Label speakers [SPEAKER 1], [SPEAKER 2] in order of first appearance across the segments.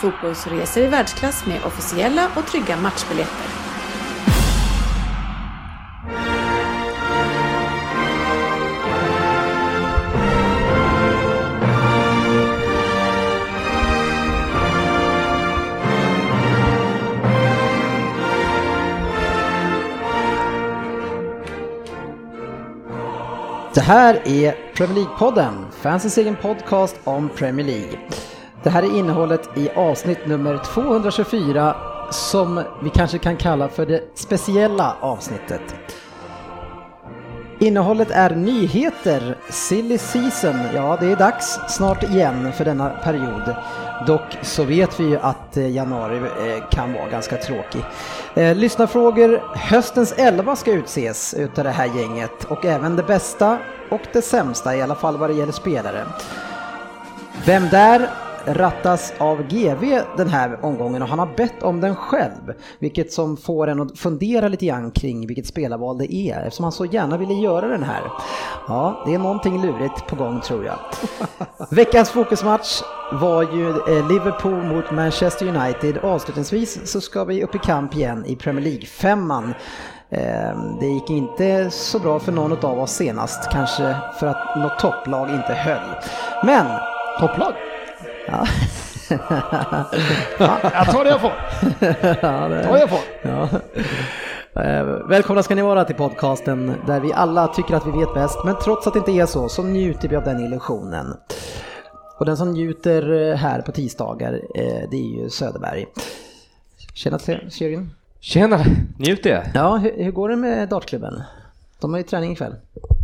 [SPEAKER 1] fotbollsresor i världsklass med officiella och trygga matchbiljetter.
[SPEAKER 2] Det här är Premier League-podden, fansens egen podcast om Premier League. Det här är innehållet i avsnitt nummer 224 som vi kanske kan kalla för det speciella avsnittet. Innehållet är nyheter, silly season, ja det är dags snart igen för denna period. Dock så vet vi ju att eh, januari eh, kan vara ganska tråkig. Eh, Lyssnarfrågor, höstens elva ska utses utav det här gänget och även det bästa och det sämsta i alla fall vad det gäller spelare. Vem där rattas av GV den här omgången och han har bett om den själv. Vilket som får en att fundera lite grann kring vilket spelarval det är eftersom han så gärna ville göra den här. Ja, det är någonting lurigt på gång tror jag. Veckans fokusmatch var ju eh, Liverpool mot Manchester United. Avslutningsvis så ska vi upp i kamp igen i Premier League-femman. Ehm, Det gick inte så bra för någon av oss senast, kanske för att något topplag inte höll. Men... Topplag? Ja.
[SPEAKER 3] Jag tar det jag får.
[SPEAKER 2] ja, det...
[SPEAKER 3] Tar jag får.
[SPEAKER 2] Ja. Eh, Välkomna ska ni vara till podcasten där vi alla tycker att vi vet bäst, men trots att det inte är så så njuter vi av den illusionen. Och den som njuter eh, här på tisdagar, eh, det är ju Söderberg. Tjena Se- Sjögren.
[SPEAKER 4] Tjena! Njut det!
[SPEAKER 2] Ja, hur, hur går det med dartklubben? De har ju träning ikväll.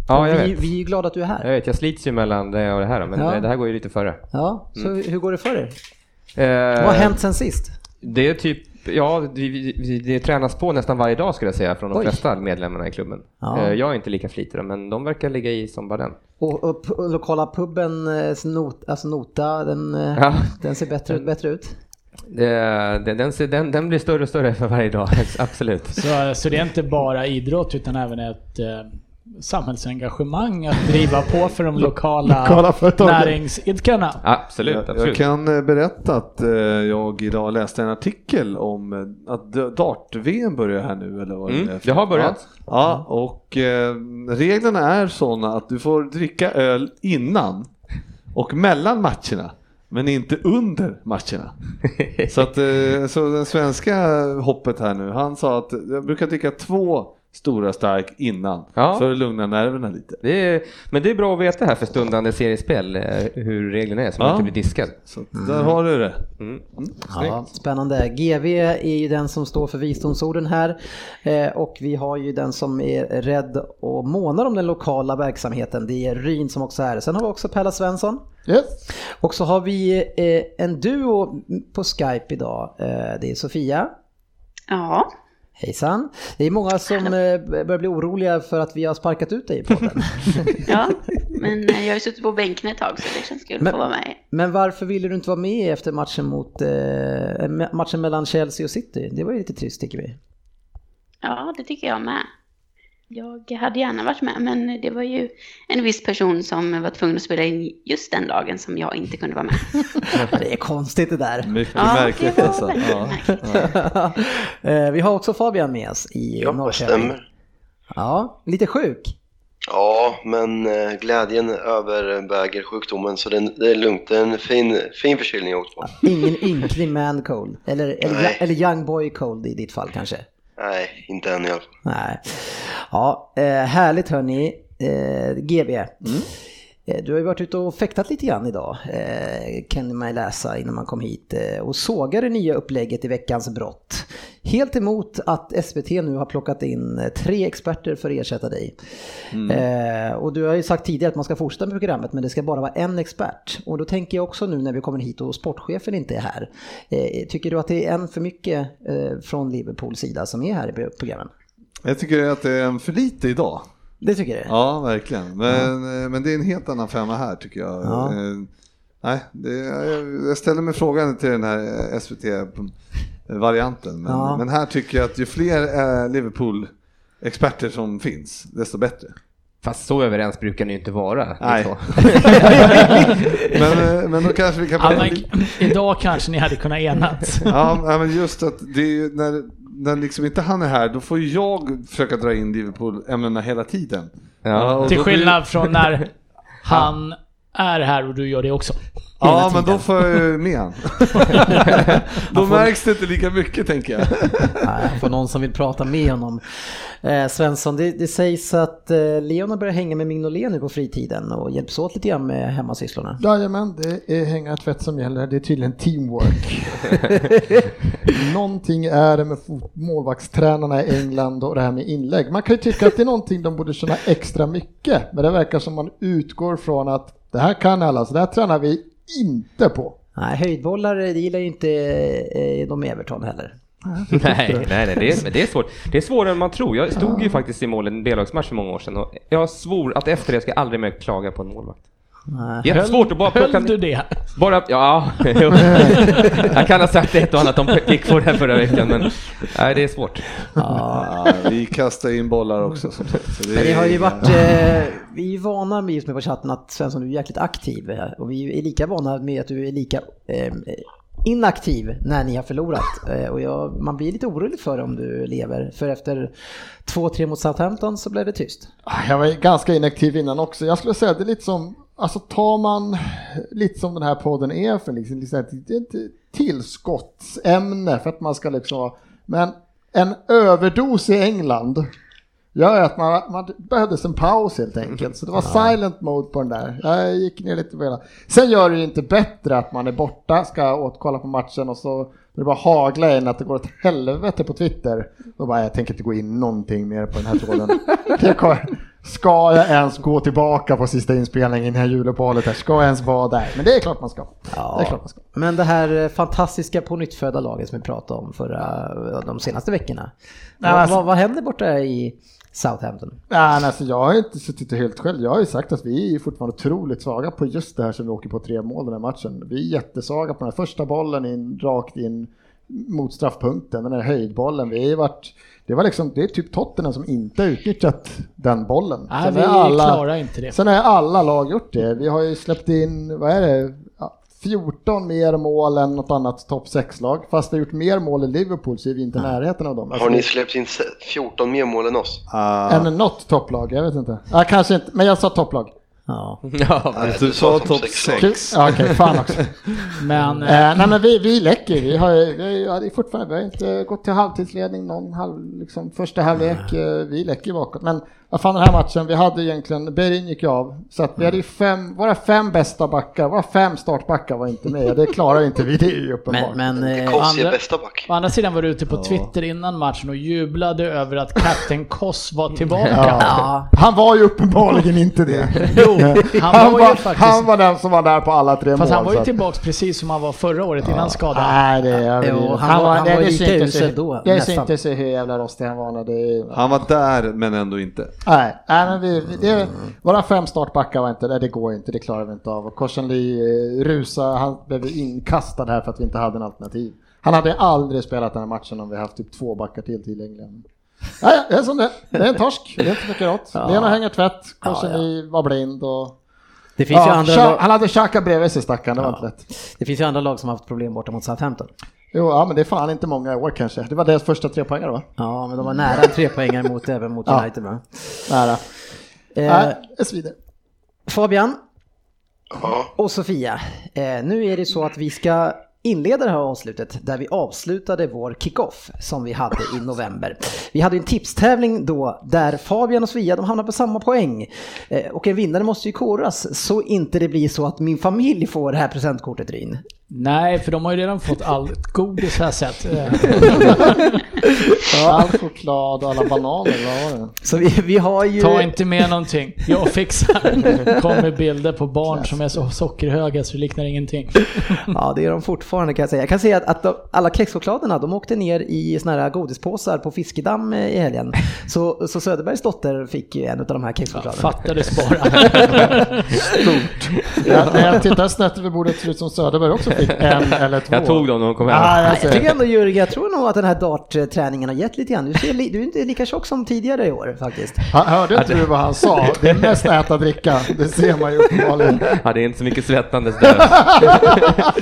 [SPEAKER 4] Ja, jag
[SPEAKER 2] vi,
[SPEAKER 4] vet.
[SPEAKER 2] vi är ju glada att du är
[SPEAKER 4] Jag
[SPEAKER 2] här.
[SPEAKER 4] vet, jag slits ju mellan det och det här men
[SPEAKER 2] Ja.
[SPEAKER 4] det- det här går ju lite före.
[SPEAKER 2] Ja, så hur går det för er?
[SPEAKER 4] Mm. Eh,
[SPEAKER 2] Vad har hänt sen sist?
[SPEAKER 4] Det är typ, ja, vi, vi, vi, det tränas på nästan varje dag skulle jag säga från de
[SPEAKER 2] Oj.
[SPEAKER 4] flesta medlemmarna i klubben.
[SPEAKER 2] Ja.
[SPEAKER 4] Eh, jag är inte lika flitig men de verkar ligga i som bara den.
[SPEAKER 2] Och, och, p- och lokala puben, eh, s- not, alltså nota, den, eh,
[SPEAKER 4] Ja.
[SPEAKER 2] den ser bättre, bättre ut.
[SPEAKER 4] Eh, den, den, ser- den, den blir större och större för varje dag, absolut.
[SPEAKER 3] Så, så det är inte bara idrott utan även ett eh, samhällsengagemang att driva på för de lokala,
[SPEAKER 5] Lokala företagen.
[SPEAKER 3] näringsidkarna.
[SPEAKER 4] Absolut,
[SPEAKER 5] Jag, jag
[SPEAKER 4] absolut.
[SPEAKER 5] kan eh, berätta att eh, jag idag läste en artikel om eh, att d- dart-VM börjar här nu eller vad
[SPEAKER 4] Mm,
[SPEAKER 5] det är för-
[SPEAKER 4] det har börjat.
[SPEAKER 5] Ja, ja och eh, reglerna är sådana att du får dricka öl innan och mellan matcherna. Men inte under matcherna. Så, att, eh, så den svenska hoppet här nu, han sa att eh, jag brukar dricka två stora stark innan.
[SPEAKER 4] Ja.
[SPEAKER 5] För att lugna nerverna lite.
[SPEAKER 4] Det är, men det är bra att veta här för stundande seriespel, eh, hur reglerna är så man
[SPEAKER 5] Ja.
[SPEAKER 4] inte blir diskad.
[SPEAKER 5] Så att där har du det.
[SPEAKER 4] Mm.
[SPEAKER 2] Ja, spännande. GV är ju den som står för visdomsorden här eh, och vi har ju den som är rädd och månar om den lokala verksamheten. Det är Ryn som också är här. Sen har vi också Pella Svensson.
[SPEAKER 3] Yes.
[SPEAKER 2] Och så har vi eh, en duo på Skype idag. Eh, det är Sofia.
[SPEAKER 1] Ja,
[SPEAKER 2] Hejsan. Det är många som eh, börjar bli oroliga för att vi har sparkat ut dig i podden.
[SPEAKER 6] Ja, men eh, jag har ju suttit på bänken ett tag så det känns kul att
[SPEAKER 2] Men-
[SPEAKER 6] få vara med.
[SPEAKER 2] Men varför ville du inte vara med efter matchen, mot, eh, matchen mellan Chelsea och City? Det var ju lite trist tycker vi.
[SPEAKER 6] Ja, det tycker jag med. Jag hade gärna varit med, men det var ju en viss person som var tvungen att spela in just den dagen som jag inte kunde vara med.
[SPEAKER 2] Det är konstigt det där.
[SPEAKER 5] Mycket
[SPEAKER 6] Ja, det
[SPEAKER 5] märkligt
[SPEAKER 6] var
[SPEAKER 5] alltså.
[SPEAKER 6] väldigt
[SPEAKER 5] Ja.
[SPEAKER 6] märkligt.
[SPEAKER 2] Eh, Vi har också Fabian med oss i
[SPEAKER 7] Ja, det
[SPEAKER 2] Norrköping.
[SPEAKER 7] stämmer.
[SPEAKER 2] Ja, lite sjuk.
[SPEAKER 7] Ja, men eh, glädjen överväger sjukdomen så det, det är lugnt. Det är en fin, fin förkylning jag åkt på.
[SPEAKER 2] Ingen ynklig man cold. Eller, eller,
[SPEAKER 7] Nej.
[SPEAKER 2] eller young boy cold i ditt fall kanske.
[SPEAKER 7] Nej, inte än i alla fall.
[SPEAKER 2] Nej. Ja, eh, härligt hörni. Eh, GB. Eh, Du har ju varit ute och fäktat lite grann idag, eh, kan man ju läsa innan man kom hit. eh, Och sågar det nya upplägget i veckans brott. Helt emot att SVT nu har plockat in eh, tre experter för att ersätta dig. Eh, och du har ju sagt tidigare att man ska fortsätta med programmet men det ska bara vara en expert. Och då tänker jag också nu när vi kommer hit och sportchefen inte är här. Eh, tycker du att det är en för mycket eh, från Liverpools sida som är här i programmen?
[SPEAKER 8] Jag tycker att det är en för lite idag.
[SPEAKER 2] Det tycker du?
[SPEAKER 8] Ja, verkligen. Men, eh, men det är en helt annan femma här tycker jag.
[SPEAKER 2] Ja.
[SPEAKER 8] Eh, Nej, det, jag- jag ställer mig frågan till den här eh, SVT-varianten. Men,
[SPEAKER 2] Ja.
[SPEAKER 8] men här tycker jag att ju fler eh, Liverpool-experter som finns, desto bättre.
[SPEAKER 4] Fast så överens brukar ni ju inte vara. Liksom.
[SPEAKER 8] Nej.
[SPEAKER 4] Så.
[SPEAKER 8] Men, eh, men då kanske vi kan...
[SPEAKER 3] Anna, idag kanske ni hade kunnat enats.
[SPEAKER 8] Ja, ja, men just att det är ju när, när liksom inte han är här, då får ju jag försöka dra in Liverpool-ämnena hela tiden.
[SPEAKER 4] Ja.
[SPEAKER 8] och
[SPEAKER 3] Till
[SPEAKER 8] då blir-
[SPEAKER 3] skillnad från när han är här och du gör det också.
[SPEAKER 8] Ja, men då får jag ju med han. Då märks det inte lika mycket tänker jag.
[SPEAKER 2] Nej, han får någon som vill prata med honom. Eh, Svensson, det, det sägs att eh, Leon har börjat hänga med Mignolet nu på fritiden och hjälps åt lite grann med hemmasysslorna.
[SPEAKER 5] Jajamän, det är hänga och tvätt som gäller. Det är tydligen teamwork. någonting är det med fot- målvaktstränarna i England och det här med inlägg. Man kan ju tycka att det är någonting de borde känna extra mycket. Men det verkar som man utgår från att det här kan alla, så det här tränar vi inte på.
[SPEAKER 2] Nej, höjdbollar eh, det gillar ju inte eh, de i Everton heller.
[SPEAKER 4] Nej, nej, nej det, är, men det är svårt. Det är svårare än man tror. Jag stod ju faktiskt i mål i en B-lagsmatch för många år sedan och jag svor att efter det ska jag aldrig mer klaga på en målvakt.
[SPEAKER 2] Nej.
[SPEAKER 4] Det är svårt att bara plocka
[SPEAKER 3] Höll du
[SPEAKER 4] ner.
[SPEAKER 3] det?
[SPEAKER 4] Bara, ja, jo. jag kan ha sagt ett och annat om Pickford här förra veckan, men nej, det är svårt.
[SPEAKER 8] Ja, Ah, vi kastar in bollar också som sagt. Så
[SPEAKER 2] Men det har ju
[SPEAKER 8] är-
[SPEAKER 2] varit, eh, vi är ju vana med just med på chatten att Svensson du är jäkligt aktiv eh, och vi är lika vana med att du är lika eh, inaktiv när ni har förlorat. Eh, och jag, man blir lite orolig för om du lever, för efter 2-3 mot Southampton så blev det tyst.
[SPEAKER 5] Ah, Jag var ganska inaktiv innan också. Jag skulle säga att det är lite som, alltså tar man lite som den här podden är för liksom, liksom det är ett tillskottsämne för att man ska liksom vara- men en överdos i England gör att man, man behövdes en paus helt enkelt. Så det var silent mode på den där. Jag gick ner lite på hela. Sen gör det ju inte bättre att man är borta, ska återkolla på matchen och så det bara hagla in att det går åt helvete på Twitter. Då bara, jag tänker inte gå in någonting mer på den här tråden. Det kommer- Ska jag ens gå tillbaka på sista inspelningen innan juluppehållet här? Ska jag ens vara där? Men det är klart man ska. Det är klart man ska.
[SPEAKER 2] Men det här eh, fantastiska på nytt födda laget som vi pratade om förra, eh, de senaste veckorna.
[SPEAKER 5] Nej,
[SPEAKER 2] vad,
[SPEAKER 5] alltså-
[SPEAKER 2] vad, vad händer borta i Southampton?
[SPEAKER 5] Nej, men alltså jag har inte suttit och helt själv. Jag har ju sagt att vi är fortfarande otroligt svaga på just det här som vi åker på tre mål den här matchen. Vi är jättesvaga på den här första bollen in, rakt in mot straffpunkten, den här höjdbollen. Vi har ju varit, det, var liksom, det är typ Tottenham som inte har utnyttjat den bollen.
[SPEAKER 3] Nej,
[SPEAKER 5] Sen
[SPEAKER 3] vi
[SPEAKER 5] är
[SPEAKER 3] klarar inte det.
[SPEAKER 5] Sen har ju alla lag gjort det. Vi har ju släppt in, vad är det, ja, 14 mer mål än något annat topp 6-lag. Fast vi har gjort mer mål i Liverpool så är vi inte i närheten av dem. Alltså,
[SPEAKER 7] Har ni släppt in se- 14 mer mål än oss?
[SPEAKER 8] Ah,
[SPEAKER 5] än något topplag, jag vet inte. Ja, kanske inte, men jag sa topplag.
[SPEAKER 2] Ja.
[SPEAKER 4] Ja, men-
[SPEAKER 8] du sa topp
[SPEAKER 7] sex.
[SPEAKER 5] Kul.
[SPEAKER 8] 6.
[SPEAKER 5] Ja, Okej, fan också. eh,
[SPEAKER 3] Men eh,
[SPEAKER 5] nej men vi, vi läcker. Vi har, ju- vi, har, ju- ja, det är fortfarande, vi har inte gått till halvtidsledning någon halv, liksom, första halvlek. eh, Vi läcker bakåt. Men vad fan den här matchen, vi hade ju egentligen, Berin gick ju av. Så att vi hade ju
[SPEAKER 3] Mm.
[SPEAKER 5] fem, våra fem bästa backar, våra fem startbackar var inte med. Det klarar inte vi, det är ju uppenbart.
[SPEAKER 2] Men, men eh,
[SPEAKER 7] Kossi är
[SPEAKER 3] andra-
[SPEAKER 7] bästa back.
[SPEAKER 3] å andra sidan var du ute på Twitter innan matchen och jublade över att kapten Koss var tillbaka.
[SPEAKER 5] Ja. Han var ju uppenbarligen inte det.
[SPEAKER 3] Jo,
[SPEAKER 5] Han,
[SPEAKER 3] han
[SPEAKER 5] var,
[SPEAKER 3] var ju faktiskt...
[SPEAKER 5] han var den som var där på alla tre
[SPEAKER 3] Fast
[SPEAKER 5] mål.
[SPEAKER 3] han var
[SPEAKER 5] så
[SPEAKER 3] ju
[SPEAKER 5] att-
[SPEAKER 3] tillbaks precis som han var förra året innan skadan.
[SPEAKER 5] Nej, det är överdrivet.
[SPEAKER 2] Jo, han var- han
[SPEAKER 5] det-
[SPEAKER 2] var
[SPEAKER 5] det
[SPEAKER 2] lika
[SPEAKER 5] syntes
[SPEAKER 2] usel
[SPEAKER 5] ju-
[SPEAKER 2] då,
[SPEAKER 5] Det
[SPEAKER 2] nästan.
[SPEAKER 5] syntes ju hur jävla rostig han var när det...
[SPEAKER 8] Han var där men ändå inte.
[SPEAKER 5] Nej, nej men vi, vi, det, våra fem startbackar var inte, nej det går inte, det klarar vi inte av. Och Korsenli eh, rusade, han blev inkastad här för att vi inte hade en alternativ. Han hade aldrig spelat den här matchen om vi haft typ två backar till tillgängliga. Nej, det är som det Det är en torsk, det är inte mycket åt.
[SPEAKER 2] Ja.
[SPEAKER 5] Lena hänger tvätt, Korsenli var blind och...
[SPEAKER 2] det, finns ju
[SPEAKER 5] Ja,
[SPEAKER 2] andra
[SPEAKER 5] Xhaka-
[SPEAKER 2] lag,
[SPEAKER 5] han hade Xhaka bredvid sig stackaren, det var
[SPEAKER 2] Ja.
[SPEAKER 5] inte lätt.
[SPEAKER 2] det finns ju andra lag som har haft problem borta mot Southampton.
[SPEAKER 5] Jo, ja men det är fan inte många i år kanske. Det var deras första trepoängare va?
[SPEAKER 2] Ja, men de var nära en trepoängare mot, även mot
[SPEAKER 5] Ja.
[SPEAKER 2] United. va?
[SPEAKER 5] Nära.
[SPEAKER 2] Eh,
[SPEAKER 5] Nej, det svider.
[SPEAKER 2] Fabian
[SPEAKER 7] Ja.
[SPEAKER 2] och Sofia, eh, nu är det så att vi ska inleda det här avslutet där vi avslutade vår kickoff som vi hade i november. Vi hade en tipstävling då där Fabian och Sofia de hamnade på samma poäng eh, och en vinnare måste ju koras så inte det blir så att min familj får det här presentkortet Ryn.
[SPEAKER 3] Nej, för de har ju redan fått allt godis har jag sett. Eh,
[SPEAKER 5] All choklad och alla bananer, vad var det?
[SPEAKER 2] Så vi, vi har ju...
[SPEAKER 3] Ta inte med någonting, jag fixar. Kommer bilder på barn som är så sockerhöga så det liknar ingenting.
[SPEAKER 2] Ja, det är de fortfarande kan jag säga. Jag kan säga att, att de, alla kexchokladerna, de åkte ner i såna här godispåsar på Fiskedamm eh, i helgen. Så, så Söderbergs dotter fick ju en av de här kexchokladerna.
[SPEAKER 3] Fattades bara.
[SPEAKER 5] Jag, när jag tittar snett över bordet ser det ut som Söderberg också fick en eller två.
[SPEAKER 4] Jag tog dem när de kom hem.
[SPEAKER 5] Ah, jag
[SPEAKER 2] jag tycker
[SPEAKER 5] ser.
[SPEAKER 2] ändå Jörgen, jag tror nog att den här dartträningen har gett lite grann. Du, ser, li- du är inte lika tjock som tidigare i år faktiskt.
[SPEAKER 5] Han hörde inte du vad han sa? Det är mest äta dricka, det ser man ju uppenbarligen.
[SPEAKER 4] Ja, det är inte så mycket svettandes där.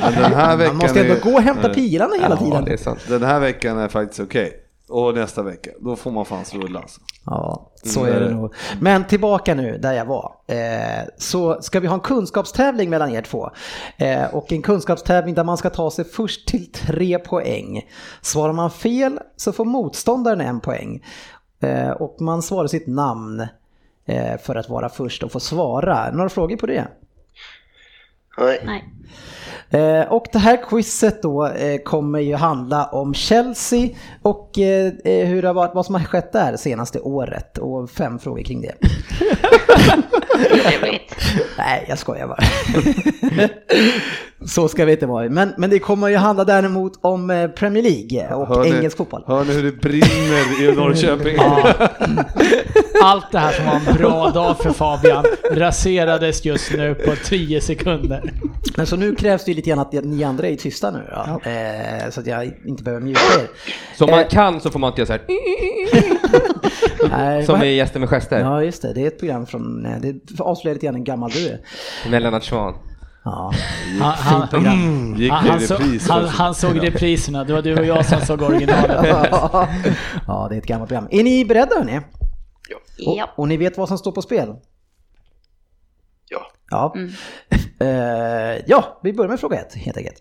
[SPEAKER 9] Men den här veckan
[SPEAKER 2] Man måste ändå
[SPEAKER 9] är,
[SPEAKER 2] gå och hämta pilarna hela
[SPEAKER 4] Ja,
[SPEAKER 2] tiden.
[SPEAKER 4] det är sant.
[SPEAKER 9] Den här veckan är faktiskt okej. Och nästa vecka, då får man fan rulla alltså.
[SPEAKER 2] Ja, så är det nog. Men tillbaka nu där jag var. Eh, så ska vi ha en kunskapstävling mellan er två. Eh, och en kunskapstävling där man ska ta sig först till tre poäng. Svarar man fel så får motståndaren en poäng. Eh, och man svarar sitt namn eh, för att vara först och få svara. Några frågor på det?
[SPEAKER 7] Nej.
[SPEAKER 6] Nej.
[SPEAKER 2] Eh, och det här quizet då eh, kommer ju handla om Chelsea och eh, eh, hur det har varit, vad som har skett där senaste året och fem frågor kring det.
[SPEAKER 6] Trevligt.
[SPEAKER 2] Nej, jag skojar bara. Så ska vi inte vara. Men, men det kommer ju handla däremot om eh, Premier League och
[SPEAKER 9] Hör ni-
[SPEAKER 2] engelsk fotboll.
[SPEAKER 9] Hör ni hur det brinner i Norrköping?
[SPEAKER 3] Allt det här som var en bra dag för Fabian raserades just nu på 10 sekunder.
[SPEAKER 2] Men så nu krävs det ju lite grann att ni andra är tysta nu då. Eh, så att jag inte behöver mjuka er.
[SPEAKER 4] Som man kan så får man inte göra så här.
[SPEAKER 2] Nej,
[SPEAKER 4] Som
[SPEAKER 2] vad-
[SPEAKER 4] i Gäster med gester.
[SPEAKER 2] Mm. Ja, just det. Det är ett program från... eh, Det avslöjar lite grann en gammal du är.
[SPEAKER 4] Med Lennart Swahn.
[SPEAKER 2] Ja.
[SPEAKER 3] Han, han,
[SPEAKER 9] Mm, Gick
[SPEAKER 3] han,
[SPEAKER 9] i
[SPEAKER 3] han, så,
[SPEAKER 9] repris
[SPEAKER 3] han,
[SPEAKER 9] också.
[SPEAKER 3] han såg repriserna, det var du och jag som såg originalet.
[SPEAKER 2] ja, det är ett gammalt program. Är ni beredda hörni?
[SPEAKER 6] Ja.
[SPEAKER 2] Och, och ni vet vad som står på spel?
[SPEAKER 7] Ja.
[SPEAKER 2] Ja. Eh, ja, vi börjar med fråga ett helt enkelt.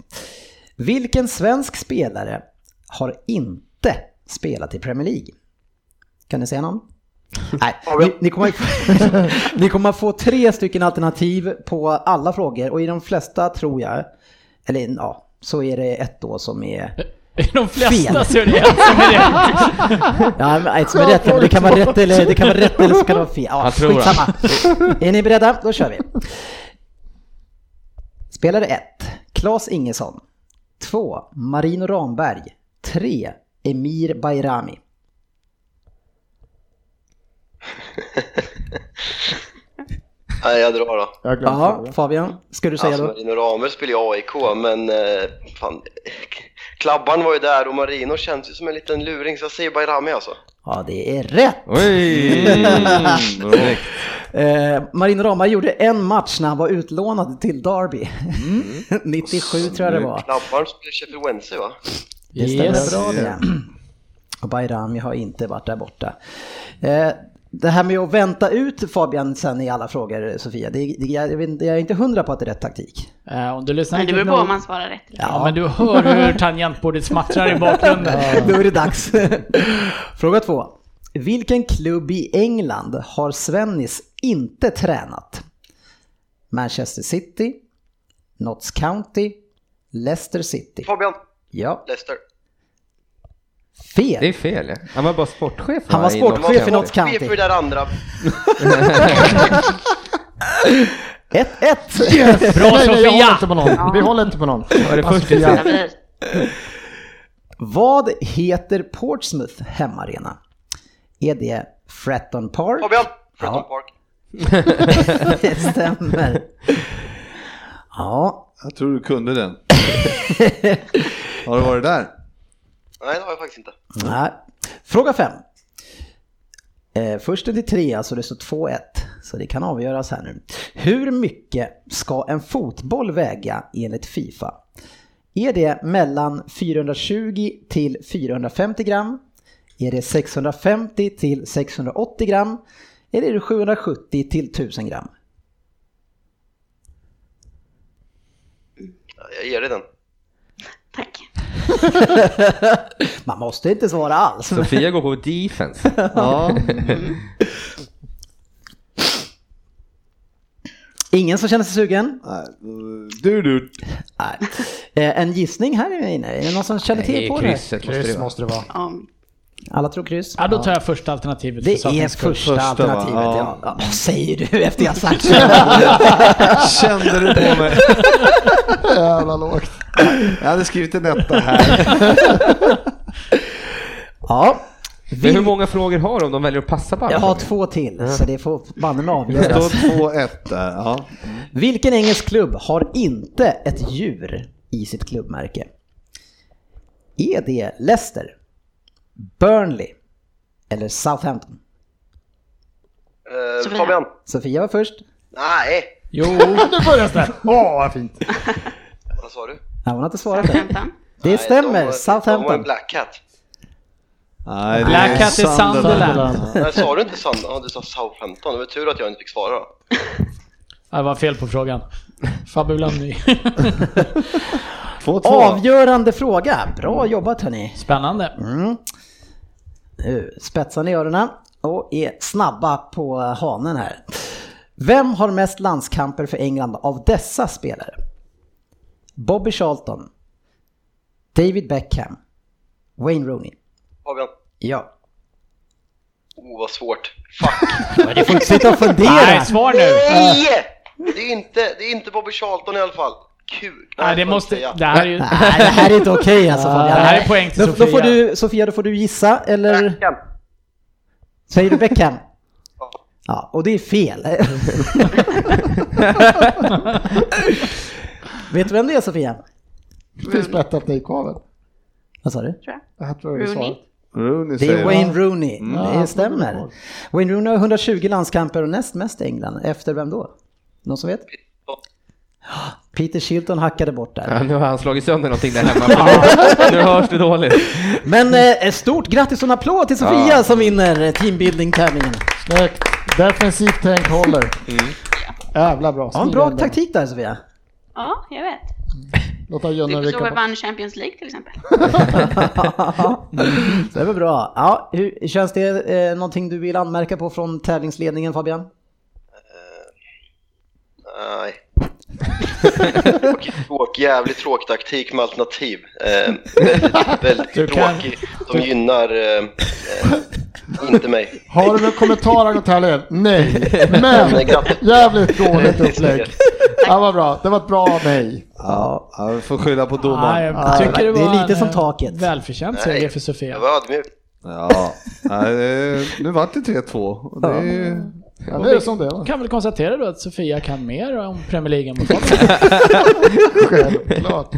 [SPEAKER 2] Vilken svensk spelare har inte spelat i Premier League? Kan ni säga någon? Nej, ni, ni, kommer, ni kommer att få tre stycken alternativ på alla frågor och i de flesta tror jag, eller ja, så är det ett då som är...
[SPEAKER 3] I de flesta
[SPEAKER 2] Fel.
[SPEAKER 3] så är det en som är rätt.
[SPEAKER 2] Ja, men ett som är rätt, men det kan vara rätt eller, det kan vara rätt eller så kan det vara fel. Ja,
[SPEAKER 4] Jag tror det.
[SPEAKER 2] skitsamma. Är ni beredda? Då kör vi. Spelare 1. Claes Ingesson. 2. Marino Ramberg. 3. Emir Bayrami.
[SPEAKER 7] Nej, jag drar då.
[SPEAKER 5] Jag har glömt
[SPEAKER 2] Ja,
[SPEAKER 5] frågan.
[SPEAKER 2] Fabian, ska du säga
[SPEAKER 7] Alltså
[SPEAKER 2] då?
[SPEAKER 7] Marino Ramel spelar ju AIK, men eh, fan. Klabban var ju där och Marino känns ju som en liten luring, så jag säger Bayrami alltså.
[SPEAKER 2] Ja, det är rätt!
[SPEAKER 4] Oj!
[SPEAKER 9] Mm.
[SPEAKER 4] Mm,
[SPEAKER 2] Eh, Marino Ramberg gjorde en match när han var utlånad till Derby. 97 tror jag det var.
[SPEAKER 7] Klabban spelar Sheffield Wednesday va?
[SPEAKER 2] Det stämmer
[SPEAKER 3] Yes.
[SPEAKER 2] bra det. Och Bayrami har inte varit där borta. Eh, Det här med att vänta ut Fabian sen i alla frågor, Sofia, det, det, jag, vet inte- jag är inte hundra på att det är rätt taktik.
[SPEAKER 3] Eh, Om du lyssnar
[SPEAKER 6] Men det beror
[SPEAKER 3] riktigt
[SPEAKER 6] på om
[SPEAKER 3] noga-
[SPEAKER 6] man svarar rätt. eller
[SPEAKER 3] Ja, men du hör hur tangentbordet smattrar i bakgrunden.
[SPEAKER 2] Då är det dags. Fråga två. Vilken klubb i England har Svennis inte tränat? Manchester City, Notts County, Leicester City.
[SPEAKER 7] Fabian,
[SPEAKER 2] Ja,
[SPEAKER 7] Leicester.
[SPEAKER 4] Det är
[SPEAKER 2] fel.
[SPEAKER 4] fel. ja. Han var bara sportchef.
[SPEAKER 2] Han
[SPEAKER 4] va,
[SPEAKER 2] var
[SPEAKER 4] i
[SPEAKER 2] sportchef
[SPEAKER 4] Notts
[SPEAKER 2] i Notts
[SPEAKER 4] County.
[SPEAKER 2] County.
[SPEAKER 7] Vi för det där andra.
[SPEAKER 2] 1-1.
[SPEAKER 3] Bra
[SPEAKER 5] nej, nej, jag håller
[SPEAKER 3] Sofia!
[SPEAKER 5] inte på någon. Vi håller inte på någon. Alltså,
[SPEAKER 4] Var det först i
[SPEAKER 6] hur?
[SPEAKER 4] serien?
[SPEAKER 6] Jag blir-
[SPEAKER 2] Vad heter Portsmouth hemmaarena? Är det Fratton Park?
[SPEAKER 7] Fabian, Fratton
[SPEAKER 2] Ja.
[SPEAKER 7] Park.
[SPEAKER 2] Det stämmer. Ja,
[SPEAKER 9] Jag tror du kunde den. Har du varit där?
[SPEAKER 7] Nej, det har jag faktiskt inte.
[SPEAKER 2] Mm. nej. Fråga fem. Eh, försten till tre, alltså det står 2-1. Så det kan avgöras här nu. Hur mycket ska en fotboll väga enligt Fifa? Är det mellan 420 till 450 gram? Är det 650 till 680 gram? Eller är det 770 till 1000 gram?
[SPEAKER 7] Ja, Jag ger dig den.
[SPEAKER 6] Tack.
[SPEAKER 2] Man måste inte svara alls.
[SPEAKER 4] Sofia går på defense.
[SPEAKER 9] Ja.
[SPEAKER 2] Ingen som känner sig sugen?
[SPEAKER 1] Nej, Du, du.
[SPEAKER 2] Nej. Eh, En gissning här inne? Är det någon som känner till på det?
[SPEAKER 4] krysset måste det
[SPEAKER 10] Kryss
[SPEAKER 4] vara.
[SPEAKER 10] måste det vara.
[SPEAKER 6] Ja,
[SPEAKER 2] Alla tror kryss?
[SPEAKER 3] Ja, då tar jag första alternativet. för
[SPEAKER 2] Det är
[SPEAKER 3] sakens skull.
[SPEAKER 2] första,
[SPEAKER 1] Första, va?
[SPEAKER 2] alternativet, ja.
[SPEAKER 1] Ja.
[SPEAKER 2] ja. Vad säger du efter jag sagt det?
[SPEAKER 1] Kände du på mig?
[SPEAKER 5] Jävla lågt.
[SPEAKER 1] Jag hade skrivit en etta här.
[SPEAKER 2] Ja.
[SPEAKER 4] Men hur
[SPEAKER 2] Vi,
[SPEAKER 4] många frågor har de om de väljer att passa på alla
[SPEAKER 2] jag har
[SPEAKER 4] frågor?
[SPEAKER 2] två till, så det får banne mig
[SPEAKER 1] Det
[SPEAKER 2] avgöras.
[SPEAKER 1] står två ettor. Ja.
[SPEAKER 2] Vilken engelsk klubb har inte ett djur i sitt klubbmärke? Är det Leicester, Burnley eller Southampton?
[SPEAKER 7] Eh,
[SPEAKER 6] Sofia.
[SPEAKER 7] Fabian?
[SPEAKER 2] Sofia var först.
[SPEAKER 7] Nej,
[SPEAKER 3] Jo, nu börjar det.
[SPEAKER 10] Åh, vad fint.
[SPEAKER 7] vad sa du?
[SPEAKER 2] Nej, hon har inte svarat än.
[SPEAKER 6] Southampton.
[SPEAKER 2] Det
[SPEAKER 7] Nej, de
[SPEAKER 2] stämmer,
[SPEAKER 7] har- De har en
[SPEAKER 2] Southampton.
[SPEAKER 7] black cat.
[SPEAKER 1] Nej, det
[SPEAKER 3] Black Hat är Sunderland.
[SPEAKER 7] Nej, sa du inte Sandra? Ja, du sa Southampton. Det var tur att jag inte fick svara.
[SPEAKER 3] Ja, Det var fel på frågan. Fabbe bland ny.
[SPEAKER 1] Två, två.
[SPEAKER 2] Avgörande fråga. Bra jobbat hörni.
[SPEAKER 3] Spännande.
[SPEAKER 2] Mm. Nu spetsar ni Eh, öronen och är snabba på hanen här. Vem har mest landskamper för England av dessa spelare? Bobby Charlton, David Beckham, Wayne Rooney.
[SPEAKER 7] Fabian?
[SPEAKER 2] Ja.
[SPEAKER 7] Oh, vad svårt. Fuck.
[SPEAKER 2] Men du får inte sitta och fundera.
[SPEAKER 3] Nej, svar nu.
[SPEAKER 7] Nej! Det är inte, det är inte Bobby Charlton i alla fall. Kul.
[SPEAKER 3] Nej, det
[SPEAKER 7] får
[SPEAKER 3] måste...
[SPEAKER 7] jag säga.
[SPEAKER 3] Det här är ju...
[SPEAKER 2] Nej, det här är inte okej alltså Fabian.
[SPEAKER 3] det här är poäng till
[SPEAKER 2] då, Då får
[SPEAKER 3] Sofia.
[SPEAKER 2] du, Sofia, då får du gissa eller
[SPEAKER 7] Beckham.
[SPEAKER 2] säger du Beckham?
[SPEAKER 7] Ja.
[SPEAKER 2] Ja, och det är fel. Vet du vem det är Sofia?
[SPEAKER 5] Det finns bättre alternativ
[SPEAKER 2] Vad sa du?
[SPEAKER 5] Det här tror jag är svaret.
[SPEAKER 6] Rooney.
[SPEAKER 1] Rooney
[SPEAKER 2] Det är
[SPEAKER 1] säger
[SPEAKER 2] Wayne
[SPEAKER 1] jag.
[SPEAKER 2] Rooney, det
[SPEAKER 5] Ja,
[SPEAKER 2] stämmer. Wayne Rooney har 120 landskamper och näst mest i England. Efter vem då? Någon som vet? Peter Shilton hackade bort där.
[SPEAKER 4] Ja, nu har han slagit sönder någonting där hemma. nu hörs det dåligt.
[SPEAKER 2] Men eh, stort grattis och en applåd till Sofia
[SPEAKER 4] Ja.
[SPEAKER 2] som vinner teambuilding-tävlingen.
[SPEAKER 10] Snyggt. Defensivt tänk håller.
[SPEAKER 5] Mm. Jävla bra.
[SPEAKER 2] Ja, en
[SPEAKER 5] Stilen
[SPEAKER 2] bra
[SPEAKER 5] där.
[SPEAKER 2] taktik där Sofia.
[SPEAKER 6] Ja, jag vet.
[SPEAKER 5] Låta Jönne
[SPEAKER 6] Det är
[SPEAKER 5] rycka
[SPEAKER 6] så vi
[SPEAKER 5] bort.
[SPEAKER 6] vann Champions League till exempel.
[SPEAKER 2] det var bra. Ja, hur, känns det eh, någonting du vill anmärka på från tävlingsledningen Fabian?
[SPEAKER 7] Nej. Tråk, jävligt tråkig taktik med alternativ. Eh, väldigt väldigt
[SPEAKER 3] kan-
[SPEAKER 7] tråkig. De gynnar eh, eh, inte mig.
[SPEAKER 5] Har du några kommentarer till helgen? Nej,
[SPEAKER 7] Nej,
[SPEAKER 5] men
[SPEAKER 7] grattis.
[SPEAKER 5] jävligt dåligt upplägg. Ja, vad bra. Det var ett bra nej.
[SPEAKER 1] Ja, ja, vi får skylla på
[SPEAKER 3] Ja,
[SPEAKER 1] domaren.
[SPEAKER 3] jag tycker det,
[SPEAKER 2] det är
[SPEAKER 3] var
[SPEAKER 2] lite
[SPEAKER 3] en,
[SPEAKER 2] som
[SPEAKER 3] eh,
[SPEAKER 2] taket.
[SPEAKER 3] Välförtjänt seger för Sofia.
[SPEAKER 7] Jag var ödmjuk.
[SPEAKER 1] Ja. Nej, det- nu vart det 3-2. och Det är ju...
[SPEAKER 5] Ja, det är som det var.
[SPEAKER 3] Kan väl konstatera då att Sofia kan mer om Premier League än vad Fabian.
[SPEAKER 5] Självklart.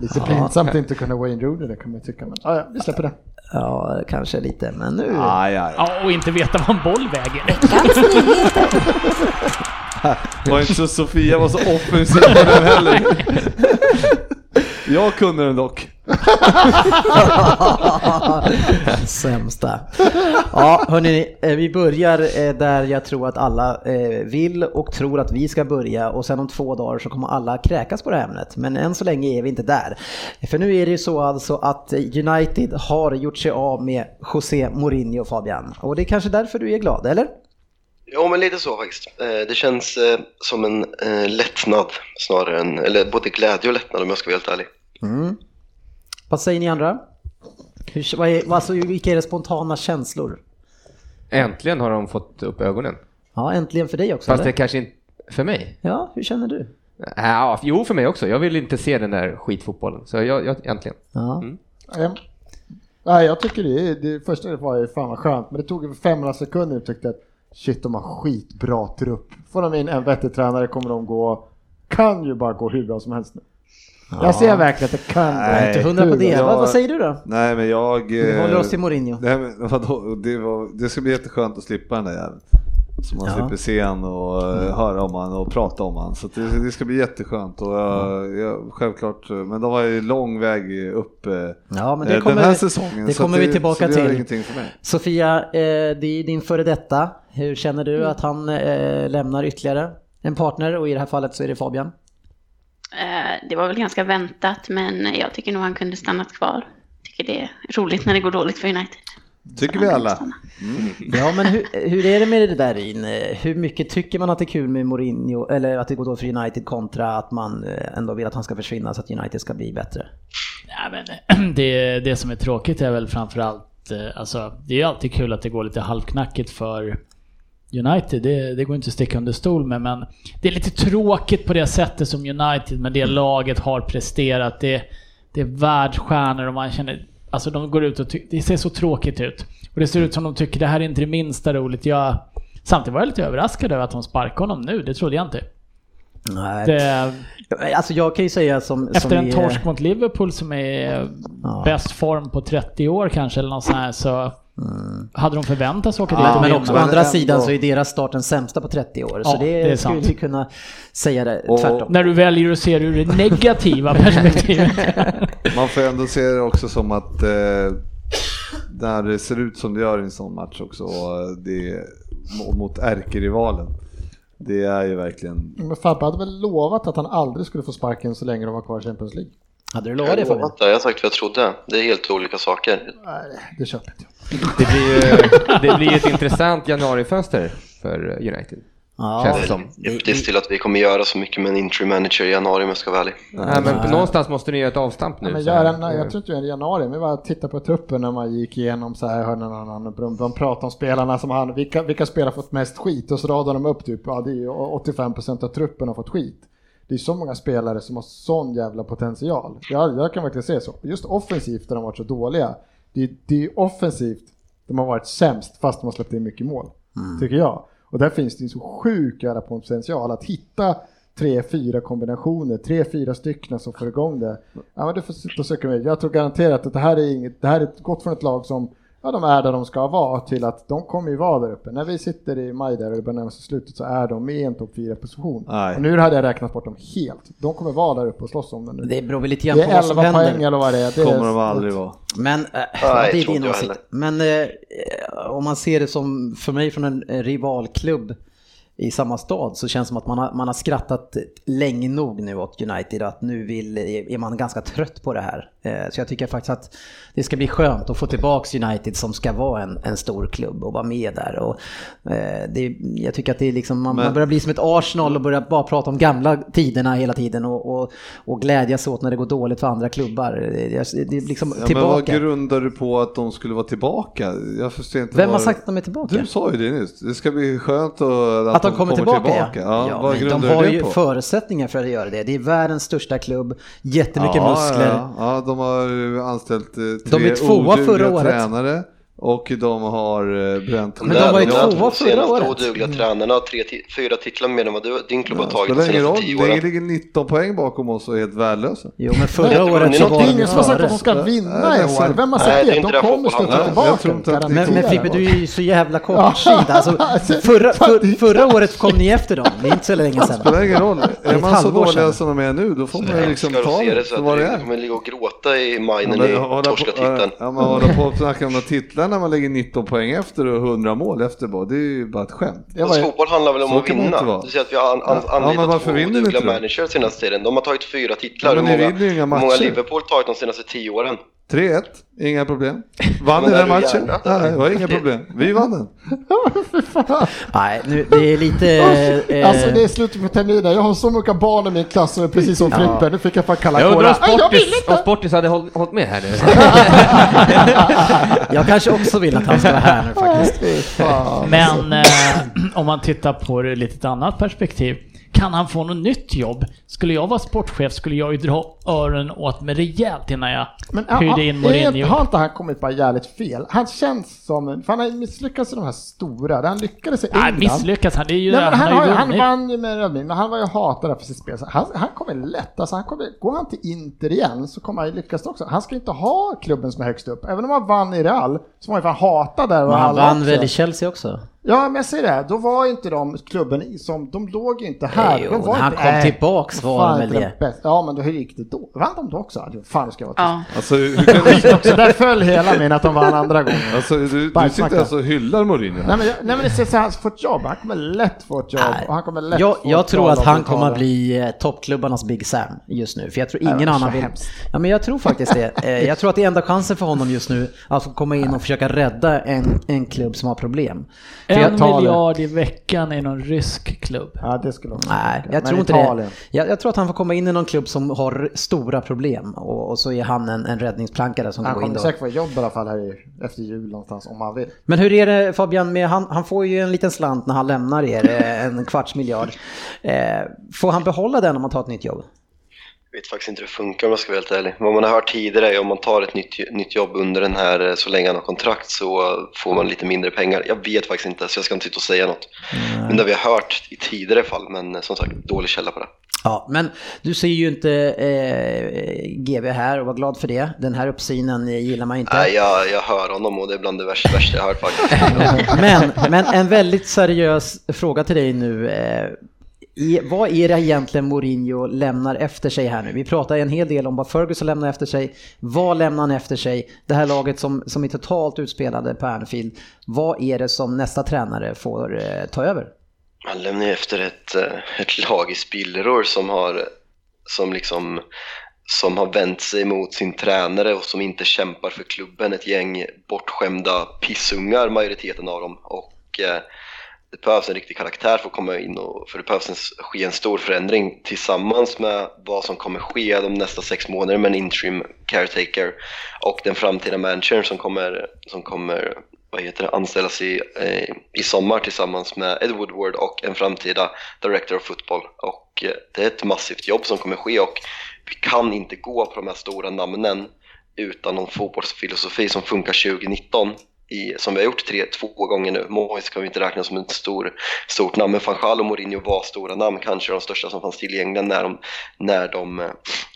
[SPEAKER 5] Lite pinsamt att inte kunna Wayne Rooney, det kan man ju tycka. Men ah, ja, vi släpper det.
[SPEAKER 2] Ja, kanske lite, men nu...
[SPEAKER 1] Aj, aj, aj.
[SPEAKER 3] Ja, och inte veta vad en boll väger.
[SPEAKER 1] Var inte så Sofia var så offensiv på den heller. Jag kunde den dock.
[SPEAKER 2] Sämsta. Ja, hörni, eh, vi börjar eh, där jag tror att alla eh, vill och tror att vi ska börja och sen om två dagar så kommer alla kräkas på det här ämnet. Men än så länge är vi inte där. För nu är det ju så alltså att United har gjort sig av med José Mourinho, Fabian. Och det är kanske därför du är glad, eller?
[SPEAKER 7] Jo, men lite så faktiskt. Eh, Det känns eh, som en eh, lättnad snarare än, eller både glädje och lättnad om jag ska vara helt ärlig.
[SPEAKER 2] Vad säger ni andra? Hur, vad är, alltså, vilka är det spontana känslor?
[SPEAKER 4] Äntligen har de fått upp ögonen.
[SPEAKER 2] Ja, äntligen för dig också.
[SPEAKER 4] Fast det
[SPEAKER 2] eller?
[SPEAKER 4] kanske inte... För mig?
[SPEAKER 2] Ja, hur känner du?
[SPEAKER 4] Ja, jo, för mig också. Jag vill inte se den där skitfotbollen. Så jag, jag äntligen.
[SPEAKER 2] Ja.
[SPEAKER 5] Ehm, Nej, jag tycker det, är- det första var ju fan vad skönt, men det tog över 500 sekunder och tyckte att shit, de har skitbra trupp. Får de in en vettig tränare kommer de gå, kan ju bara gå hur bra som helst nu. Jag ser verkligen att det kan gå.
[SPEAKER 1] Nej,
[SPEAKER 2] Inte hundra på det.
[SPEAKER 1] jag-
[SPEAKER 2] Vad, vad säger du då?
[SPEAKER 1] Nej, men jag...
[SPEAKER 2] Vi
[SPEAKER 1] eh,
[SPEAKER 2] håller oss till Mourinho.
[SPEAKER 1] Nej, men vadå? Det, var, det ska bli jätteskönt att slippa den där jäveln. Så man
[SPEAKER 2] Ja. Mm.
[SPEAKER 1] slipper se han och eh, höra om han och prata om han. Så att det, det ska bli jätteskönt. Och jag,
[SPEAKER 2] Mm.
[SPEAKER 1] jag, självklart, eh, men de var ju lång väg upp eh,
[SPEAKER 2] Ja, men det
[SPEAKER 1] eh,
[SPEAKER 2] kommer,
[SPEAKER 1] den här säsongen.
[SPEAKER 2] det
[SPEAKER 1] så att
[SPEAKER 2] kommer vi tillbaka
[SPEAKER 1] så det gör
[SPEAKER 2] till.
[SPEAKER 1] ingenting för mig.
[SPEAKER 2] Sofia, eh, det är din före detta. Hur känner du att han eh, lämnar ytterligare en partner och i det här fallet så är det Fabian?
[SPEAKER 6] Eh, Det var väl ganska väntat, men jag tycker nog han kunde stannat kvar. Tycker det är roligt när det går dåligt för United.
[SPEAKER 4] Tycker vi alla.
[SPEAKER 2] Ja, men hur, hur är det med det där in? Hur mycket tycker man att det är kul med Mourinho, eller att det går då för United kontra att man eh, ändå vill att han ska försvinna så att United ska bli bättre?
[SPEAKER 3] Nej, men det, det som är tråkigt är väl framförallt, eh, alltså det är ju alltid kul att det går lite halvknackigt för United, det, det går inte att sticka under stol med, men det är lite tråkigt på det sättet som United med det laget har presterat. Det, det är världsstjärnor och man känner, alltså de går ut och ty- det ser så tråkigt ut. Och det ser ut som de tycker det här är inte det minsta roligt. Jag, samtidigt var jag lite överraskad över att de sparkar honom nu, det trodde jag inte.
[SPEAKER 2] Nej.
[SPEAKER 3] Det,
[SPEAKER 2] Alltså jag kan ju säga som...
[SPEAKER 3] efter
[SPEAKER 2] som
[SPEAKER 3] en
[SPEAKER 2] vi, eh,
[SPEAKER 3] torsk mot Liverpool som är eh,
[SPEAKER 2] Ja.
[SPEAKER 3] bäst form på 30 år kanske eller något sånt här så
[SPEAKER 2] Mm.
[SPEAKER 3] hade de förväntat sig åka dit
[SPEAKER 2] Ja,
[SPEAKER 3] och
[SPEAKER 2] men
[SPEAKER 3] vinna.
[SPEAKER 2] också å
[SPEAKER 4] men
[SPEAKER 2] andra
[SPEAKER 4] ändå.
[SPEAKER 2] sidan så är deras start den sämsta på 30 år. så
[SPEAKER 3] Ja,
[SPEAKER 2] det,
[SPEAKER 3] det
[SPEAKER 2] skulle
[SPEAKER 3] är sant.
[SPEAKER 2] vi kunna säga det
[SPEAKER 4] Och-
[SPEAKER 2] tvärtom.
[SPEAKER 3] När du väljer att se det ur det negativa perspektivet.
[SPEAKER 4] Man får ändå se det också som att eh, när det ser ut som det gör i en sån match också,
[SPEAKER 1] eh,
[SPEAKER 4] och det, mot ärkerivalen. Det är ju verkligen
[SPEAKER 5] Men Fabbe hade väl lovat att han aldrig skulle få sparken så länge de var kvar i Champions League?
[SPEAKER 2] Hade du
[SPEAKER 7] Jag har
[SPEAKER 2] lovat det Fabian?
[SPEAKER 7] lovat det, jag har sagt vad jag trodde. Det är helt olika saker.
[SPEAKER 5] Nej, det köper inte jag.
[SPEAKER 11] Det blir ju det blir ett intressant januarifönster för United.
[SPEAKER 2] Ja,
[SPEAKER 11] Känns det
[SPEAKER 4] Alltså,
[SPEAKER 11] som.
[SPEAKER 7] Skeptisk till att vi kommer göra så mycket med en interim manager i januari om jag ska vara ärlig.
[SPEAKER 11] Nej, men någonstans måste ni göra ett avstamp nu.
[SPEAKER 5] Ja, men
[SPEAKER 11] så här. eh,
[SPEAKER 5] jag, jag, jag tror inte jag är i januari, men jag bara titta på truppen när man gick igenom så här, hörde någon annan, de, de pratade om spelarna som han, vilka, vilka spelare fått mest skit? Och så radade de upp typ, ja det är ju 85% av truppen har fått skit. Det är så många spelare som har sån jävla potential. Jag, jag kan verkligen se så. Just offensivt där de har varit så dåliga. Det, det är ju offensivt de har varit sämst fast de har släppt in mycket mål.
[SPEAKER 2] Mm.
[SPEAKER 5] Tycker jag. Och där finns det ju så sjuk jävla potential att hitta tre, fyra kombinationer, tre, fyra stycken som får igång det. Ja men du får sitta och söka med. Jag tror garanterat att det här är inget, det här är gått från ett lag som, ja de är där de ska vara till att de kommer ju vara där uppe. När vi sitter i maj där och det börjar närma sig slutet så är de i en topp fyra position.
[SPEAKER 4] Nej.
[SPEAKER 5] Och nu hade jag räknat bort dem helt. De kommer vara där uppe och slåss om det nu.
[SPEAKER 2] Det beror väl lite
[SPEAKER 5] Det
[SPEAKER 2] grann på
[SPEAKER 5] är
[SPEAKER 2] vad som
[SPEAKER 5] 11 poäng
[SPEAKER 2] händer.
[SPEAKER 5] eller vad det är. Det
[SPEAKER 4] kommer
[SPEAKER 5] är
[SPEAKER 4] de aldrig vara.
[SPEAKER 2] Men, äh,
[SPEAKER 7] Nej,
[SPEAKER 2] det är
[SPEAKER 7] tror
[SPEAKER 2] din
[SPEAKER 7] inte jag
[SPEAKER 2] åsikt. Men eh, om man ser det som, för mig från en eh, rivalklubb i samma stad så känns det som att man har, man har skrattat länge nog nu åt United att nu vill, eh, är man ganska trött på det här. Eh, Så jag tycker faktiskt att det ska bli skönt att få tillbaks United som ska vara en, en stor klubb och vara med där. Och eh, det, jag tycker att det är liksom, man,
[SPEAKER 4] Men-
[SPEAKER 2] man börjar bli som ett Arsenal och börjar bara prata om gamla tiderna hela tiden och, och, och glädjas åt när det går dåligt för andra klubbar. Eh, jag- Det är liksom
[SPEAKER 4] Ja, men vad
[SPEAKER 2] tillbaka.
[SPEAKER 4] grundar du på att de skulle vara tillbaka? Jag förstår inte
[SPEAKER 2] Vem
[SPEAKER 4] vad-
[SPEAKER 2] har sagt att de är tillbaka?
[SPEAKER 4] Du sa ju det nyss. Det ska bli skönt och att,
[SPEAKER 2] Att de kommer tillbaka,
[SPEAKER 4] tillbaka. Ja, vad
[SPEAKER 2] men
[SPEAKER 4] grundar
[SPEAKER 2] de har
[SPEAKER 4] du det
[SPEAKER 2] ju
[SPEAKER 4] på?
[SPEAKER 2] förutsättningar för att göra det. Det är världens största klubb, jättemycket
[SPEAKER 4] ja,
[SPEAKER 2] muskler.
[SPEAKER 4] Ja, ja, de har ju anställt eh,
[SPEAKER 2] De
[SPEAKER 4] tre
[SPEAKER 2] är tvåa
[SPEAKER 4] odugliga
[SPEAKER 2] förra året.
[SPEAKER 4] tränare och de har eh, bränt
[SPEAKER 2] Men de var ju
[SPEAKER 7] Där,
[SPEAKER 2] tvåa förra
[SPEAKER 7] senaste
[SPEAKER 2] året.
[SPEAKER 7] odugliga tränarna har tre, ti- fyra titlar mer än vad du, din klubb har
[SPEAKER 4] Mm. Ja,
[SPEAKER 7] tagit
[SPEAKER 4] spelar
[SPEAKER 7] de
[SPEAKER 4] ingen roll,
[SPEAKER 7] senaste tio åren.
[SPEAKER 4] det liksom- ligger 19 poäng bakom oss och är helt värdelösa.
[SPEAKER 2] Jo, men
[SPEAKER 5] Nej,
[SPEAKER 2] förra
[SPEAKER 7] det
[SPEAKER 2] året
[SPEAKER 7] var
[SPEAKER 2] så
[SPEAKER 7] något-
[SPEAKER 5] Det
[SPEAKER 2] var
[SPEAKER 5] är
[SPEAKER 2] de
[SPEAKER 5] ingen som har sagt att
[SPEAKER 2] före.
[SPEAKER 5] de ska vinna
[SPEAKER 4] Nej,
[SPEAKER 5] i
[SPEAKER 4] det är sant.
[SPEAKER 5] år. Vem har
[SPEAKER 7] Nej,
[SPEAKER 5] sagt
[SPEAKER 7] det är
[SPEAKER 5] det? De
[SPEAKER 7] inte det
[SPEAKER 5] kommer
[SPEAKER 7] fotbollen
[SPEAKER 5] sluta
[SPEAKER 7] handlar om.
[SPEAKER 5] tillbaka.
[SPEAKER 4] Jag tror inte att det
[SPEAKER 2] Men, men
[SPEAKER 5] garanterar
[SPEAKER 2] Fibbe,
[SPEAKER 5] jag.
[SPEAKER 2] du är ju så jävla kortsynt. Alltså, förra, för, förra året kom ni efter dem, det är inte så länge
[SPEAKER 4] Det spelar
[SPEAKER 2] sedan.
[SPEAKER 4] ingen roll.
[SPEAKER 2] är
[SPEAKER 4] Är
[SPEAKER 2] ett
[SPEAKER 4] man så
[SPEAKER 2] halvår
[SPEAKER 4] dåliga
[SPEAKER 2] sedan.
[SPEAKER 4] som de är nu, då får man ju
[SPEAKER 7] Jag
[SPEAKER 4] liksom
[SPEAKER 7] älskar att
[SPEAKER 4] ta
[SPEAKER 7] se det
[SPEAKER 4] det
[SPEAKER 7] så
[SPEAKER 4] för
[SPEAKER 7] att
[SPEAKER 4] vad det
[SPEAKER 7] du
[SPEAKER 4] är.
[SPEAKER 7] kommer ligga och gråta i maj när
[SPEAKER 4] Ja, men
[SPEAKER 7] ni
[SPEAKER 4] hålla
[SPEAKER 7] torskar
[SPEAKER 4] på-
[SPEAKER 7] titeln.
[SPEAKER 4] Ja, man håller på och snacka om de titlarna när man lägger 19 poäng efter och 100 mål efter bara. Det är ju bara ett skämt.
[SPEAKER 5] Det var
[SPEAKER 7] Fast
[SPEAKER 5] ju-
[SPEAKER 7] fotboll handlar väl om
[SPEAKER 4] så
[SPEAKER 7] att
[SPEAKER 4] kan man inte
[SPEAKER 7] vinna?
[SPEAKER 4] vara.
[SPEAKER 7] Du säger att vi har an,
[SPEAKER 4] Ja,
[SPEAKER 7] an,
[SPEAKER 4] ja,
[SPEAKER 7] använder
[SPEAKER 4] men varför
[SPEAKER 7] två
[SPEAKER 4] vinner ni
[SPEAKER 7] odugliga
[SPEAKER 4] inte då?
[SPEAKER 7] managers senaste tiden. De har tagit fyra titlar.
[SPEAKER 4] Ja, men
[SPEAKER 7] Hur
[SPEAKER 4] ni
[SPEAKER 7] många,
[SPEAKER 4] vinner ju inga
[SPEAKER 7] hur många
[SPEAKER 4] matcher.
[SPEAKER 7] Liverpool tagit de senaste tio åren?
[SPEAKER 4] 3-1, inga problem. Vann
[SPEAKER 7] Men
[SPEAKER 4] i
[SPEAKER 7] är
[SPEAKER 4] den
[SPEAKER 7] du
[SPEAKER 4] matchen?
[SPEAKER 7] gärna?
[SPEAKER 4] Nej, det var inga problem. Vi vann den.
[SPEAKER 2] Nej, nu, det är lite... eh,
[SPEAKER 5] Alltså det är slutet på terminen, jag har så många barn i min klass som är precis som Frippe, nu fick jag fan kalla
[SPEAKER 11] Jag undrar
[SPEAKER 5] kårar.
[SPEAKER 11] om
[SPEAKER 5] Nej, Jag vill
[SPEAKER 11] Sportis, om
[SPEAKER 5] inte!
[SPEAKER 11] sportis hade håll- hållit med här nu.
[SPEAKER 2] Jag kanske också vill att han ska vara här nu faktiskt.
[SPEAKER 5] Fy fan.
[SPEAKER 3] Men eh, om man tittar på det ur lite ett annat perspektiv. Kan han få något nytt jobb? Skulle jag vara sportchef skulle jag ju dra öronen åt mig rejält innan jag
[SPEAKER 5] Men
[SPEAKER 3] hyrde in Mourinho.
[SPEAKER 5] har inte han kommit bara jävligt fel? Han känns som, en- för han har ju misslyckats i de här stora, där han lyckades i
[SPEAKER 3] Nej,
[SPEAKER 5] England.
[SPEAKER 3] misslyckas han. Det är ju
[SPEAKER 5] Nej, men han, har, ju-
[SPEAKER 3] ju
[SPEAKER 5] han
[SPEAKER 3] vunnit.
[SPEAKER 5] vann ju med Rödvin, men han var ju hatad där för sitt spel. Så Han, han kommer lätt, alltså han kommer, går han till Inter igen så kommer han ju lyckas också. Han ska inte ha klubben som är högst upp. Även om han vann i Real så var han ju fan hatad där. och
[SPEAKER 2] Men han
[SPEAKER 5] alla
[SPEAKER 2] vann
[SPEAKER 5] också.
[SPEAKER 2] väl i Chelsea också?
[SPEAKER 5] Ja, men jag säger det. Då var ju inte de klubben i- som, de låg ju inte här.
[SPEAKER 2] Nej,
[SPEAKER 5] de
[SPEAKER 2] jo,
[SPEAKER 5] var
[SPEAKER 2] när han
[SPEAKER 5] inte,
[SPEAKER 2] kom
[SPEAKER 5] nej,
[SPEAKER 2] tillbaks
[SPEAKER 5] vad
[SPEAKER 2] var
[SPEAKER 5] fan
[SPEAKER 2] de
[SPEAKER 5] inte
[SPEAKER 2] väl
[SPEAKER 5] de bästa. Ja, men då, hur gick det då? då? Vann de då också? Fan, nu ska jag vara
[SPEAKER 6] Ja.
[SPEAKER 12] Alltså, hur kan du,
[SPEAKER 5] tyst. Så där föll hela min att de vann andra gången.
[SPEAKER 12] alltså, du, du
[SPEAKER 5] Bajsmacka.
[SPEAKER 12] sitter alltså och hyllar Mourinho här.
[SPEAKER 5] Nej men, jag, nej men det ser så här, han får ett jobb, han kommer lätt få ett jobb
[SPEAKER 13] Nej.
[SPEAKER 5] och han kommer lätt
[SPEAKER 2] eh, Jag,
[SPEAKER 5] få
[SPEAKER 2] jag
[SPEAKER 5] ett
[SPEAKER 2] tror
[SPEAKER 5] tal
[SPEAKER 2] att
[SPEAKER 5] om
[SPEAKER 2] han
[SPEAKER 5] det
[SPEAKER 2] kommer att
[SPEAKER 5] talet.
[SPEAKER 2] bli eh, toppklubbarnas Big Sam just nu. För jag tror
[SPEAKER 5] Nej,
[SPEAKER 2] ingen
[SPEAKER 5] det är
[SPEAKER 2] annan
[SPEAKER 5] så
[SPEAKER 2] vill...
[SPEAKER 5] hemskt.
[SPEAKER 2] Ja, men jag tror faktiskt det. Eh, Jag tror att det är enda chansen för honom just nu att få komma in och försöka rädda en, en klubb som har problem. För jag,
[SPEAKER 3] En
[SPEAKER 5] Italien.
[SPEAKER 3] miljard i veckan i någon rysk klubb.
[SPEAKER 5] Ja det skulle också
[SPEAKER 2] nej,
[SPEAKER 5] funka.
[SPEAKER 2] jag
[SPEAKER 5] Men
[SPEAKER 2] tror inte
[SPEAKER 5] Italien.
[SPEAKER 2] det. Jag, jag tror att han får komma in i någon klubb som har stora problem och, och så är han en, en räddningsplanka där som
[SPEAKER 5] Han
[SPEAKER 2] kan gå in
[SPEAKER 5] kommer
[SPEAKER 2] då.
[SPEAKER 5] säkert få jobb i alla fall här i, efter jul någonstans om han vill.
[SPEAKER 2] Men hur är det Fabian, med, han, han får ju en liten slant när han lämnar er, eh, en kvarts miljard. Eh, får han behålla den om han tar ett nytt jobb?
[SPEAKER 7] Jag vet faktiskt inte hur det funkar om jag ska vara helt ärlig. Vad man har hört tidigare är om man tar ett nytt, nytt jobb under den här, eh, så länge han har kontrakt så eh, får man lite mindre pengar. Jag vet faktiskt inte så jag ska inte sitta och säga något. Men det har vi har hört i tidigare fall, men eh, som sagt dålig källa på det.
[SPEAKER 2] Ja, men du ser ju inte eh, GB här och var glad för det. Den här uppsynen eh, gillar man inte.
[SPEAKER 7] Nej, jag, jag hör honom och det är bland det värsta, värsta jag har hört faktiskt.
[SPEAKER 2] Men, men en väldigt seriös fråga till dig nu. Eh, i, vad är det egentligen Mourinho lämnar efter sig här nu? Vi pratar en hel del om vad Ferguson lämnar efter sig. Vad lämnar han efter sig? Det här laget som, som är totalt utspelade på Anfield. Vad är det som nästa tränare får eh, ta över?
[SPEAKER 7] Han lämnar ju efter ett, eh, ett lag i spillror som har, som liksom, som har vänt sig mot sin tränare och som inte kämpar för klubben. Ett gäng bortskämda pissungar, majoriteten av dem. Och eh, det behövs en riktig karaktär för att komma in och för det behövs en, ske en stor förändring tillsammans med vad som kommer ske de nästa sex månaderna med en interim caretaker och den framtida managern som kommer, som kommer vad heter det, anställas i, eh, i sommar tillsammans med Ed Woodward och en framtida director of football. Och eh, det är ett massivt jobb som kommer ske och vi kan inte gå på de här stora namnen utan någon fotbollsfilosofi som funkar 2019 i, som vi har gjort tre, två gånger nu. Moise kan vi inte räkna som ett stor, stort namn, men Fanchal och Mourinho var stora namn, kanske de största som fanns tillgängliga när de, när de eh,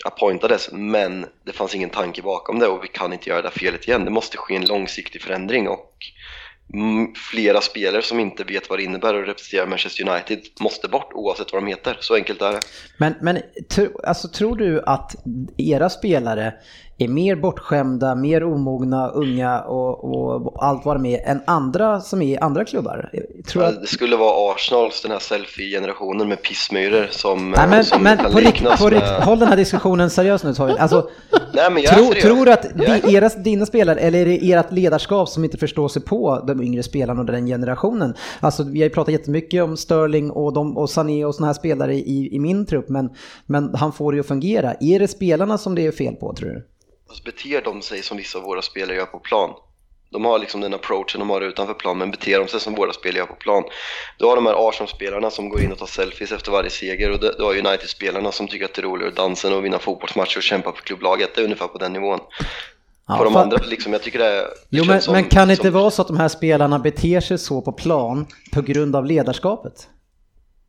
[SPEAKER 7] appointades. Men det fanns ingen tanke bakom det och vi kan inte göra det här felet igen. Det måste ske en långsiktig förändring och mm, flera spelare som inte vet vad det innebär att representera Manchester United måste bort oavsett vad de heter. Så enkelt är det.
[SPEAKER 2] Men, men tro, alltså, tror du att era spelare är mer bortskämda, mer omogna, unga och, och allt vad de är än andra som är i andra klubbar? Tror du att...
[SPEAKER 7] Eh, Det skulle vara Arsenals, den här selfie-generationen med pissmyror som, eh,
[SPEAKER 2] Nej, men,
[SPEAKER 7] som
[SPEAKER 2] men
[SPEAKER 7] Alltså, kan
[SPEAKER 2] på riktigt,
[SPEAKER 7] liknas
[SPEAKER 2] på
[SPEAKER 7] med-
[SPEAKER 2] rikt, håll den här diskussionen seriös nu Torvin. Alltså,
[SPEAKER 7] Nej, men jag är
[SPEAKER 2] tro,
[SPEAKER 7] seriös.
[SPEAKER 2] tror du att
[SPEAKER 7] Jag är-
[SPEAKER 2] det är era, dina spelare, eller är det ert ledarskap som inte förstår sig på de yngre spelarna och den generationen? Alltså, vi har ju pratat jättemycket om Sterling och, de, och Sané och sådana här spelare i, i min trupp, men, men han får det ju att fungera. Är det spelarna som det är fel på tror du?
[SPEAKER 7] Alltså, beter de sig som vissa av våra spelare gör på plan? De har liksom den approachen de har utanför plan, men beter de sig som våra spelare gör på plan? Du har de här Arsenal-spelarna som går in och tar selfies efter varje seger och du du har United-spelarna som tycker att det är roligare att dansa än att vinna fotbollsmatcher och kämpa för klubblaget. Det är ungefär på den nivån.
[SPEAKER 2] Ja,
[SPEAKER 7] på de
[SPEAKER 2] fan.
[SPEAKER 7] andra, liksom, jag tycker det är... det
[SPEAKER 2] Jo,
[SPEAKER 7] känns
[SPEAKER 2] men,
[SPEAKER 7] som-
[SPEAKER 2] men kan det
[SPEAKER 7] som-
[SPEAKER 2] inte vara så att de här spelarna beter sig så på plan på grund av ledarskapet?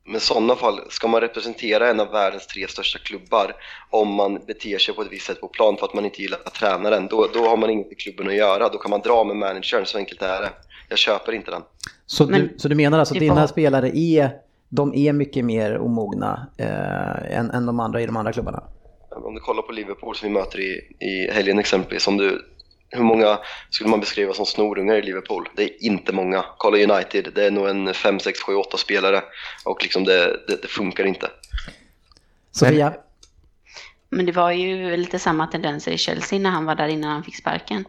[SPEAKER 7] Men i sådana fall, ska man representera en av världens tre största klubbar om man beter sig på ett visst sätt på plan för att man inte gillar tränaren, då, då har man inget i klubben att göra. Då kan man dra med managern, så enkelt är det. Jag köper inte den.
[SPEAKER 2] Så,
[SPEAKER 6] Men-
[SPEAKER 2] du, så du menar alltså att
[SPEAKER 6] Det är
[SPEAKER 2] dina
[SPEAKER 6] bara-
[SPEAKER 2] spelare är, de är mycket mer omogna eh, än, än de andra i de andra klubbarna?
[SPEAKER 7] Om du kollar på Liverpool som vi möter i, i helgen exempelvis, om du, hur många skulle man beskriva som snorungar i Liverpool? Det är inte många. Kolla United, det är nog en 5, 6, 7, 8 spelare och liksom det, det, det funkar inte.
[SPEAKER 2] Sofia?
[SPEAKER 6] Men det var ju lite samma tendenser i Chelsea när han var där innan han fick sparken.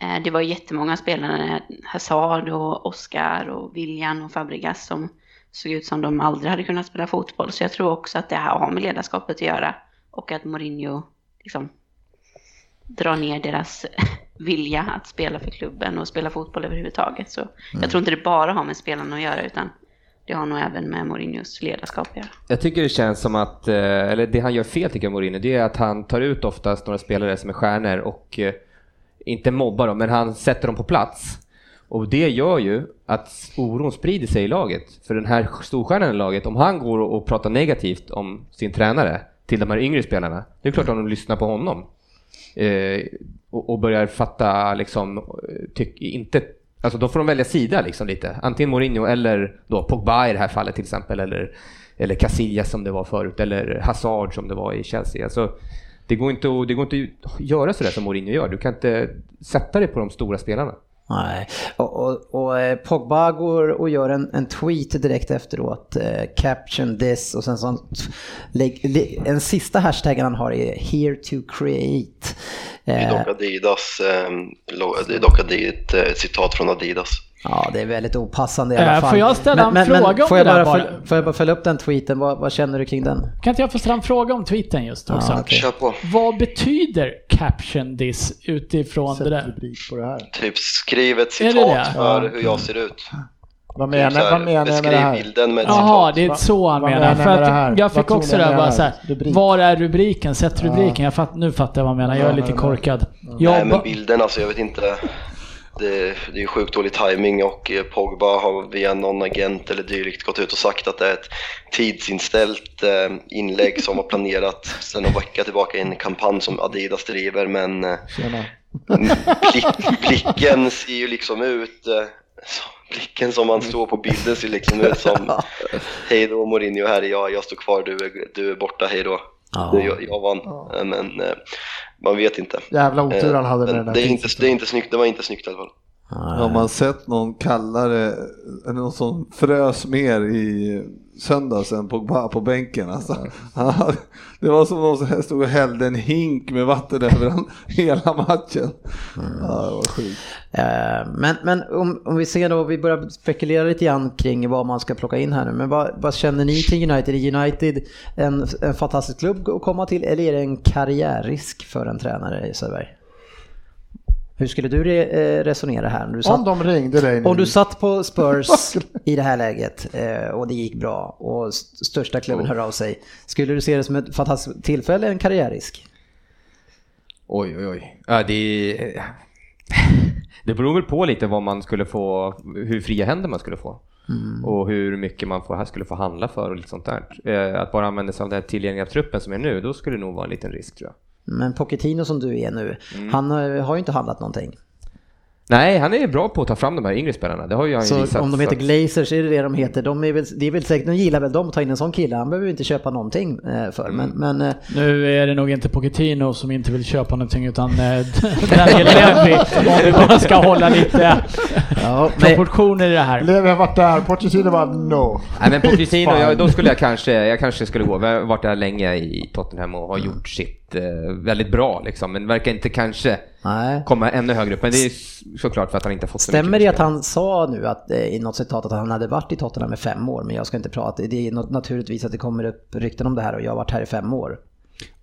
[SPEAKER 6] Eh, Det var ju jättemånga spelare, Hazard och Oscar och Willian och Fabregas som såg ut som de aldrig hade kunnat spela fotboll. Så jag tror också att det här har med ledarskapet att göra och att Mourinho liksom drar ner deras vilja att spela för klubben och spela fotboll överhuvudtaget. Så jag tror inte det bara har med spelarna att göra utan det har nog även med Mourinhos ledarskap att göra.
[SPEAKER 4] Jag tycker det känns som att, eh, eller det han gör fel tycker jag Mourinho, det är att han tar ut oftast några spelare som är stjärnor och eh, inte mobbar dem, men han sätter dem på plats. Och det gör ju att oron sprider sig i laget. För den här storstjärnan i laget, om han går och, och pratar negativt om sin tränare till de här yngre spelarna, det är klart att de lyssnar på honom. Eh, och, och börjar fatta liksom, eh, tyck, inte, alltså då får de välja sida liksom lite. Antingen Mourinho eller då Pogba i det här fallet till exempel, eller, eller Casillas som det var förut, eller Hazard som det var i Chelsea. Alltså, det- Det går inte att, det går inte att göra sådär som Mourinho gör. Du kan inte sätta dig på de stora spelarna.
[SPEAKER 2] Nej, och, och, och eh, Pogba går och gör en, en tweet direkt efteråt, eh, caption this och sen så han, lägg, lä- en sista hashtaggen han har är here to create.
[SPEAKER 7] Det är
[SPEAKER 2] Eh,
[SPEAKER 7] dock Adidas, ehm, lo- det är dock Adi- ett, eh, ett citat från Adidas.
[SPEAKER 2] Ja, det är väldigt opassande i
[SPEAKER 3] Eh,
[SPEAKER 2] alla fall.
[SPEAKER 3] får jag ställa en fråga om
[SPEAKER 2] får jag
[SPEAKER 3] det där
[SPEAKER 2] bara, föl-
[SPEAKER 3] bara?
[SPEAKER 2] Får jag bara följa upp den tweeten? Vad, vad känner du kring den?
[SPEAKER 3] Kan inte jag få ställa en fråga om tweeten just också?
[SPEAKER 2] Ja, okej.
[SPEAKER 7] Kör på.
[SPEAKER 3] Vad betyder caption this utifrån det
[SPEAKER 14] Sätt
[SPEAKER 3] där?
[SPEAKER 14] rubrik på det här.
[SPEAKER 7] Typ skriv ett
[SPEAKER 3] Är det
[SPEAKER 7] citat
[SPEAKER 3] det?
[SPEAKER 7] för
[SPEAKER 14] Ja.
[SPEAKER 7] hur jag ser ut.
[SPEAKER 14] Vad
[SPEAKER 7] Typ så
[SPEAKER 14] menar,
[SPEAKER 7] här,
[SPEAKER 14] vad menar jag med
[SPEAKER 7] beskriv
[SPEAKER 14] det här?
[SPEAKER 7] bilden med ett
[SPEAKER 3] Jaha,
[SPEAKER 7] citat.
[SPEAKER 3] det är så han
[SPEAKER 14] Vad
[SPEAKER 3] menar.
[SPEAKER 14] menar
[SPEAKER 3] För
[SPEAKER 14] jag med det här?
[SPEAKER 3] att jag
[SPEAKER 14] Vad
[SPEAKER 3] fick
[SPEAKER 14] tror
[SPEAKER 3] också
[SPEAKER 14] ni
[SPEAKER 3] det där
[SPEAKER 14] med
[SPEAKER 3] bara
[SPEAKER 14] det
[SPEAKER 3] så här.
[SPEAKER 14] här? Rubrik.
[SPEAKER 3] Var är rubriken? Sätt rubriken. Jag fatt, nu fattar jag vad han menar. Jag är
[SPEAKER 14] Ja,
[SPEAKER 3] lite
[SPEAKER 14] ja, ja.
[SPEAKER 3] korkad.
[SPEAKER 7] Nej
[SPEAKER 3] Jag
[SPEAKER 7] men
[SPEAKER 3] ba-
[SPEAKER 7] bilden alltså, jag vet inte. Det, det är ju sjukt dålig timing och eh, Pogba har via någon agent eller dylikt gått ut och sagt att det är ett tidsinställt eh, inlägg som var planerat sedan en vecka tillbaka i en kampanj som Adidas driver men eh,
[SPEAKER 14] Tjena.
[SPEAKER 7] Mm, blick, blicken ser ju liksom ut eh, som- Blicken som man står på bilden ser liksom ut som Hej då Mourinho, här är jag, jag står kvar, du är, du är borta, hej då.
[SPEAKER 2] Ja.
[SPEAKER 7] Du, Jag, jag vann. Eh, Men eh, man vet inte.
[SPEAKER 14] Jävla otur han
[SPEAKER 7] Eh,
[SPEAKER 14] hade med
[SPEAKER 7] men
[SPEAKER 14] den där
[SPEAKER 7] det, är inte,
[SPEAKER 14] tidsen.
[SPEAKER 7] det, är inte snyggt, det var inte snyggt i alla fall.
[SPEAKER 5] Har man sett någon kallare, eller någon som frös mer i söndags än Pogba på bänken alltså. Han hade, det var som om han stod och hällde en hink med vatten över han, hela matchen. Ja, det var sjukt.
[SPEAKER 2] Eh, Men, men om, om vi ser då, vi börjar spekulera lite grann kring vad man ska plocka in här nu. Men vad, vad känner ni kring United? Är United en, en fantastisk klubb att komma till eller är det en karriärrisk för en tränare Söderberg? Hur skulle du re, eh, resonera här? Om du
[SPEAKER 14] Om
[SPEAKER 2] satt,
[SPEAKER 14] de ringde dig nu.
[SPEAKER 2] om du satt på Spurs i det här läget eh, och det gick bra och st- största klubben hör av sig. Skulle du se det som ett fantastiskt tillfälle, en karriärrisk?
[SPEAKER 4] Oj, oj, oj. Ja, det, det beror väl på lite vad man skulle få, hur fria händer man skulle få. Och hur mycket man får, här skulle få handla för och lite sånt där. Eh, Att bara använda sig av den här tillgängliga truppen som är nu, då skulle det nog vara en liten risk tror jag.
[SPEAKER 2] Men Pochettino som du är nu,
[SPEAKER 14] Mm.
[SPEAKER 2] han eh, har ju inte handlat någonting.
[SPEAKER 4] Nej, han är bra på att ta fram de här yngre spelarna. Det har ju han ju
[SPEAKER 2] Så
[SPEAKER 4] visat.
[SPEAKER 2] om de heter
[SPEAKER 4] så-
[SPEAKER 2] Glazers, är det det de heter? De, är väl, det är väl säkert, de gillar väl dem att ta in en sån kille. Han behöver ju inte köpa någonting eh, för. Men,
[SPEAKER 4] Mm.
[SPEAKER 2] men eh,
[SPEAKER 3] Nu är det nog inte Pochettino som inte vill köpa någonting utan eh, Daniel Levy. Om vi bara ska hålla lite
[SPEAKER 2] ja, men,
[SPEAKER 3] proportioner i det här.
[SPEAKER 14] Levi har varit där, Pochettino bara no.
[SPEAKER 4] Nej men Pochettino,
[SPEAKER 14] Fan.
[SPEAKER 4] jag, då skulle jag kanske, jag kanske skulle gå. Vi har varit där länge i Tottenham och har gjort sitt eh, väldigt bra liksom. Men verkar inte kanske
[SPEAKER 2] nej.
[SPEAKER 4] komma ännu högre upp. Men det är ju såklart för att han inte har fått så
[SPEAKER 2] Stämmer
[SPEAKER 4] mycket
[SPEAKER 2] det att
[SPEAKER 4] spel.
[SPEAKER 2] han sa nu att, eh, i något citat att han hade varit i Tottenham i fem år, men jag ska inte prata. Det är något, naturligtvis att det kommer upp rykten om det här och jag har varit här i fem år.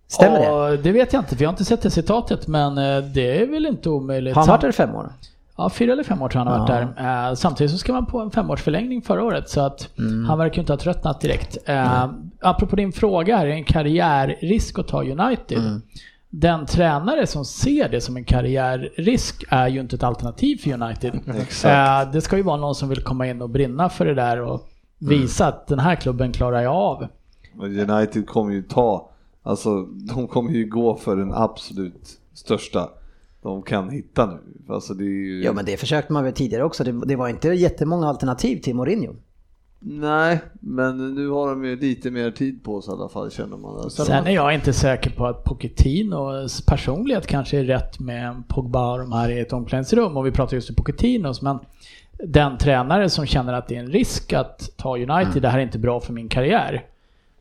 [SPEAKER 2] Stämmer det?
[SPEAKER 3] Ja, det vet jag inte för jag har inte sett det citatet men eh, det är väl inte omöjligt.
[SPEAKER 2] Har han varit där i fem år?
[SPEAKER 3] Ja, fyra eller fem år tror jag han har varit där. Eh, samtidigt så skrev han på en femårsförlängning förra året så att han verkar ju inte ha tröttnat direkt. Eh, apropå din fråga här, är det en karriärrisk att ta United? Den tränare som ser det som en karriärrisk är ju inte ett alternativ för United. Eh, det ska ju vara någon som vill komma in och brinna för det där och visa att den här klubben klarar jag av.
[SPEAKER 5] Men United kommer ju ta, alltså de kommer ju gå för den absolut största de kan hitta nu. Alltså det är ju...
[SPEAKER 4] Mm.
[SPEAKER 2] Jo, men det försökte man väl tidigare också. Det, det var inte jättemånga alternativ till Mourinho.
[SPEAKER 5] Nej, men nu har de ju lite mer tid på sig i alla fall känner man. Alltså.
[SPEAKER 3] Sen är jag inte säker på att Pochettinos personlighet kanske är rätt med Pogba och de här i ett omklädningsrum. Och vi pratar just om Pochettinos, men den tränare som känner att det är en risk att ta United,
[SPEAKER 2] Mm.
[SPEAKER 3] det här är inte bra för min karriär.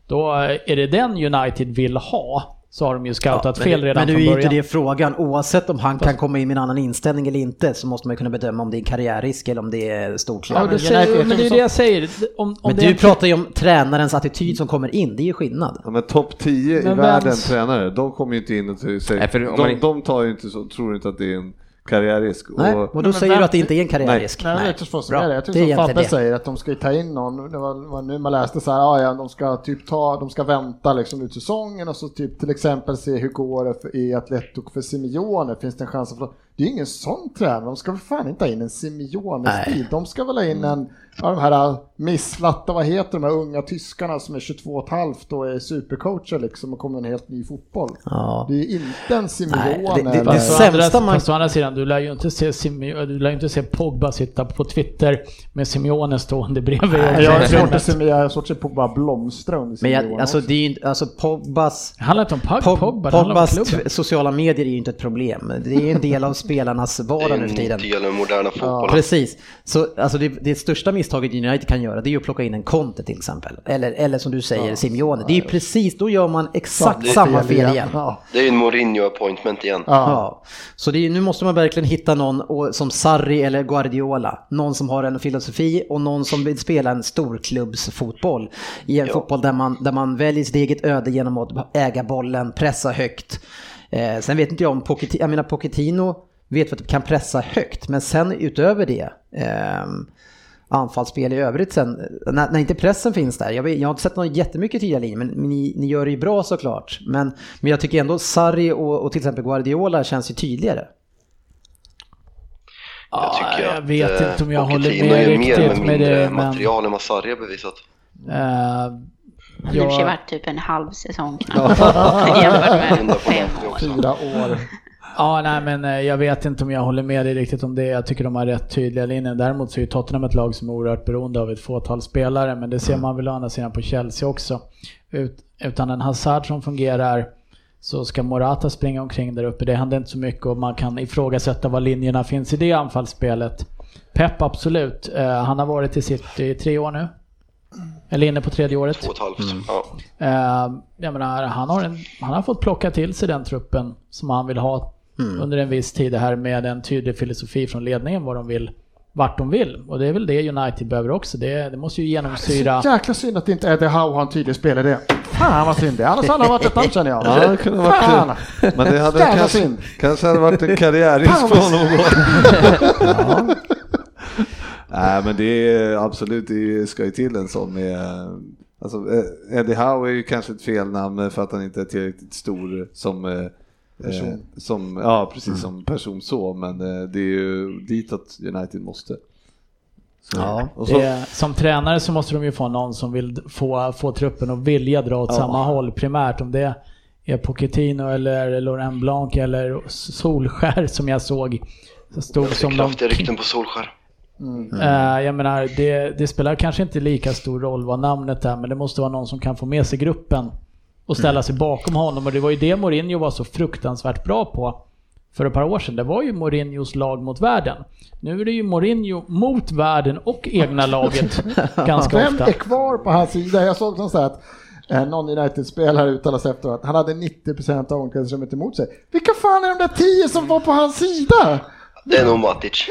[SPEAKER 3] Då är det den United vill ha, så har de ju
[SPEAKER 2] Ja,
[SPEAKER 3] scoutat
[SPEAKER 2] men-
[SPEAKER 3] fel redan
[SPEAKER 2] Men
[SPEAKER 3] från
[SPEAKER 2] nu är
[SPEAKER 3] början.
[SPEAKER 2] inte det frågan. Oavsett om han kan komma in med en annan inställning eller inte så måste man ju kunna bedöma om det är karriärrisk eller om det är
[SPEAKER 3] Ja,
[SPEAKER 2] storklubb.
[SPEAKER 3] men,
[SPEAKER 2] men
[SPEAKER 3] det, säger, men det är det jag säger. Om, om det är
[SPEAKER 2] du
[SPEAKER 3] en-
[SPEAKER 2] pratar ju om tränarens attityd som kommer in. Det är ju skillnad.
[SPEAKER 5] Ja, men topp 10 i
[SPEAKER 3] Men
[SPEAKER 5] världen
[SPEAKER 3] vems-
[SPEAKER 5] tränare, de kommer ju inte in och säger,
[SPEAKER 4] Nej, för om
[SPEAKER 5] de,
[SPEAKER 4] man inte-
[SPEAKER 5] de tar ju inte så, tror inte att det är en karriärrisk.
[SPEAKER 2] Nej,
[SPEAKER 5] Och,
[SPEAKER 2] och då säger du att det inte är en karriärrisk.
[SPEAKER 14] Nej, jag tycker så
[SPEAKER 2] Bra.
[SPEAKER 14] är det. Jag tycker som
[SPEAKER 2] egentligen
[SPEAKER 14] Fabbe säger att de ska ju ta in någon. Det var, det var nu man läste så här,
[SPEAKER 15] "Ah,
[SPEAKER 14] ja, ja, de ska typ ta, de ska vänta liksom ut säsongen och så typ till exempel se hur går det för, i Atletico för Simeone, finns det en chans att få
[SPEAKER 15] Det är ju ingen sån tränare, de ska väl fan inte ha in en Simeone-stil. De ska väl ha in
[SPEAKER 2] Mm.
[SPEAKER 15] en, ja, de här misslatta, vad heter de här unga tyskarna som är 22 och ett halvt och är supercoacher liksom och kommer med en helt ny fotboll.
[SPEAKER 2] Ja.
[SPEAKER 15] Det är ju inte en Simeone
[SPEAKER 2] Nej, det- det-
[SPEAKER 15] eller-
[SPEAKER 2] det-
[SPEAKER 3] Fast å,
[SPEAKER 2] sämsta
[SPEAKER 3] andra,
[SPEAKER 2] man-
[SPEAKER 3] fast å andra sidan, du lär ju inte se, Simi- du lär ju inte se Pogba sitta på Twitter med Simeone stående bredvid.
[SPEAKER 15] Nej, Jag har svårt att
[SPEAKER 3] rummet.
[SPEAKER 15] se jag har svårt att se på bara blomstra under
[SPEAKER 2] Men
[SPEAKER 15] Simeone
[SPEAKER 2] jag,
[SPEAKER 15] också.
[SPEAKER 2] alltså det är ju inte, alltså Pogbas
[SPEAKER 3] Det handlar inte om Pog,
[SPEAKER 2] Pog-
[SPEAKER 3] Pogba, det handlar om
[SPEAKER 2] Pogbas
[SPEAKER 3] klubben.
[SPEAKER 2] tw- sociala medier är ju inte ett problem. Det är ju en del av spelarnas
[SPEAKER 7] Det är
[SPEAKER 2] vardag nu för
[SPEAKER 7] ju en
[SPEAKER 2] tiden.
[SPEAKER 7] del av den moderna fotbollen.
[SPEAKER 2] Precis. Så alltså det, det största misstaget United kan göra det är ju att plocka in en Conte till exempel. Eller, eller som du säger, Simeone. Det är ju precis, då gör man exakt
[SPEAKER 7] det är
[SPEAKER 2] samma fel igen. Ja.
[SPEAKER 15] Ja.
[SPEAKER 7] Det är ju en Mourinho appointment igen.
[SPEAKER 2] Så det är, ju- nu måste man verkligen hitta någon och, som Sarri eller Guardiola. Någon som har en filosofi och någon som vill spela en storklubbsfotboll. I en
[SPEAKER 7] Ja.
[SPEAKER 2] fotboll där man, där man väljer sitt eget öde genom att äga bollen, pressa högt. Eh, sen vet inte jag om Pochettino, jag menar Pochettino vet vi att de kan pressa högt, men sen utöver det ehm, anfallsspel i övrigt sen, eh, när, när inte pressen finns där. Jag, vet, jag har inte sett någon jättemycket tydliga linjer, men ni, ni gör det ju bra såklart. Men, men jag tycker ändå Sarri och, och till exempel Guardiola känns ju tydligare.
[SPEAKER 7] Jag tycker
[SPEAKER 3] jag
[SPEAKER 7] att,
[SPEAKER 3] vet
[SPEAKER 7] eh,
[SPEAKER 3] inte om jag
[SPEAKER 7] Pochettino
[SPEAKER 3] håller med
[SPEAKER 7] gör mer
[SPEAKER 3] riktigt
[SPEAKER 7] med
[SPEAKER 3] med
[SPEAKER 7] mindre
[SPEAKER 3] det, men-
[SPEAKER 7] material än vad Sarri har bevisat.
[SPEAKER 3] Eh,
[SPEAKER 6] Han har i och för sig
[SPEAKER 3] jag,
[SPEAKER 6] varit typ en halv säsong knappt. Jämfört med fem år.
[SPEAKER 3] Mm.
[SPEAKER 15] Fyra år.
[SPEAKER 3] ja, nej, men eh, jag vet inte om jag håller med dig riktigt om det. Jag tycker de har rätt tydliga linjer. Däremot så är ju Tottenham ett lag som är oerhört beroende av ett fåtal spelare, men det ser
[SPEAKER 15] Mm.
[SPEAKER 3] man väl å andra sidan på Chelsea också. Ut, utan en Hazard som fungerar så ska Morata springa omkring där uppe. Det händer inte så mycket och man kan ifrågasätta var linjerna finns i det anfallsspelet. Pep absolut. Eh, han har varit i sitt i tre år nu. Eller inne på tredje året.
[SPEAKER 7] Två och ett halvt.
[SPEAKER 3] Mm.
[SPEAKER 7] Ja.
[SPEAKER 3] Eh, jag menar, han, har en, han har fått plocka till sig den truppen som han vill ha
[SPEAKER 7] Mm.
[SPEAKER 3] under en viss tid här med en tydlig filosofi från ledningen vad de vill, vart de vill. Och det är väl det United behöver också. Det, det måste ju genomsyra...
[SPEAKER 15] Så jäkla synd att det inte Eddie Howe har en tydlig spelare. Fan vad synd det är. Annars hade han varit ett namn känner jag.
[SPEAKER 5] Ja, det kunde ha
[SPEAKER 15] Fan!
[SPEAKER 5] varit kul. Men det hade
[SPEAKER 15] Jävla
[SPEAKER 5] kanske,
[SPEAKER 15] synd.
[SPEAKER 5] kanske hade varit en karriärrisk
[SPEAKER 15] Fan,
[SPEAKER 5] för
[SPEAKER 15] vad-
[SPEAKER 5] honom att gå. Nej, men det är absolut, det ska ju till en sån med... Alltså, eh, Eddie Howe är ju kanske ett fel namn för att han inte är tillräckligt stor som... eh,
[SPEAKER 15] Person.
[SPEAKER 5] Eh, som, ja, precis som person så, men eh, det är ju ditåt United måste. Så.
[SPEAKER 2] Ja.
[SPEAKER 5] Och så,
[SPEAKER 3] Eh, som tränare så måste de ju få någon som vill d- få, få truppen att vilja dra åt samma håll primärt. Om det är Pochettino eller Laurent Blanc eller Solskär som jag såg. Stod
[SPEAKER 7] Det är
[SPEAKER 3] som de
[SPEAKER 7] kraftiga rykten på Solskär.
[SPEAKER 15] Mm.
[SPEAKER 3] Eh, jag menar, det, det spelar kanske inte lika stor roll vad namnet är, men det måste vara någon som kan få med sig gruppen och ställa sig bakom honom. Och det var ju det Mourinho var så fruktansvärt bra på för ett par år sedan. Det var ju Mourinhos lag mot världen. Nu är det ju Mourinho mot världen och egna laget ganska
[SPEAKER 15] Vem
[SPEAKER 3] ofta.
[SPEAKER 15] är kvar på hans sida? Jag såg någon så här att eh, någon United-spelare uttalade sig efteråt. Han hade 90% av omklädningsrummet emot sig. Vilka fan är de där 10 som var på hans sida?
[SPEAKER 7] Det är nog Matic.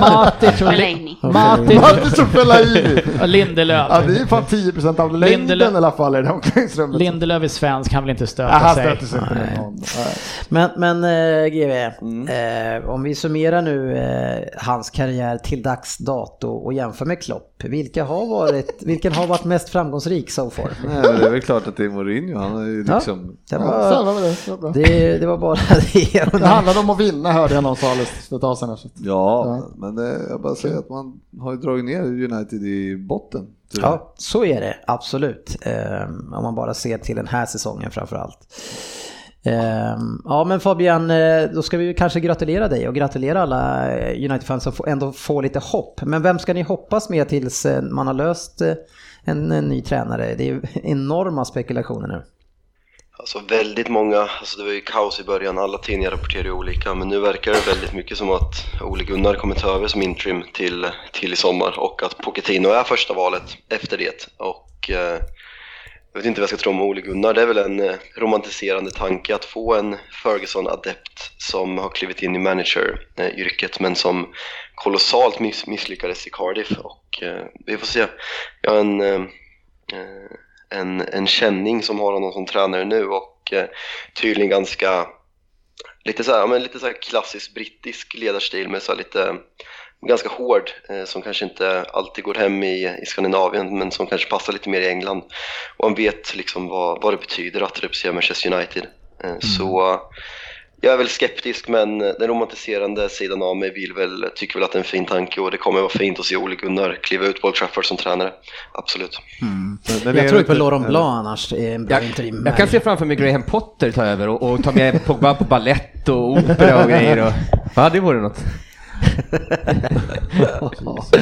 [SPEAKER 3] Matic och, Li-
[SPEAKER 6] Fellaini.
[SPEAKER 3] Matic
[SPEAKER 15] Martin som Fellaini.
[SPEAKER 3] och Lindelöf.
[SPEAKER 15] Ja, det är ju fan 10% av längden
[SPEAKER 3] Lindelöf.
[SPEAKER 15] i alla fall i det omklädningsrummet.
[SPEAKER 3] Lindelöf är svensk, han vill inte stöta
[SPEAKER 15] Ja, han
[SPEAKER 3] sig.
[SPEAKER 15] stöter sig inte med någon. Nej.
[SPEAKER 2] Men, men eh, GV, eh, om vi summerar nu eh, hans karriär till dags dato och jämför med Klopp. Vilka har varit, vilken har varit mest framgångsrik so far?
[SPEAKER 5] nej, men det är väl klart att det är Mourinho, han är ju
[SPEAKER 2] Ja.
[SPEAKER 5] liksom...
[SPEAKER 2] Det
[SPEAKER 15] Ja, så här
[SPEAKER 2] var,
[SPEAKER 15] var det. Det var bra.
[SPEAKER 2] det, det var bara det.
[SPEAKER 15] Det handlade om att vinna hörde jag någon sa alldeles för ett tag sedan. här, så att-
[SPEAKER 5] Ja,
[SPEAKER 15] Ja.
[SPEAKER 5] men eh, jag bara säger att man har ju dragit ner United i botten. tyvärr.
[SPEAKER 2] Ja, så är det absolut. Ehm, om man bara ser till den här säsongen framför allt. Ehm, ja men Fabian, eh, då ska vi ju kanske gratulera dig och gratulera alla eh, United-fans som får- ändå får lite hopp. Men vem ska ni hoppas med tills eh, man har löst eh, en, en ny tränare? Det är ju enorma spekulationer nu.
[SPEAKER 7] Alltså väldigt många, alltså det var ju kaos i början, alla tidningar rapporterade ju olika men nu verkar det väldigt mycket som att Ole Gunnar kommer ta över som interim till, till i sommar och att Pochettino är första valet efter det. Och eh, jag vet inte vad jag ska tro om Ole Gunnar, det är väl en eh, romantiserande tanke att få en Ferguson-adept som har klivit in i manager-yrket men som kolossalt miss- misslyckades i Cardiff och eh, vi får se. Jag har en eh, eh, en, en känning som har honom som tränare nu och eh, tydligen ganska lite så här, ja, men lite så här klassisk brittisk ledarstil med så här lite ganska hård eh, som kanske inte alltid går hem i, i Skandinavien men som kanske passar lite mer i England och han vet liksom vad, vad det betyder att representera Manchester United. Eh, Så jag är väl skeptisk men den romantiserande sidan av mig vill väl, tycker väl att det är en fin tanke och det kommer vara fint att se Ole Gunnar kliva ut på Old Trafford som tränare. Absolut.
[SPEAKER 5] Men
[SPEAKER 2] jag
[SPEAKER 5] är
[SPEAKER 2] tror
[SPEAKER 5] inte-
[SPEAKER 2] på Laurent Blanc annars är en bra interim.
[SPEAKER 4] Jag kan se framför mig Graham Potter ta över och, och ta med Pogba på ballett och opera och grejer. Och, ja, det vore något.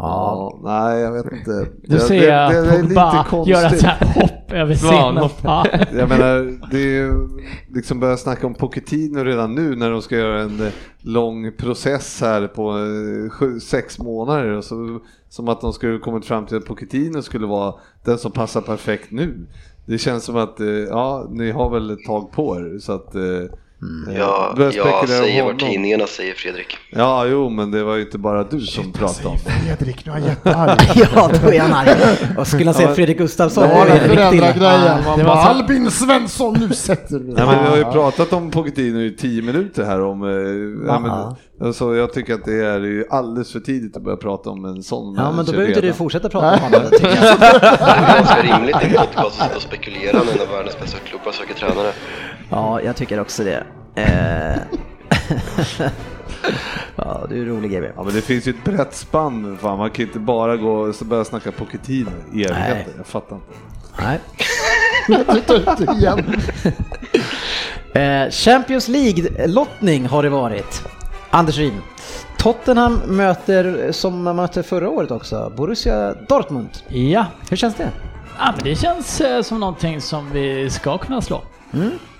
[SPEAKER 5] Ja, nej, jag vet inte.
[SPEAKER 3] Du
[SPEAKER 5] Det-
[SPEAKER 3] ser
[SPEAKER 5] det- det-
[SPEAKER 3] jag
[SPEAKER 5] det är lite
[SPEAKER 3] Pogba
[SPEAKER 5] konstigt.
[SPEAKER 3] göra ett sånt här hopp över scenen. och fan.
[SPEAKER 5] Jag menar, det är ju liksom börja snacka om Pochettino redan nu när de ska göra en eh, lång process här på eh, sju, sex månader. Och så, som att de skulle kommit fram till att Pochettino skulle vara den som passar perfekt nu. Det känns som att, eh, ja, ni har väl ett tag på er så att... eh, eh,
[SPEAKER 7] Jag,
[SPEAKER 5] börja spekulera om
[SPEAKER 7] jag säger vad
[SPEAKER 5] honom.
[SPEAKER 7] tidningarna säger Fredrik.
[SPEAKER 5] Ja, jo, men det var ju inte bara du som pratade om det.
[SPEAKER 15] Fredrik, nu är jag jättearg.
[SPEAKER 2] ja, då är han arg. Och skulle han säga Fredrik Gustafsson?
[SPEAKER 15] Det var
[SPEAKER 2] då
[SPEAKER 15] den
[SPEAKER 2] är det riktigt illa.
[SPEAKER 15] föräldragrejen. Man
[SPEAKER 3] Ah, det
[SPEAKER 15] bara
[SPEAKER 3] var så-
[SPEAKER 15] Albin Svensson, nu sätter vi
[SPEAKER 5] Nej, men vi har ju pratat om Pochettino i tio minuter här om... Eh, ja, men, alltså, jag tycker att det är ju alldeles för tidigt att börja prata om en sån
[SPEAKER 2] Ja, men då
[SPEAKER 5] manager
[SPEAKER 2] behöver inte du
[SPEAKER 5] redan.
[SPEAKER 2] fortsätta prata om honom. tycker jag.
[SPEAKER 7] Det är ganska rimligt i en podcast att sitta och spekulera när en av världens bästa klubbar söker tränare.
[SPEAKER 2] Ja, jag tycker också det. Eh, ja, du är rolig GB.
[SPEAKER 5] Ja men det finns ju ett brett spann fan. Man kan inte bara gå och så börja snacka Pochettino i evigheter.
[SPEAKER 2] Nej.
[SPEAKER 5] Jag fattar
[SPEAKER 2] Nej.
[SPEAKER 5] inte.
[SPEAKER 15] pratat igen.
[SPEAKER 2] Eh, Champions League-lottning har det varit. Anders Rim. Tottenham möter, eh, som man mötte förra året också, Borussia Dortmund.
[SPEAKER 3] Ja,
[SPEAKER 2] Hur känns det?
[SPEAKER 3] Ja, men det känns eh, som någonting som vi ska kunna slå.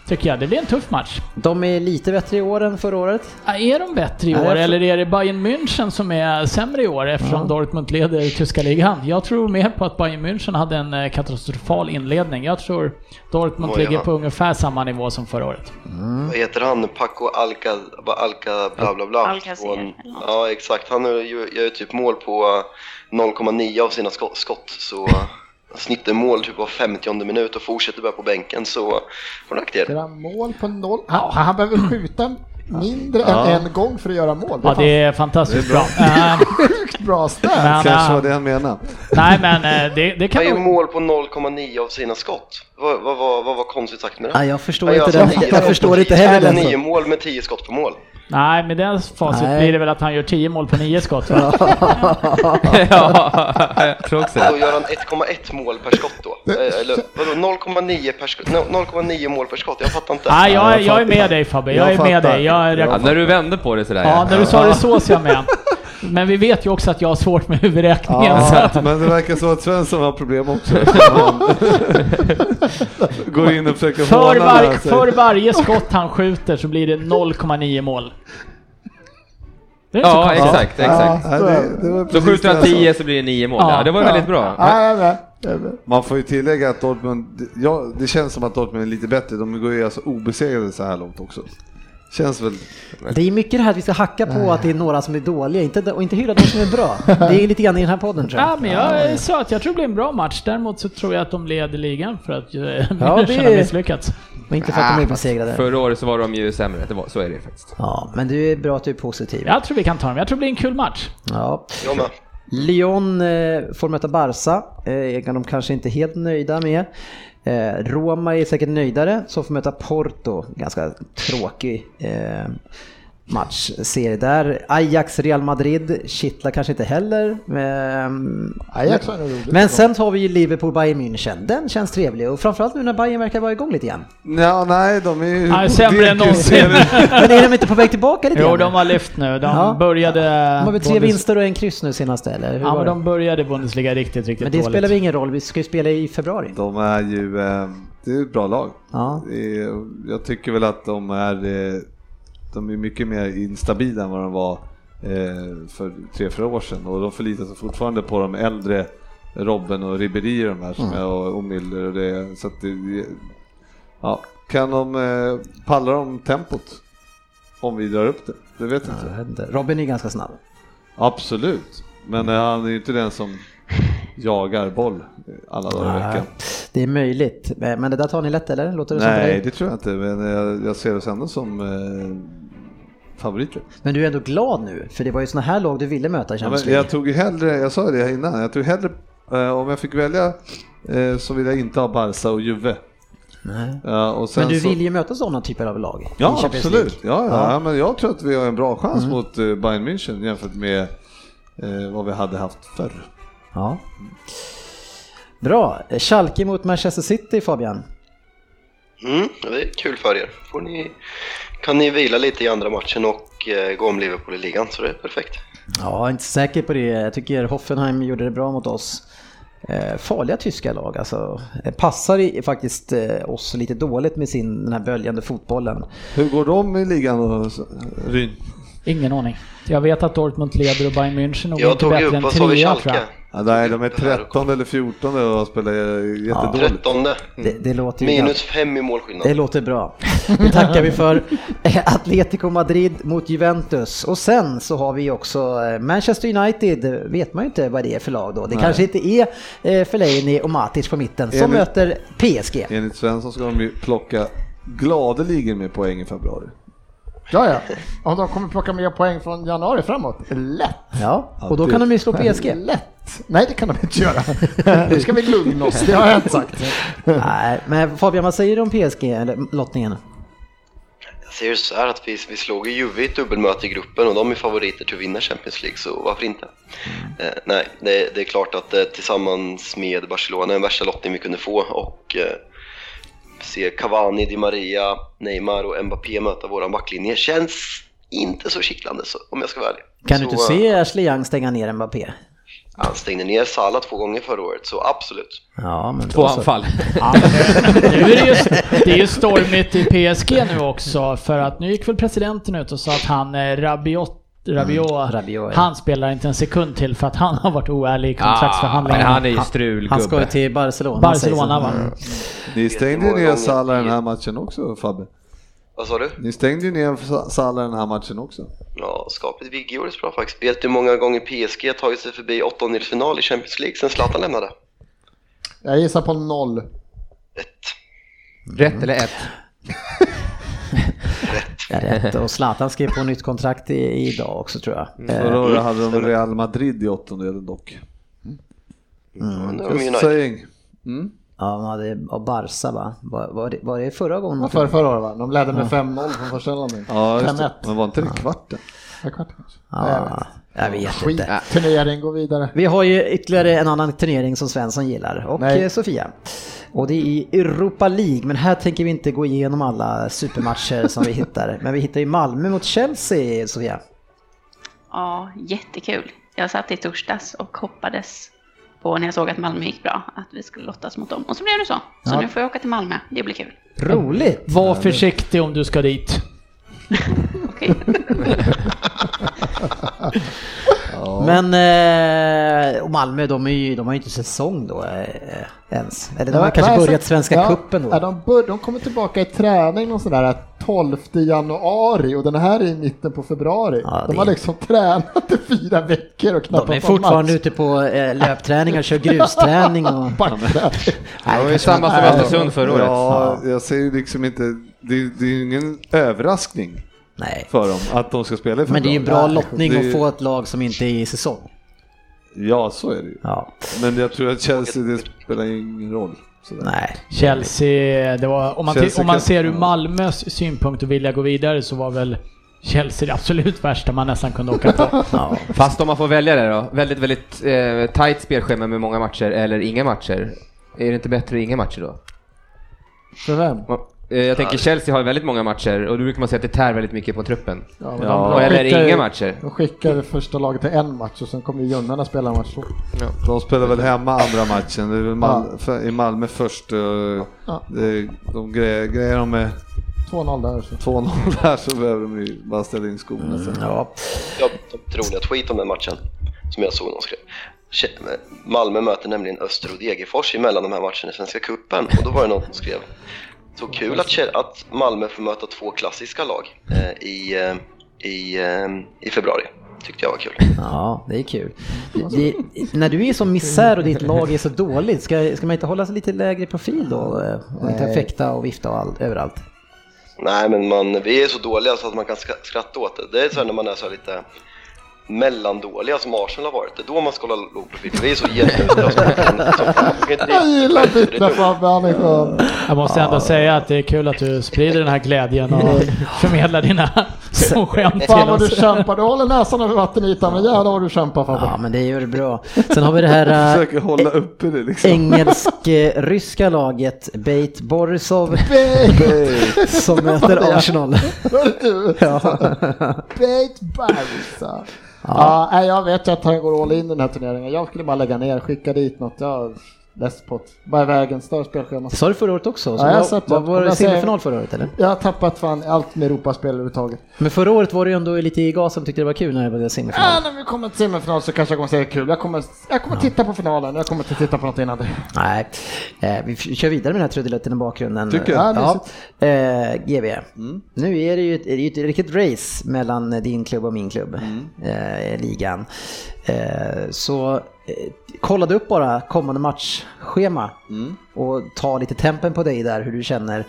[SPEAKER 3] Tycker jag. Det blir en tuff match.
[SPEAKER 2] De är lite bättre i år än förra året.
[SPEAKER 3] Ja, Är de bättre i
[SPEAKER 2] Ja,
[SPEAKER 3] år
[SPEAKER 2] jag tror-
[SPEAKER 3] eller är det Bayern München som är sämre i år eftersom Dortmund leder tyska ligan? Jag tror mer på att Bayern München hade en eh, katastrofal inledning. Jag tror Dortmund
[SPEAKER 7] Oj,
[SPEAKER 3] ligger
[SPEAKER 7] ja.
[SPEAKER 3] på ungefär samma nivå som förra året.
[SPEAKER 2] Mm.
[SPEAKER 7] Vad heter han? Paco Alca, Alca bla bla bla.
[SPEAKER 6] Alcacer,
[SPEAKER 7] Från-
[SPEAKER 6] eller något.
[SPEAKER 7] ja exakt, han gör ju gör ju typ mål på eh, 0,9 av sina skott, skott så snittar mål typ var 50 minut och fortsätter bara på bänken så får han aktier.
[SPEAKER 15] Göra mål på noll. Han, han behöver skjuta mindre
[SPEAKER 5] Ja.
[SPEAKER 15] än en gång för att göra mål. Det
[SPEAKER 3] Ja,
[SPEAKER 15] är
[SPEAKER 3] det är fantastiskt bra. Eh,
[SPEAKER 15] sjukt bra stöd.
[SPEAKER 3] men,
[SPEAKER 5] Kanske var
[SPEAKER 3] eh,
[SPEAKER 5] det han menade.
[SPEAKER 3] nej, men eh, det, det
[SPEAKER 7] Han
[SPEAKER 3] kan
[SPEAKER 7] gör
[SPEAKER 3] nog...
[SPEAKER 7] mål på 0,9 av sina skott. Vad vad- vad- vad var konstigt sagt med det?
[SPEAKER 2] Ja, Ah, jag förstår
[SPEAKER 7] Han gör
[SPEAKER 2] inte
[SPEAKER 7] alltså
[SPEAKER 2] den-
[SPEAKER 7] nio
[SPEAKER 2] jag
[SPEAKER 7] skott-
[SPEAKER 2] förstår inte heller den
[SPEAKER 7] nio
[SPEAKER 2] som-
[SPEAKER 7] mål med 10 skott på mål.
[SPEAKER 3] Nej, med det facit
[SPEAKER 2] Nej.
[SPEAKER 3] blir det väl att han gör 10 mål på 9 skott. va?
[SPEAKER 4] ja, jag tror också
[SPEAKER 7] Och
[SPEAKER 4] det.
[SPEAKER 7] då gör han 1,1 mål per skott då? Eh, Eller vadå 0,9 per skott? No, 0,9 mål per skott? Jag fattar inte.
[SPEAKER 3] Nej,
[SPEAKER 5] Ja,
[SPEAKER 3] jag,
[SPEAKER 5] jag
[SPEAKER 3] jag är
[SPEAKER 5] fattar.
[SPEAKER 3] med dig Fabbe. Jag,
[SPEAKER 5] Jag
[SPEAKER 3] är med
[SPEAKER 5] fattar.
[SPEAKER 3] dig. Jag,
[SPEAKER 4] Ja, när du vände på det sådär
[SPEAKER 3] Ja, när du sa det så ser jag med. Men vi vet ju också att jag har svårt med huvudräkningen. Så
[SPEAKER 5] Ja,
[SPEAKER 3] att,
[SPEAKER 5] men det verkar som att Svensson har problem också. Han går in och försöker
[SPEAKER 3] för,
[SPEAKER 5] håna
[SPEAKER 3] var,
[SPEAKER 5] där sig.
[SPEAKER 3] för varje skott han skjuter så blir det 0,9 mål. Det är inte så
[SPEAKER 4] Ja,
[SPEAKER 3] konstigt.
[SPEAKER 4] exakt, exakt.
[SPEAKER 5] Nej, det- det var
[SPEAKER 4] Då
[SPEAKER 5] precis
[SPEAKER 4] skjuter han
[SPEAKER 5] det alltså.
[SPEAKER 4] 10
[SPEAKER 5] jag sa.
[SPEAKER 4] så blir det 9 mål.
[SPEAKER 3] Ja.
[SPEAKER 4] Ja, det var väldigt bra.
[SPEAKER 15] Ja, jag är med. Jag är med.
[SPEAKER 5] Man får ju tillägga att Dortmund, ja, det känns som att Dortmund är lite bättre. De går ju alltså obesegrade så här långt också. Känns väl
[SPEAKER 2] Det är mycket det här att vi ska hacka på att det är några som är dåliga inte, och inte hylla de som är bra. Det är lite grann i den här podden tror jag.
[SPEAKER 3] Ja, men jag sa att jag tror det blir en bra match. Däremot så tror jag att de leder ligan för att
[SPEAKER 2] Ja,
[SPEAKER 3] München
[SPEAKER 2] det-
[SPEAKER 3] har misslyckats.
[SPEAKER 2] Men inte för att de är besegrade.
[SPEAKER 4] Förra året så var de ju sämre. Det var, så är det faktiskt.
[SPEAKER 2] Ja, men du är bra att du är positiv.
[SPEAKER 3] Jag tror vi kan ta dem. Jag tror det blir en kul match.
[SPEAKER 2] Ja.
[SPEAKER 7] Jag med.
[SPEAKER 2] Lyon eh, får möta Barca, eh, är de kanske inte helt nöjda med. Eh, Roma är säkert nöjdare, som får möta Porto. Ganska tråkig eh, match. Ser där. Ajax, Real Madrid kittlar kanske inte heller. Ehm,
[SPEAKER 15] Ajax var nog roligt.
[SPEAKER 2] men sen har vi ju Liverpool, Bayern München. Den känns trevlig och framförallt nu när Bayern verkar vara igång lite igen.
[SPEAKER 5] Ja, nej, de är ju...
[SPEAKER 3] Nej, sämre än
[SPEAKER 5] det är ju
[SPEAKER 3] någonsin.
[SPEAKER 5] serien.
[SPEAKER 2] Men är de inte på väg tillbaka lite
[SPEAKER 3] Jo,
[SPEAKER 2] grann?
[SPEAKER 3] de har lyft nu. De
[SPEAKER 2] Ja.
[SPEAKER 3] började...
[SPEAKER 2] De har väl tre vinster och en kryss nu senast eller? Hur
[SPEAKER 3] Ja,
[SPEAKER 2] var
[SPEAKER 3] men
[SPEAKER 2] det?
[SPEAKER 3] de började Bundesliga riktigt, riktigt
[SPEAKER 2] men det
[SPEAKER 3] dåligt.
[SPEAKER 2] spelar väl ingen roll, vi ska ju spela i februari.
[SPEAKER 5] De är ju... eh, Det är ett bra lag.
[SPEAKER 2] Ja.
[SPEAKER 5] Det är- Jag tycker väl att de är... eh, De är mycket mer instabila än vad de var eh, för tre, fyra år sedan. Och de förlitar sig fortfarande på de äldre Robben och Ribéry och de här som
[SPEAKER 2] Mm.
[SPEAKER 5] är, och, och Müller och det. Så att det, ja. Kan de... eh, Pallar de tempot? Om vi drar upp det? Det vet jag
[SPEAKER 2] Jag
[SPEAKER 5] inte.
[SPEAKER 2] vet inte. Robin är ganska snabb.
[SPEAKER 5] Absolut. Men eh, han är ju inte den som jagar boll alla dagar i veckan.
[SPEAKER 2] Det är möjligt, Eh, men men det där tar ni lätt eller? Låter det som på
[SPEAKER 5] Nej,
[SPEAKER 2] dig?
[SPEAKER 5] det tror jag inte, men eh, jag, jag ser oss ändå som eh, favoriter.
[SPEAKER 2] Men du är ändå glad nu, för det var ju såna här lag du ville möta i
[SPEAKER 5] Ja,
[SPEAKER 2] Champions
[SPEAKER 5] men
[SPEAKER 2] League.
[SPEAKER 5] jag tog ju hellre, jag sa det här innan, jag tog hellre, eh, om jag fick välja eh, så vill jag inte ha Barca och Juve.
[SPEAKER 2] Nej.
[SPEAKER 5] Ja, och sen
[SPEAKER 2] Men du
[SPEAKER 5] så-
[SPEAKER 2] vill ju möta sådana typer av lag. i
[SPEAKER 5] Ja,
[SPEAKER 2] Champions League. Mm.
[SPEAKER 5] absolut. Ja, ja. Ja, men jag tror att vi har en bra chans mot eh, Bayern München jämfört med eh, vad vi hade haft förr.
[SPEAKER 2] Ja. Bra. Schalke mot Manchester City Fabian.
[SPEAKER 7] Mm, det är kul för er. Får ni, kan ni vila lite i andra matchen och eh, gå om Liverpool i ligan så det är perfekt.
[SPEAKER 2] Ja, jag är inte säker på det. Jag tycker Hoffenheim gjorde det bra mot oss. Eh, farliga tyska lag alltså. Eh, Passar i, faktiskt eh, oss lite dåligt med sin, den här böljande fotbollen.
[SPEAKER 5] Hur går de i ligan och Ryn?
[SPEAKER 3] Ingen aning. Jag vet att Dortmund leder och Bayern München nog
[SPEAKER 7] Jag
[SPEAKER 3] inte
[SPEAKER 7] tog ju
[SPEAKER 3] bättre
[SPEAKER 7] upp,
[SPEAKER 3] än
[SPEAKER 7] vad sa vi,
[SPEAKER 3] trea tror jag.
[SPEAKER 7] Schalke?
[SPEAKER 5] Ja, nej, de är
[SPEAKER 7] Det här-
[SPEAKER 5] 13 eller 14 och spelar jättedåligt.
[SPEAKER 7] Trettonde.
[SPEAKER 2] Det, det låter ju
[SPEAKER 7] Minus fem i målskillnad.
[SPEAKER 2] Det låter bra. Det tackar vi för. Eh, Atletico Madrid mot Juventus. Och sen så har vi också eh, Manchester United. Eh, vet man ju inte vad det är för lag då. Det kanske inte är eh, Fellaini och Matic på mitten som
[SPEAKER 5] Är det-
[SPEAKER 2] möter PSG.
[SPEAKER 5] Enligt Svensson ska de ju plocka gladeligen med poäng i februari.
[SPEAKER 16] Ja, ja. Och de kommer plocka mer poäng från januari framåt. Lätt!
[SPEAKER 2] Ja, och då
[SPEAKER 5] det-
[SPEAKER 2] kan de ju slå E PSG.
[SPEAKER 16] Lätt! Nej, det kan de inte göra. Nu ska vi lugna oss, det har jag inte sagt.
[SPEAKER 2] Nej, men Fabian, vad säger du om PSG, eller lottningen?
[SPEAKER 7] Jag ser så här att vi, vi slog ju Juve i ett dubbelmöte i gruppen och de är favoriter till att vinna Champions League, så varför inte?
[SPEAKER 2] Mm.
[SPEAKER 7] Eh, nej, det, det är klart att eh, tillsammans med Barcelona, den värsta lottning vi kunde få och eh, se Cavani, Di Maria, Neymar och Mbappé möta våran backlinje känns inte så kittlande så, om jag ska vara ärlig.
[SPEAKER 2] Kan
[SPEAKER 7] så,
[SPEAKER 2] du inte
[SPEAKER 7] eh,
[SPEAKER 2] se Ashley Young stänga ner Mbappé?
[SPEAKER 7] Han stängde ner Salah två gånger förra året, så absolut.
[SPEAKER 2] Ja, men alltså-
[SPEAKER 4] Två
[SPEAKER 2] då så.
[SPEAKER 4] anfall.
[SPEAKER 3] Nu är det, ju, det är ju stormigt i PSG nu också för att nu gick väl presidenten ut och sa att han eh, Rabiot Rabiot,
[SPEAKER 2] Mm. Rabiot, ja.
[SPEAKER 3] han spelar inte en sekund till för att han har varit oärlig i
[SPEAKER 4] Ah, men
[SPEAKER 3] kontraktsförhandlingarna.
[SPEAKER 4] han är ju Mm. strulgubbe.
[SPEAKER 2] Han ska ju till Barcelona. Mm.
[SPEAKER 3] Barcelona va?
[SPEAKER 2] sägs det.
[SPEAKER 5] Ni stängde ju
[SPEAKER 7] många
[SPEAKER 5] ner
[SPEAKER 7] gånger-
[SPEAKER 5] Salah den här matchen också Fabbe.
[SPEAKER 7] Vad sa du?
[SPEAKER 5] Ni stängde ju ner Sa- Salah den här matchen också.
[SPEAKER 7] Ja, skapligt Vigge gjorde det bra faktiskt. Vet du hur många gånger PSG tagit sig förbi åttondelsfinal i Champions League sen Zlatan lämnade?
[SPEAKER 16] Jag gissar på noll.
[SPEAKER 7] Ett.
[SPEAKER 4] Rätt eller ett?
[SPEAKER 2] Ja, rätt. Och Zlatan skrev på nytt kontrakt i, idag också tror jag. Eh,
[SPEAKER 5] Förra året hade de Real Madrid i åttondelen dock.
[SPEAKER 7] Mm. Nu är de
[SPEAKER 5] Just
[SPEAKER 7] United.
[SPEAKER 5] saying. Mm.
[SPEAKER 2] Ja, de hade och Barca va? Var, var, det, var det förra gången?
[SPEAKER 16] För förra året va? De ledde med 5-0 från första elden.
[SPEAKER 5] Ja, just
[SPEAKER 16] 5-1.
[SPEAKER 5] det. Men var inte det kvarten?
[SPEAKER 16] Ja, kvart kanske.
[SPEAKER 2] Ja, jag vet
[SPEAKER 16] Skit,
[SPEAKER 2] inte.
[SPEAKER 16] turnering, gå vidare.
[SPEAKER 2] Vi har ju ytterligare en annan turnering som Svensson gillar och
[SPEAKER 16] Nej.
[SPEAKER 2] eh, Sofia. Och det är Europa League, men här tänker vi inte gå igenom alla supermatcher som vi hittar. Men vi hittar ju Malmö mot Chelsea, Sofia.
[SPEAKER 6] Ja, jättekul. Jag satt i torsdags och hoppades på när jag såg att Malmö gick bra, att vi skulle lottas mot dem. Och så blev det så. Så
[SPEAKER 2] Ja.
[SPEAKER 6] nu får jag åka till Malmö. Det blir kul.
[SPEAKER 2] Roligt!
[SPEAKER 3] Var försiktig om du ska dit.
[SPEAKER 6] Okej.
[SPEAKER 2] Men eh, och Malmö, de, är ju, de har ju inte säsong då eh, ens. Eller de har
[SPEAKER 16] Ja,
[SPEAKER 2] kanske
[SPEAKER 16] nej,
[SPEAKER 2] börjat
[SPEAKER 16] så-
[SPEAKER 2] Svenska
[SPEAKER 16] ja,
[SPEAKER 2] Cupen då.
[SPEAKER 16] Ja, de, bör, de kommer tillbaka i träning och sådär 12 januari och den här är i mitten på februari.
[SPEAKER 2] Ja,
[SPEAKER 16] de
[SPEAKER 2] det-
[SPEAKER 16] har liksom tränat i fyra veckor och knappt
[SPEAKER 2] De är fortfarande ute på eh, löpträning och kör grusträning och...
[SPEAKER 4] Det var ju samma som
[SPEAKER 2] Nej.
[SPEAKER 4] Östersund förra året.
[SPEAKER 5] Ja, jag ser ju liksom inte, det, det är ju ingen överraskning
[SPEAKER 2] Nej.
[SPEAKER 5] för dem att de ska spela i
[SPEAKER 2] Men det är ju en bra
[SPEAKER 5] februari.
[SPEAKER 2] lottning
[SPEAKER 5] Det
[SPEAKER 2] att
[SPEAKER 5] är-
[SPEAKER 2] få ett lag som inte är i säsong.
[SPEAKER 5] Ja, så är det ju.
[SPEAKER 2] Ja.
[SPEAKER 5] Men jag tror att Chelsea, det spelar ingen roll. Sådär.
[SPEAKER 2] Nej.
[SPEAKER 3] Chelsea, det var, om, man
[SPEAKER 5] Chelsea
[SPEAKER 3] om man
[SPEAKER 5] kan-
[SPEAKER 3] ser
[SPEAKER 4] Mm.
[SPEAKER 3] ur Malmös synpunkt och vilja gå vidare så var väl Chelsea det absolut värsta man nästan kunde åka på.
[SPEAKER 2] Ja.
[SPEAKER 4] Fast om man får välja det då. Väldigt, väldigt eh, tajt spelschema med många matcher eller inga matcher. Är det inte bättre inga matcher då?
[SPEAKER 16] För vem?
[SPEAKER 4] Ma- eh, Jag tänker Chelsea har väldigt många matcher och då brukar man säga att det tär väldigt mycket på truppen.
[SPEAKER 16] Ja, men
[SPEAKER 5] Ja,
[SPEAKER 4] Och eller
[SPEAKER 16] skickar ju-
[SPEAKER 4] inga matcher.
[SPEAKER 16] De skickar första laget till en match och sen kommer ju junnarna spela en match två.
[SPEAKER 5] De spelar väl hemma andra matchen. Det är väl Mal- för- i Malmö först. eh,
[SPEAKER 16] Ja.
[SPEAKER 5] det- De grejer, grejer de med
[SPEAKER 16] 2-0 där. Så. Mm.
[SPEAKER 5] 2-0 där så behöver de ju bara ställa in skorna sen.
[SPEAKER 2] Ja.
[SPEAKER 7] Jag de roliga tweet om den matchen som jag såg någon skrev. Ke- Malmö möter nämligen Öster och Degerfors emellan de här matcherna i Svenska Cupen och då var det någon som skrev så kul att, Ke- att Malmö får möta två klassiska lag eh, i, eh, i, eh, i februari. Tyckte jag var kul.
[SPEAKER 2] ja, det är kul. Det, när du är som misär och ditt lag är så dåligt, ska, ska man inte hålla sig lite lägre profil då? eh, Och inte fäkta och vifta och allt, överallt?
[SPEAKER 7] Nej men man, vi är så dåliga så att man kan ska- skratta åt det. Det är så här när man är så här lite mellandåliga som Arsenal har varit. Det är då man ska hålla låg profil. Vi är så jätteusla som fan. Som fan. Vi kan inte
[SPEAKER 15] Jag gillar
[SPEAKER 7] driva-
[SPEAKER 15] Bittra Fabbe, han är skön.
[SPEAKER 3] Jag måste ändå säga att det är kul att du sprider den här glädjen och förmedlar dina små skämt till
[SPEAKER 15] Fan vad du
[SPEAKER 3] oss.
[SPEAKER 15] kämpar, du håller näsan över vattenytan, men jävlar vad du kämpar Fabbe.
[SPEAKER 2] Ja, men det gör det bra. Sen har vi det här eh,
[SPEAKER 5] Försöker hålla uppe det liksom.
[SPEAKER 2] engelsk-ryska laget Beit Borisov som möter Arsenal.
[SPEAKER 15] Bait Barrisa. Ja, nej, jag vet ju att han går all in i den här turneringen. Jag skulle bara lägga ner, skicka dit något. Jag har läst på ett, bara i vägen, större spelschema.
[SPEAKER 2] Det sa du förra året också. Så
[SPEAKER 15] Ja, jag har
[SPEAKER 2] var-
[SPEAKER 15] sett
[SPEAKER 2] var,
[SPEAKER 15] det.
[SPEAKER 2] var det
[SPEAKER 15] Jag säger-
[SPEAKER 2] semifinal förra året eller?
[SPEAKER 15] Jag har tappat fan allt med Europaspel överhuvudtaget.
[SPEAKER 2] Men förra året var det ju ändå lite i gas som tyckte det var kul när det var semifinal.
[SPEAKER 15] Ja, när vi kommer till semifinal så kanske jag kommer säga kul. Jag kommer, jag kommer titta på finalen, jag kommer inte titta på något innan det.
[SPEAKER 2] Nej, eh, vi f- kör vidare med den här trudelutten i bakgrunden.
[SPEAKER 5] Tycker jag.
[SPEAKER 2] Ja, eh, GB.
[SPEAKER 5] Mm.
[SPEAKER 2] Nu är det ju ett, det är ju ett riktigt race mellan din klubb och min klubb,
[SPEAKER 5] Mm.
[SPEAKER 2] eh, i ligan. Eh, så eh, kollade upp bara kommande matchschema
[SPEAKER 5] Mm.
[SPEAKER 2] och ta lite tempen på dig där, hur du känner.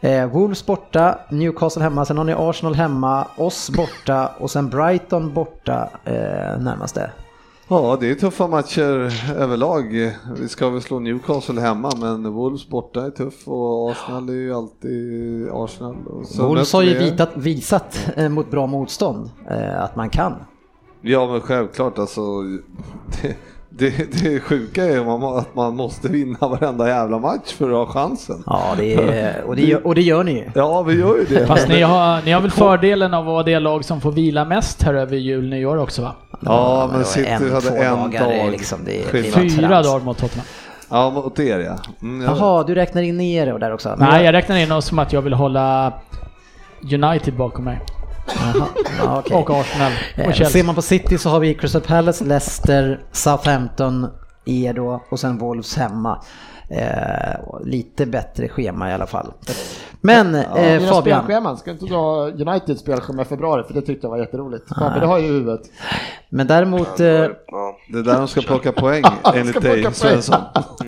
[SPEAKER 2] Eh, Wolves borta, Newcastle hemma, sen har ni Arsenal hemma, oss borta och sen Brighton borta eh, närmaste.
[SPEAKER 5] Ja, det är tuffa matcher Eh, överlag. Vi ska väl slå Newcastle hemma, men Wolves borta är tuff och Arsenal är ju alltid Arsenal. Och så
[SPEAKER 2] Wolves
[SPEAKER 5] möter
[SPEAKER 2] har ju
[SPEAKER 5] vi er.
[SPEAKER 2] visat, visat eh, mot bra motstånd eh, att man kan.
[SPEAKER 5] Ja, men självklart alltså. Det, det, det sjuka är man- att man måste vinna varenda jävla match för att ha chansen.
[SPEAKER 2] Ja, det är, och, det gör, och det gör ni ju.
[SPEAKER 5] Ja, vi gör ju det.
[SPEAKER 3] Fast ni har, ni har väl fördelen av att vara det lag som får vila mest här över jul, nyår också va?
[SPEAKER 5] Ja, men
[SPEAKER 2] det var
[SPEAKER 5] City hade
[SPEAKER 2] två
[SPEAKER 5] en
[SPEAKER 2] dagar, det är
[SPEAKER 5] dag.
[SPEAKER 2] Liksom, det,
[SPEAKER 5] Skillnad.
[SPEAKER 2] det var
[SPEAKER 3] Fyra
[SPEAKER 2] trams.
[SPEAKER 3] dagar mot Tottenham.
[SPEAKER 5] Ja, mot er ja. Mm, jag
[SPEAKER 2] Jaha, du räknar in er och där också? Men
[SPEAKER 3] Nej, jag räknar in oss som att jag vill hålla United bakom mig.
[SPEAKER 2] ja, okej.
[SPEAKER 3] Och Arsenal.
[SPEAKER 2] Eh,
[SPEAKER 3] Och
[SPEAKER 2] Ser
[SPEAKER 3] Chelsea.
[SPEAKER 2] man på City så har vi Crystal Palace, Leicester, Southampton, er då och sen Wolves hemma. Eh, och lite bättre schema i alla fall. Men eh,
[SPEAKER 15] Dina
[SPEAKER 2] Fabian,
[SPEAKER 15] spelscheman, ska inte dra Uniteds spelschema i februari för det tyckte jag var jätteroligt. Fabbe, det har ju i huvudet.
[SPEAKER 2] men däremot... Eh,
[SPEAKER 7] Ja.
[SPEAKER 5] Det är där de ska plocka poäng enligt
[SPEAKER 15] plocka
[SPEAKER 5] dig
[SPEAKER 15] poäng.
[SPEAKER 5] Svensson.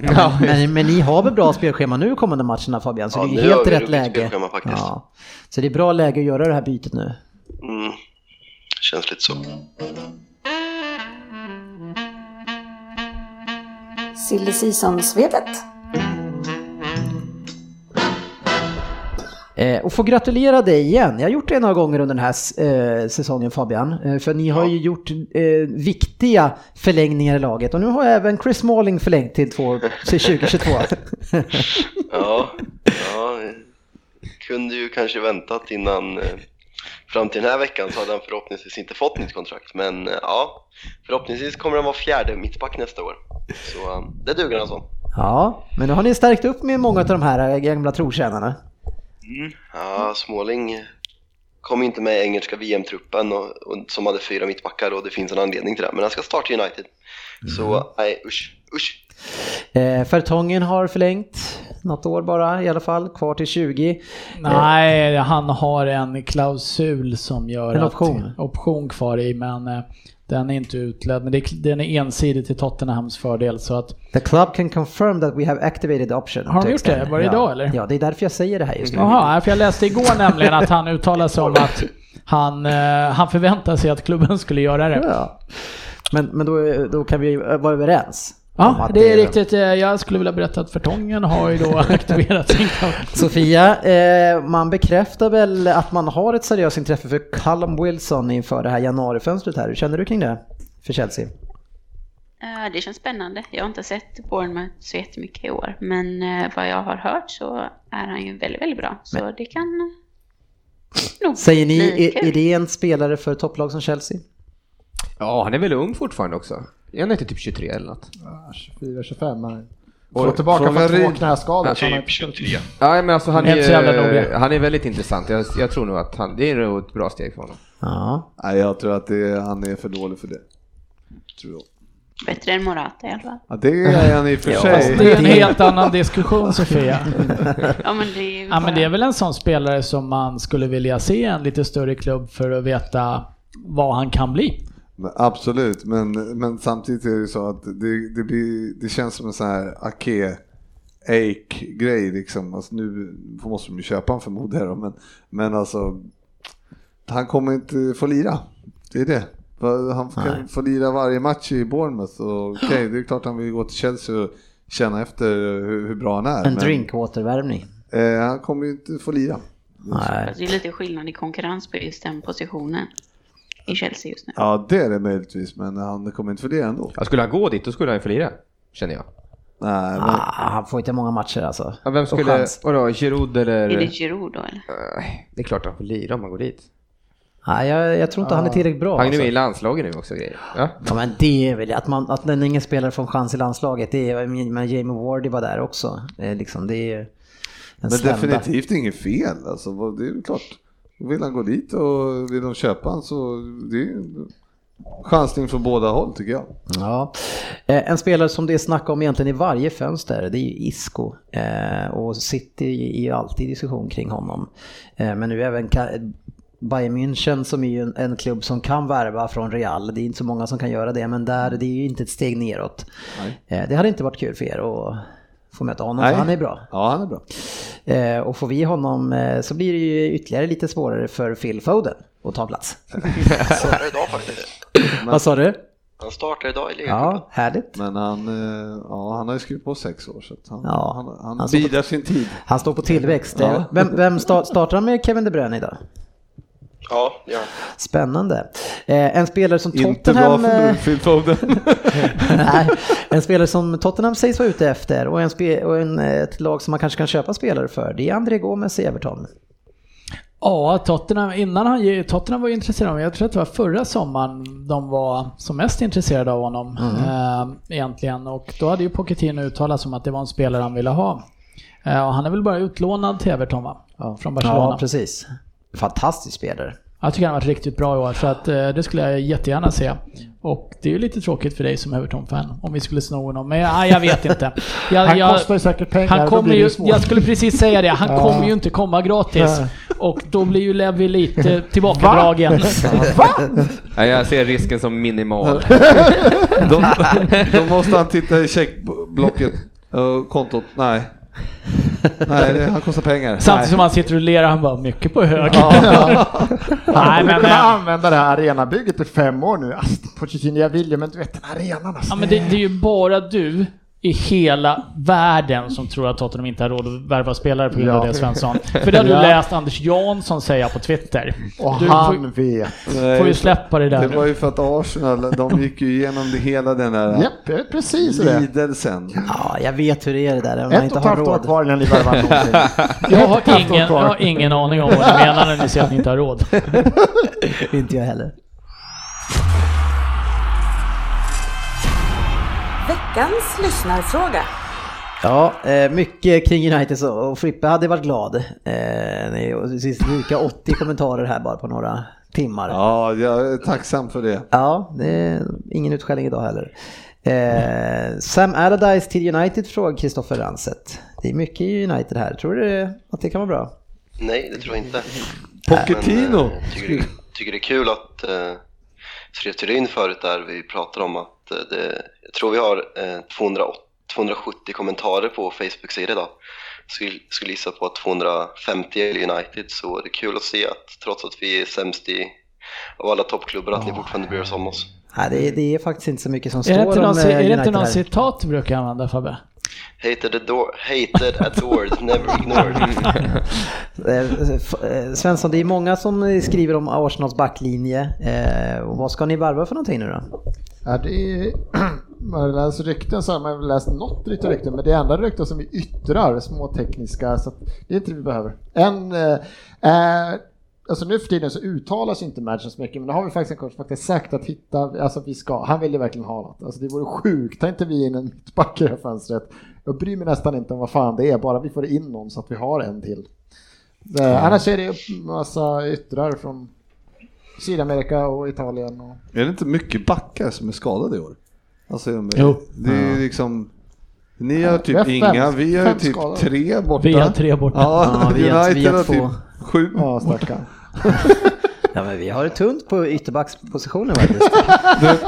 [SPEAKER 2] Ja, men, men ni har väl bra spelschema nu kommande matcherna Fabian, så
[SPEAKER 7] Ja,
[SPEAKER 2] det är
[SPEAKER 7] nu
[SPEAKER 2] ju
[SPEAKER 7] har
[SPEAKER 2] helt
[SPEAKER 7] vi
[SPEAKER 2] rätt
[SPEAKER 7] roligt
[SPEAKER 2] läge.
[SPEAKER 7] spelschema faktiskt.
[SPEAKER 2] Ja. Så det är bra läge att göra det här bytet nu.
[SPEAKER 7] Mm. Känns lite så.
[SPEAKER 1] Silly Season-svepet.
[SPEAKER 2] Eh, och får gratulera dig igen. Jag har gjort det några gånger under den här eh, säsongen Fabian. Eh, för ni har ju gjort eh, viktiga förlängningar i laget. Och nu har även Chris Smalling förlängt till, två, till 2022.
[SPEAKER 7] Ja, ja. eh, Kunde ju kanske väntat innan eh, fram till den här veckan så hade han förhoppningsvis inte fått nytt kontrakt. Men eh, ja, förhoppningsvis kommer han vara fjärde mittback nästa år. Så eh, det duger alltså.
[SPEAKER 2] ja, men nu har ni stärkt upp med många av de här eh, gamla trotjänarna.
[SPEAKER 7] Ja, Småling kom inte med i engelska VM-truppen och, och, som hade fyra mittbackar och det finns en anledning till det. Men han ska starta i United.
[SPEAKER 5] Mm.
[SPEAKER 7] Så nej, usch, usch.
[SPEAKER 2] Eh, Fertongen har förlängt något år bara i alla fall, kvar till 20.
[SPEAKER 3] Nej, han har en klausul som gör
[SPEAKER 2] En
[SPEAKER 3] att-
[SPEAKER 2] option.
[SPEAKER 3] option kvar i, men eh, den är inte utledd. Men det, är- den är ensidig till Tottenhams fördel, så att
[SPEAKER 2] The club can confirm that we have activated the option.
[SPEAKER 3] Har de
[SPEAKER 2] to
[SPEAKER 3] gjort det?
[SPEAKER 2] extend.
[SPEAKER 3] Var det
[SPEAKER 2] ja.
[SPEAKER 3] idag, eller?
[SPEAKER 2] Ja, det är därför jag säger det här just nu.
[SPEAKER 3] Jaha, nej, för jag läste igår nämligen att han uttalade sig om att han, eh, han förväntade sig att klubben skulle göra det.
[SPEAKER 2] Ja. Men, men då, då kan vi eh, vara överens. om
[SPEAKER 3] Ja,
[SPEAKER 2] att
[SPEAKER 3] det är riktigt. eh, Jag skulle vilja berätta att Fertongen har ju då aktiverat sin kraft.
[SPEAKER 2] Sofia, eh, man bekräftar väl att man har ett seriöst intresse för Callum Wilson inför det här januarifönstret här. Hur känner du kring det för Chelsea?
[SPEAKER 6] Eh, Det känns spännande. Jag har inte sett Bournemouth så jättemycket i år. Men eh, vad jag har hört så är han ju väldigt, väldigt bra. Så det kan nog
[SPEAKER 2] Säger ni,
[SPEAKER 6] bli
[SPEAKER 2] är,
[SPEAKER 6] kul.
[SPEAKER 2] är det en spelare för topplag som Chelsea?
[SPEAKER 4] Ja, han är väl ung fortfarande också? Är han inte typ 23 eller något?
[SPEAKER 15] 24-25 här.
[SPEAKER 5] Oj,
[SPEAKER 15] Får tillbaka
[SPEAKER 5] frågar
[SPEAKER 15] från två
[SPEAKER 5] Rid-
[SPEAKER 15] knäskador. så han har-
[SPEAKER 4] Ja, men alltså han
[SPEAKER 3] Inte så jävla
[SPEAKER 4] är,
[SPEAKER 3] noga.
[SPEAKER 4] han är väldigt intressant. Jag, jag tror nog att han, det är nog ett bra steg för honom.
[SPEAKER 2] Ja.
[SPEAKER 5] Nej, jag tror att det, han är för dålig för det. Tror jag.
[SPEAKER 6] Bättre än Morata i alla fall.
[SPEAKER 5] Ja, det är han i och för sig.
[SPEAKER 3] Det är en helt annan diskussion Sofia.
[SPEAKER 6] Ja men det är ju
[SPEAKER 3] Ja, men det är
[SPEAKER 6] bara-
[SPEAKER 3] väl en sån spelare som man skulle vilja se i en lite större klubb för att veta vad han kan bli.
[SPEAKER 5] Men absolut, men, men samtidigt är det ju så att det, det, blir, det känns som en sån här ake ake grej liksom. Alltså nu måste de ju köpa en förmodar jag då, men, men alltså han kommer inte få lira. Det är det. För Han kan få lira varje match i Bournemouth. och Okej, det är klart han vill gå till Chelsea och känna efter hur, hur bra han är.
[SPEAKER 2] En
[SPEAKER 5] men,
[SPEAKER 2] drinkwatervärmning.
[SPEAKER 5] Eh, han kommer ju inte få lira.
[SPEAKER 2] Nej.
[SPEAKER 6] Alltså, det är lite skillnad i konkurrens på just den positionen i Chelsea just nu.
[SPEAKER 5] Ja, det är det möjligtvis, men han kommer inte få lira ändå.
[SPEAKER 4] Ja, skulle han gå dit, då skulle han ju få lira, känner jag.
[SPEAKER 5] Nej, men,
[SPEAKER 2] Ah, han får inte många matcher alltså.
[SPEAKER 4] Ja, vem
[SPEAKER 2] Och
[SPEAKER 4] skulle...
[SPEAKER 2] chans.
[SPEAKER 4] Vadå, Giroud eller...
[SPEAKER 6] Är det Giroud då eller?
[SPEAKER 4] Nej, Det är klart han får lira om han går dit.
[SPEAKER 2] Nej, jag, jag tror inte han är tillräckligt bra.
[SPEAKER 4] Han är ju
[SPEAKER 2] alltså.
[SPEAKER 4] med i landslaget nu också. och grejer. Ja.
[SPEAKER 2] Ja, men det är väl att, man, att när ingen spelare får en chans i landslaget. Det är, men Jamie Wardy var där också. Det är, liksom, det är en
[SPEAKER 5] men
[SPEAKER 2] slända.
[SPEAKER 5] definitivt inget fel. Alltså, vad- det är ju klart. Vill han gå dit och vill de köpa han så det är ju en chansning från båda håll tycker jag.
[SPEAKER 2] Ja. Eh, En spelare som det är snack om egentligen i varje fönster, det är ju Isco. Eh, Och City är ju alltid diskussion kring honom. Eh, Men nu även Ka- Bayern München som är ju en, en klubb som kan värva från Real. Det är inte så många som kan göra det, men där, det är ju inte ett steg neråt. Eh, Det hade inte varit kul för er att få möta honom,
[SPEAKER 5] Nej.
[SPEAKER 2] för han är bra.
[SPEAKER 5] Ja, han är bra.
[SPEAKER 2] Eh, Och får vi honom eh, så blir det ju ytterligare lite svårare för Phil Foden att ta plats.
[SPEAKER 7] Han startar idag faktiskt.
[SPEAKER 2] Vad sa du?
[SPEAKER 7] Han startar idag i ligacupen.
[SPEAKER 2] Ja, härligt.
[SPEAKER 5] Men han, eh, ja, han har ju skrivit på sex år så att han,
[SPEAKER 2] Ja,
[SPEAKER 5] han,
[SPEAKER 15] Alltså,
[SPEAKER 5] han,
[SPEAKER 2] han står på-
[SPEAKER 5] bidar sin tid.
[SPEAKER 2] Han står på tillväxt. Eh,
[SPEAKER 5] Ja.
[SPEAKER 2] Vem, vem sta- startar han med Kevin De Bruyne idag?
[SPEAKER 7] Ja, ja.
[SPEAKER 2] Spännande. Eh, en spelare som
[SPEAKER 5] Inte bra
[SPEAKER 2] Tottenham...
[SPEAKER 5] för
[SPEAKER 2] eh,
[SPEAKER 5] Phil Foden.
[SPEAKER 2] nej, en spelare som Tottenham sägs vara ute efter och, en spe, och en, eh, ett lag som man kanske kan köpa spelare för. Det är André Gomes i Everton.
[SPEAKER 3] Ja, Tottenham, innan han, ge- Tottenham var ju intresserade av honom. Jag tror att det var förra sommaren de var som mest intresserade av honom.
[SPEAKER 2] Mm.
[SPEAKER 3] Eh, egentligen. Och då hade ju Pochettino uttalat som att det var en spelare han ville ha. Eh, och han är väl bara utlånad till Everton va? Från
[SPEAKER 2] Ja,
[SPEAKER 3] Barcelona.
[SPEAKER 2] precis. Fantastisk spelare.
[SPEAKER 3] jag tycker han har varit riktigt bra i år, så att, eh, det skulle jag jättegärna se. Och det är ju lite tråkigt för dig som Everton-fan om vi skulle sno honom. Men ja, jag vet inte. Jag,
[SPEAKER 15] Han
[SPEAKER 3] jag,
[SPEAKER 15] kostar ju säkert pengar,
[SPEAKER 3] han
[SPEAKER 15] då blir
[SPEAKER 3] kommer
[SPEAKER 15] det
[SPEAKER 3] ju,
[SPEAKER 15] ju svårt.
[SPEAKER 3] Jag skulle precis säga det, han
[SPEAKER 15] Ja.
[SPEAKER 3] kommer ju inte komma gratis.
[SPEAKER 15] Nej.
[SPEAKER 3] Och då blir ju Levi lite tillbakadragen.
[SPEAKER 4] Ja, jag ser risken som minimal.
[SPEAKER 5] Då, då måste han titta i checkblocket. Uh, kontot, nej. Nej, det, han kostar pengar.
[SPEAKER 3] Samtidigt som han sitter och ler, han bara mycket på hög. Nej
[SPEAKER 15] Han
[SPEAKER 3] men,
[SPEAKER 15] kunna
[SPEAKER 3] eh,
[SPEAKER 15] använda det här arenabygget i fem år nu. Alltså, Pochettino, jag vill ju, men du vet den här arenan alltså.
[SPEAKER 3] ja, men det, det är ju bara du i hela världen som tror att Tottenham inte har råd att värva spelare på grund av
[SPEAKER 15] Ja.
[SPEAKER 3] det Svensson. För det har du
[SPEAKER 15] Ja.
[SPEAKER 3] läst Anders Jansson säga på Twitter.
[SPEAKER 15] Och
[SPEAKER 3] Du
[SPEAKER 15] han
[SPEAKER 3] får,
[SPEAKER 15] vet.
[SPEAKER 5] Nej,
[SPEAKER 3] får ju släppa det
[SPEAKER 5] Det
[SPEAKER 3] där
[SPEAKER 5] var
[SPEAKER 3] nu.
[SPEAKER 5] ju för att Arsenal, de gick ju igenom det hela den där
[SPEAKER 15] Japp, det är precis det.
[SPEAKER 5] lidelsen.
[SPEAKER 2] Ja, jag vet hur det är det där. Om man
[SPEAKER 15] Ett
[SPEAKER 2] inte
[SPEAKER 15] och ett
[SPEAKER 2] har
[SPEAKER 15] halvt år
[SPEAKER 2] råd.
[SPEAKER 15] kvar innan ni värvar någonting.
[SPEAKER 3] Jag
[SPEAKER 15] Ett och ett
[SPEAKER 3] har
[SPEAKER 15] halvt år
[SPEAKER 3] ingen, jag
[SPEAKER 15] kvar.
[SPEAKER 3] har ingen aning om vad ni menar när ni säger att ni inte har råd.
[SPEAKER 2] inte jag heller.
[SPEAKER 1] Veckans lyssnarfråga.
[SPEAKER 2] Ja, eh, mycket kring United så, och Frippe hade varit glad. Eh, nej, och det finns lika 80 kommentarer här bara på några timmar.
[SPEAKER 5] Ja, jag är tacksam för det.
[SPEAKER 2] Ja, det är ingen utskällning idag heller. Eh, Sam Allardyce till United frågar Kristoffer Ranset. Det är mycket i United här. Tror du att det kan vara bra?
[SPEAKER 7] Nej, det tror jag inte.
[SPEAKER 5] Pochettino.
[SPEAKER 7] Men, eh, tycker, det- tycker det är kul att eh, skrev Turin förut där vi pratade om att eh, det, jag tror vi har eh, 208, 270 kommentarer på Facebook-sidan idag. Skulle, skulle gissa på att 250 är United så det är kul att se att trots att vi är sämst i av alla toppklubbar att ni fortfarande bryr er om oss.
[SPEAKER 2] Nej, det, är- det är faktiskt inte så mycket som står
[SPEAKER 3] Är det inte
[SPEAKER 2] om
[SPEAKER 3] någon,
[SPEAKER 2] eh,
[SPEAKER 3] ci- är det
[SPEAKER 2] United
[SPEAKER 3] inte någon
[SPEAKER 2] här.
[SPEAKER 3] citat du brukar använda Fabbe?
[SPEAKER 7] Hated, adore, hated adored, never ignored. Mm.
[SPEAKER 2] Eh, f- eh, Svensson, det är många som eh, skriver om Arsenals backlinje. Eh, och vad ska ni varva för någonting nu då?
[SPEAKER 15] Ja, det är... Man har läst rykten så här, man har väl läst något rykte, rykte, men det är andra rykten som vi yttrar, små tekniska, så att det är inte det vi behöver. En, eh, eh, alltså nu för tiden så uttalas inte matchen så mycket, men det har vi faktiskt en coach faktiskt sagt att hitta, alltså vi ska, han vill ju verkligen ha något. Alltså det vore sjukt, tar inte vi in en mittback i det här fönstret. Jag bryr mig nästan inte om vad fan det är, bara vi får in någon så att vi har en till. Eh, annars är det massa yttrar från Sydamerika och Italien och
[SPEAKER 5] Är det inte mycket backar som är skadade i år? Alltså, de-
[SPEAKER 3] Jo.
[SPEAKER 5] det är ju liksom... Ni har
[SPEAKER 15] Vi har
[SPEAKER 5] typ
[SPEAKER 15] fem-
[SPEAKER 5] inga, vi har ju
[SPEAKER 15] fem
[SPEAKER 5] typ
[SPEAKER 15] skadade.
[SPEAKER 5] tre borta.
[SPEAKER 3] Vi har tre borta.
[SPEAKER 5] Ja,
[SPEAKER 2] Ja, vi har- vi
[SPEAKER 5] United
[SPEAKER 2] har
[SPEAKER 5] har
[SPEAKER 2] två.
[SPEAKER 5] typ sju.
[SPEAKER 15] ja, stackarn.
[SPEAKER 2] Ja, men vi har det tunt på ytterbackspositionen faktiskt.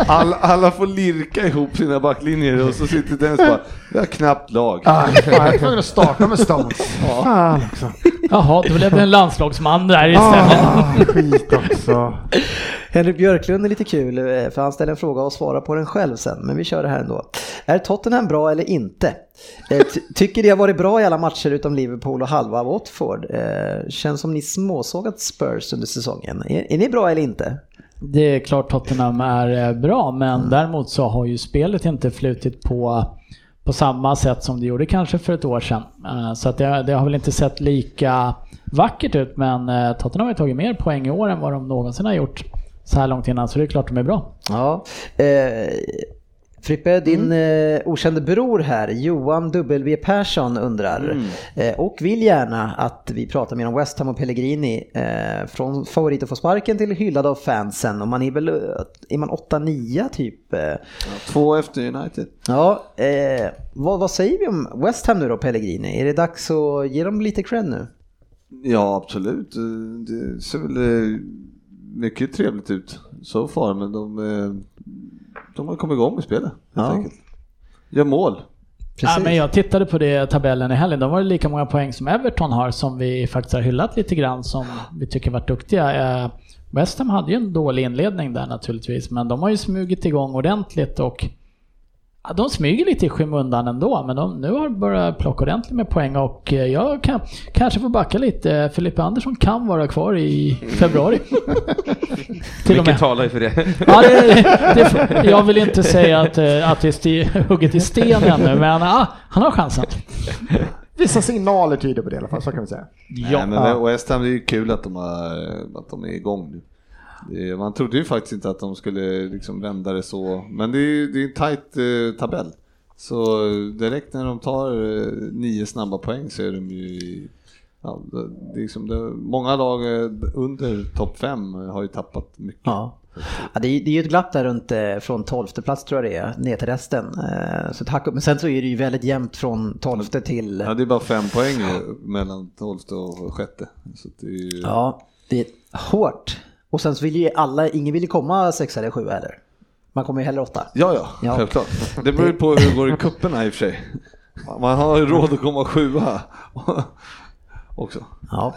[SPEAKER 5] All, alla får lirka ihop sina backlinjer och så sitter Dennis bara, vi har knappt lag.
[SPEAKER 15] Ah, fan, jag var tvungen att starta med Stones. Fan också.
[SPEAKER 3] Jaha, då blev det en landslagsman där istället.
[SPEAKER 15] skit också.
[SPEAKER 2] Henrik Björklund är lite kul eh, för han ställer en fråga och svarar på den själv sen. Men vi kör det här ändå. Är Tottenham bra eller inte? Eh, ty- Tycker det har varit bra i alla matcher utom Liverpool och halva Watford. Eh, Känns som ni småsågat Spurs under säsongen. Är, är ni bra eller inte?
[SPEAKER 3] Det är klart Tottenham är eh, bra, men däremot så har ju spelet inte flutit på, på samma sätt som det gjorde kanske för ett år sedan. Eh, Så att det, det har väl inte sett lika vackert ut, men eh, Tottenham har ju tagit mer poäng i år än vad de någonsin har gjort så här långt innan, så det är klart de är bra.
[SPEAKER 2] Ja. Eh, Frippe, din eh, okände bror här, Johan W Persson undrar eh, och vill gärna att vi pratar mer om West Ham och Pellegrini. Eh, från favorit att få sparken till hyllad av fansen. Och man är väl eh, är man 8-9 typ? Eh,
[SPEAKER 5] Två efter United.
[SPEAKER 2] ja, eh, vad, vad säger vi om West Ham nu då Pellegrini? Är det dags att ge dem lite cred nu?
[SPEAKER 5] Ja, absolut. Eh, Det ser väl eh, mycket trevligt ut så far, men de, eh, de har kommit igång med spelet helt
[SPEAKER 2] Ja.
[SPEAKER 5] enkelt. Gör mål.
[SPEAKER 3] Ja, men jag tittade på det tabellen i helgen. De har ju lika många poäng som Everton har, som vi faktiskt har hyllat lite grann, som vi tycker varit duktiga. Eh, West Ham hade ju en dålig inledning där naturligtvis, men de har ju smugit igång ordentligt och ja, de smyger lite i skymundan ändå, men de, nu har de börjat plocka ordentligt med poäng och eh, jag kan, kanske får backa lite. Filippa Andersson kan vara kvar i februari. Till och med.
[SPEAKER 4] Mycket talar ju för det.
[SPEAKER 3] Ja, det, det, jag vill inte säga att, eh, att det är sti, hugget i sten ännu, men ah, han har chansen.
[SPEAKER 17] Vissa signaler tyder på det i alla fall, så kan vi säga.
[SPEAKER 5] Ja. Nej, men West Ham, det är ju kul att de, har, att de är igång nu. Det- Man trodde ju faktiskt inte att de skulle liksom vända det så, men det är ju det är en tajt eh, tabell. Så eh, direkt när de tar eh, nio snabba poäng så är de ju i- ja, det- det är liksom, det, Många lag eh, under topp fem har ju tappat mycket.
[SPEAKER 2] Ja. Ja, det, är, det är ju ett glapp där runt eh, från 12 plats tror jag det är, ner till resten. Eh, Så ett hack upp. Men sen så är det ju väldigt jämnt från 12 till...
[SPEAKER 5] Ja, det är bara fem poäng ju mellan 12 och sjätte. Så att det är ju...
[SPEAKER 2] Ja, det är hårt. Och sen så vill ju alla, ingen vill ju komma sexa eller sjua heller. Man kommer ju hellre åtta.
[SPEAKER 5] Ja, ja,
[SPEAKER 2] Ja.
[SPEAKER 5] självklart. Det beror ju på hur det går i kupperna i och för sig. Man har ju råd att komma sjua också.
[SPEAKER 2] Ja.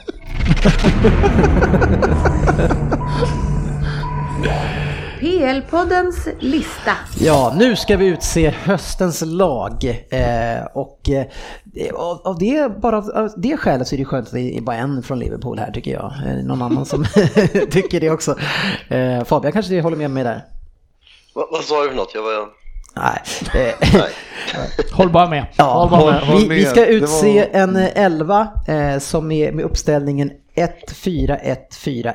[SPEAKER 1] PL-poddens lista.
[SPEAKER 2] ja, nu ska vi utse höstens lag. Eh, och eh, det- av, av det, bara av, av det skälet så är det skönt att det är bara en från Liverpool här tycker jag. Är det någon annan som tycker det också? Eh, Fabian kanske håller med mig där?
[SPEAKER 7] Va, vad sa du för något? Jag var...
[SPEAKER 2] Nej. Eh,
[SPEAKER 7] Nej.
[SPEAKER 3] Håll bara med.
[SPEAKER 2] Ja,
[SPEAKER 3] Håll bara med.
[SPEAKER 5] håll
[SPEAKER 2] vi,
[SPEAKER 5] med.
[SPEAKER 2] vi ska
[SPEAKER 5] Det
[SPEAKER 2] utse
[SPEAKER 5] var-
[SPEAKER 2] en eh, elva eh, som är med uppställningen 1-4-1-4-1.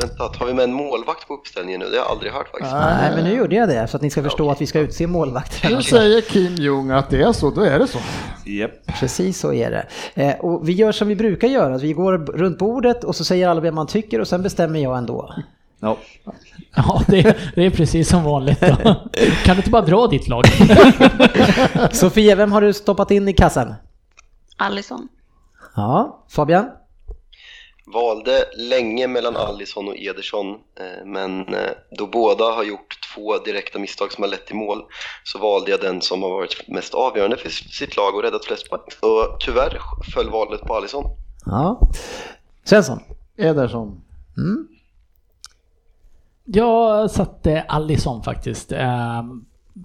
[SPEAKER 7] Vänta, tar vi med en målvakt på uppställningen nu? Det har jag aldrig hört faktiskt.
[SPEAKER 2] Nej, men nu gjorde jag det så att ni ska förstå att vi ska utse målvakter.
[SPEAKER 17] Nu säger Kim Jong att det är så, då är det så.
[SPEAKER 2] Precis så är det. Eh, och vi gör som vi brukar göra, att vi går b- runt bordet och så säger alla vem man tycker och sen bestämmer jag ändå.
[SPEAKER 5] Ja.
[SPEAKER 3] Ja, det, det är precis som vanligt. Då. Kan du inte bara dra ditt lag?
[SPEAKER 2] Sofia, vem har du stoppat in i kassen?
[SPEAKER 6] Allison.
[SPEAKER 2] Ja, Fabian?
[SPEAKER 7] Valde länge mellan Allison och Ederson, eh, men eh, då båda har gjort två direkta misstag som har lett till mål så valde jag den som har varit mest avgörande för sitt lag och räddat flest poäng. Så tyvärr föll valet på Allison.
[SPEAKER 2] Ja. Svensson?
[SPEAKER 17] Ederson.
[SPEAKER 2] Mm.
[SPEAKER 3] Jag satte Alisson faktiskt. Eh,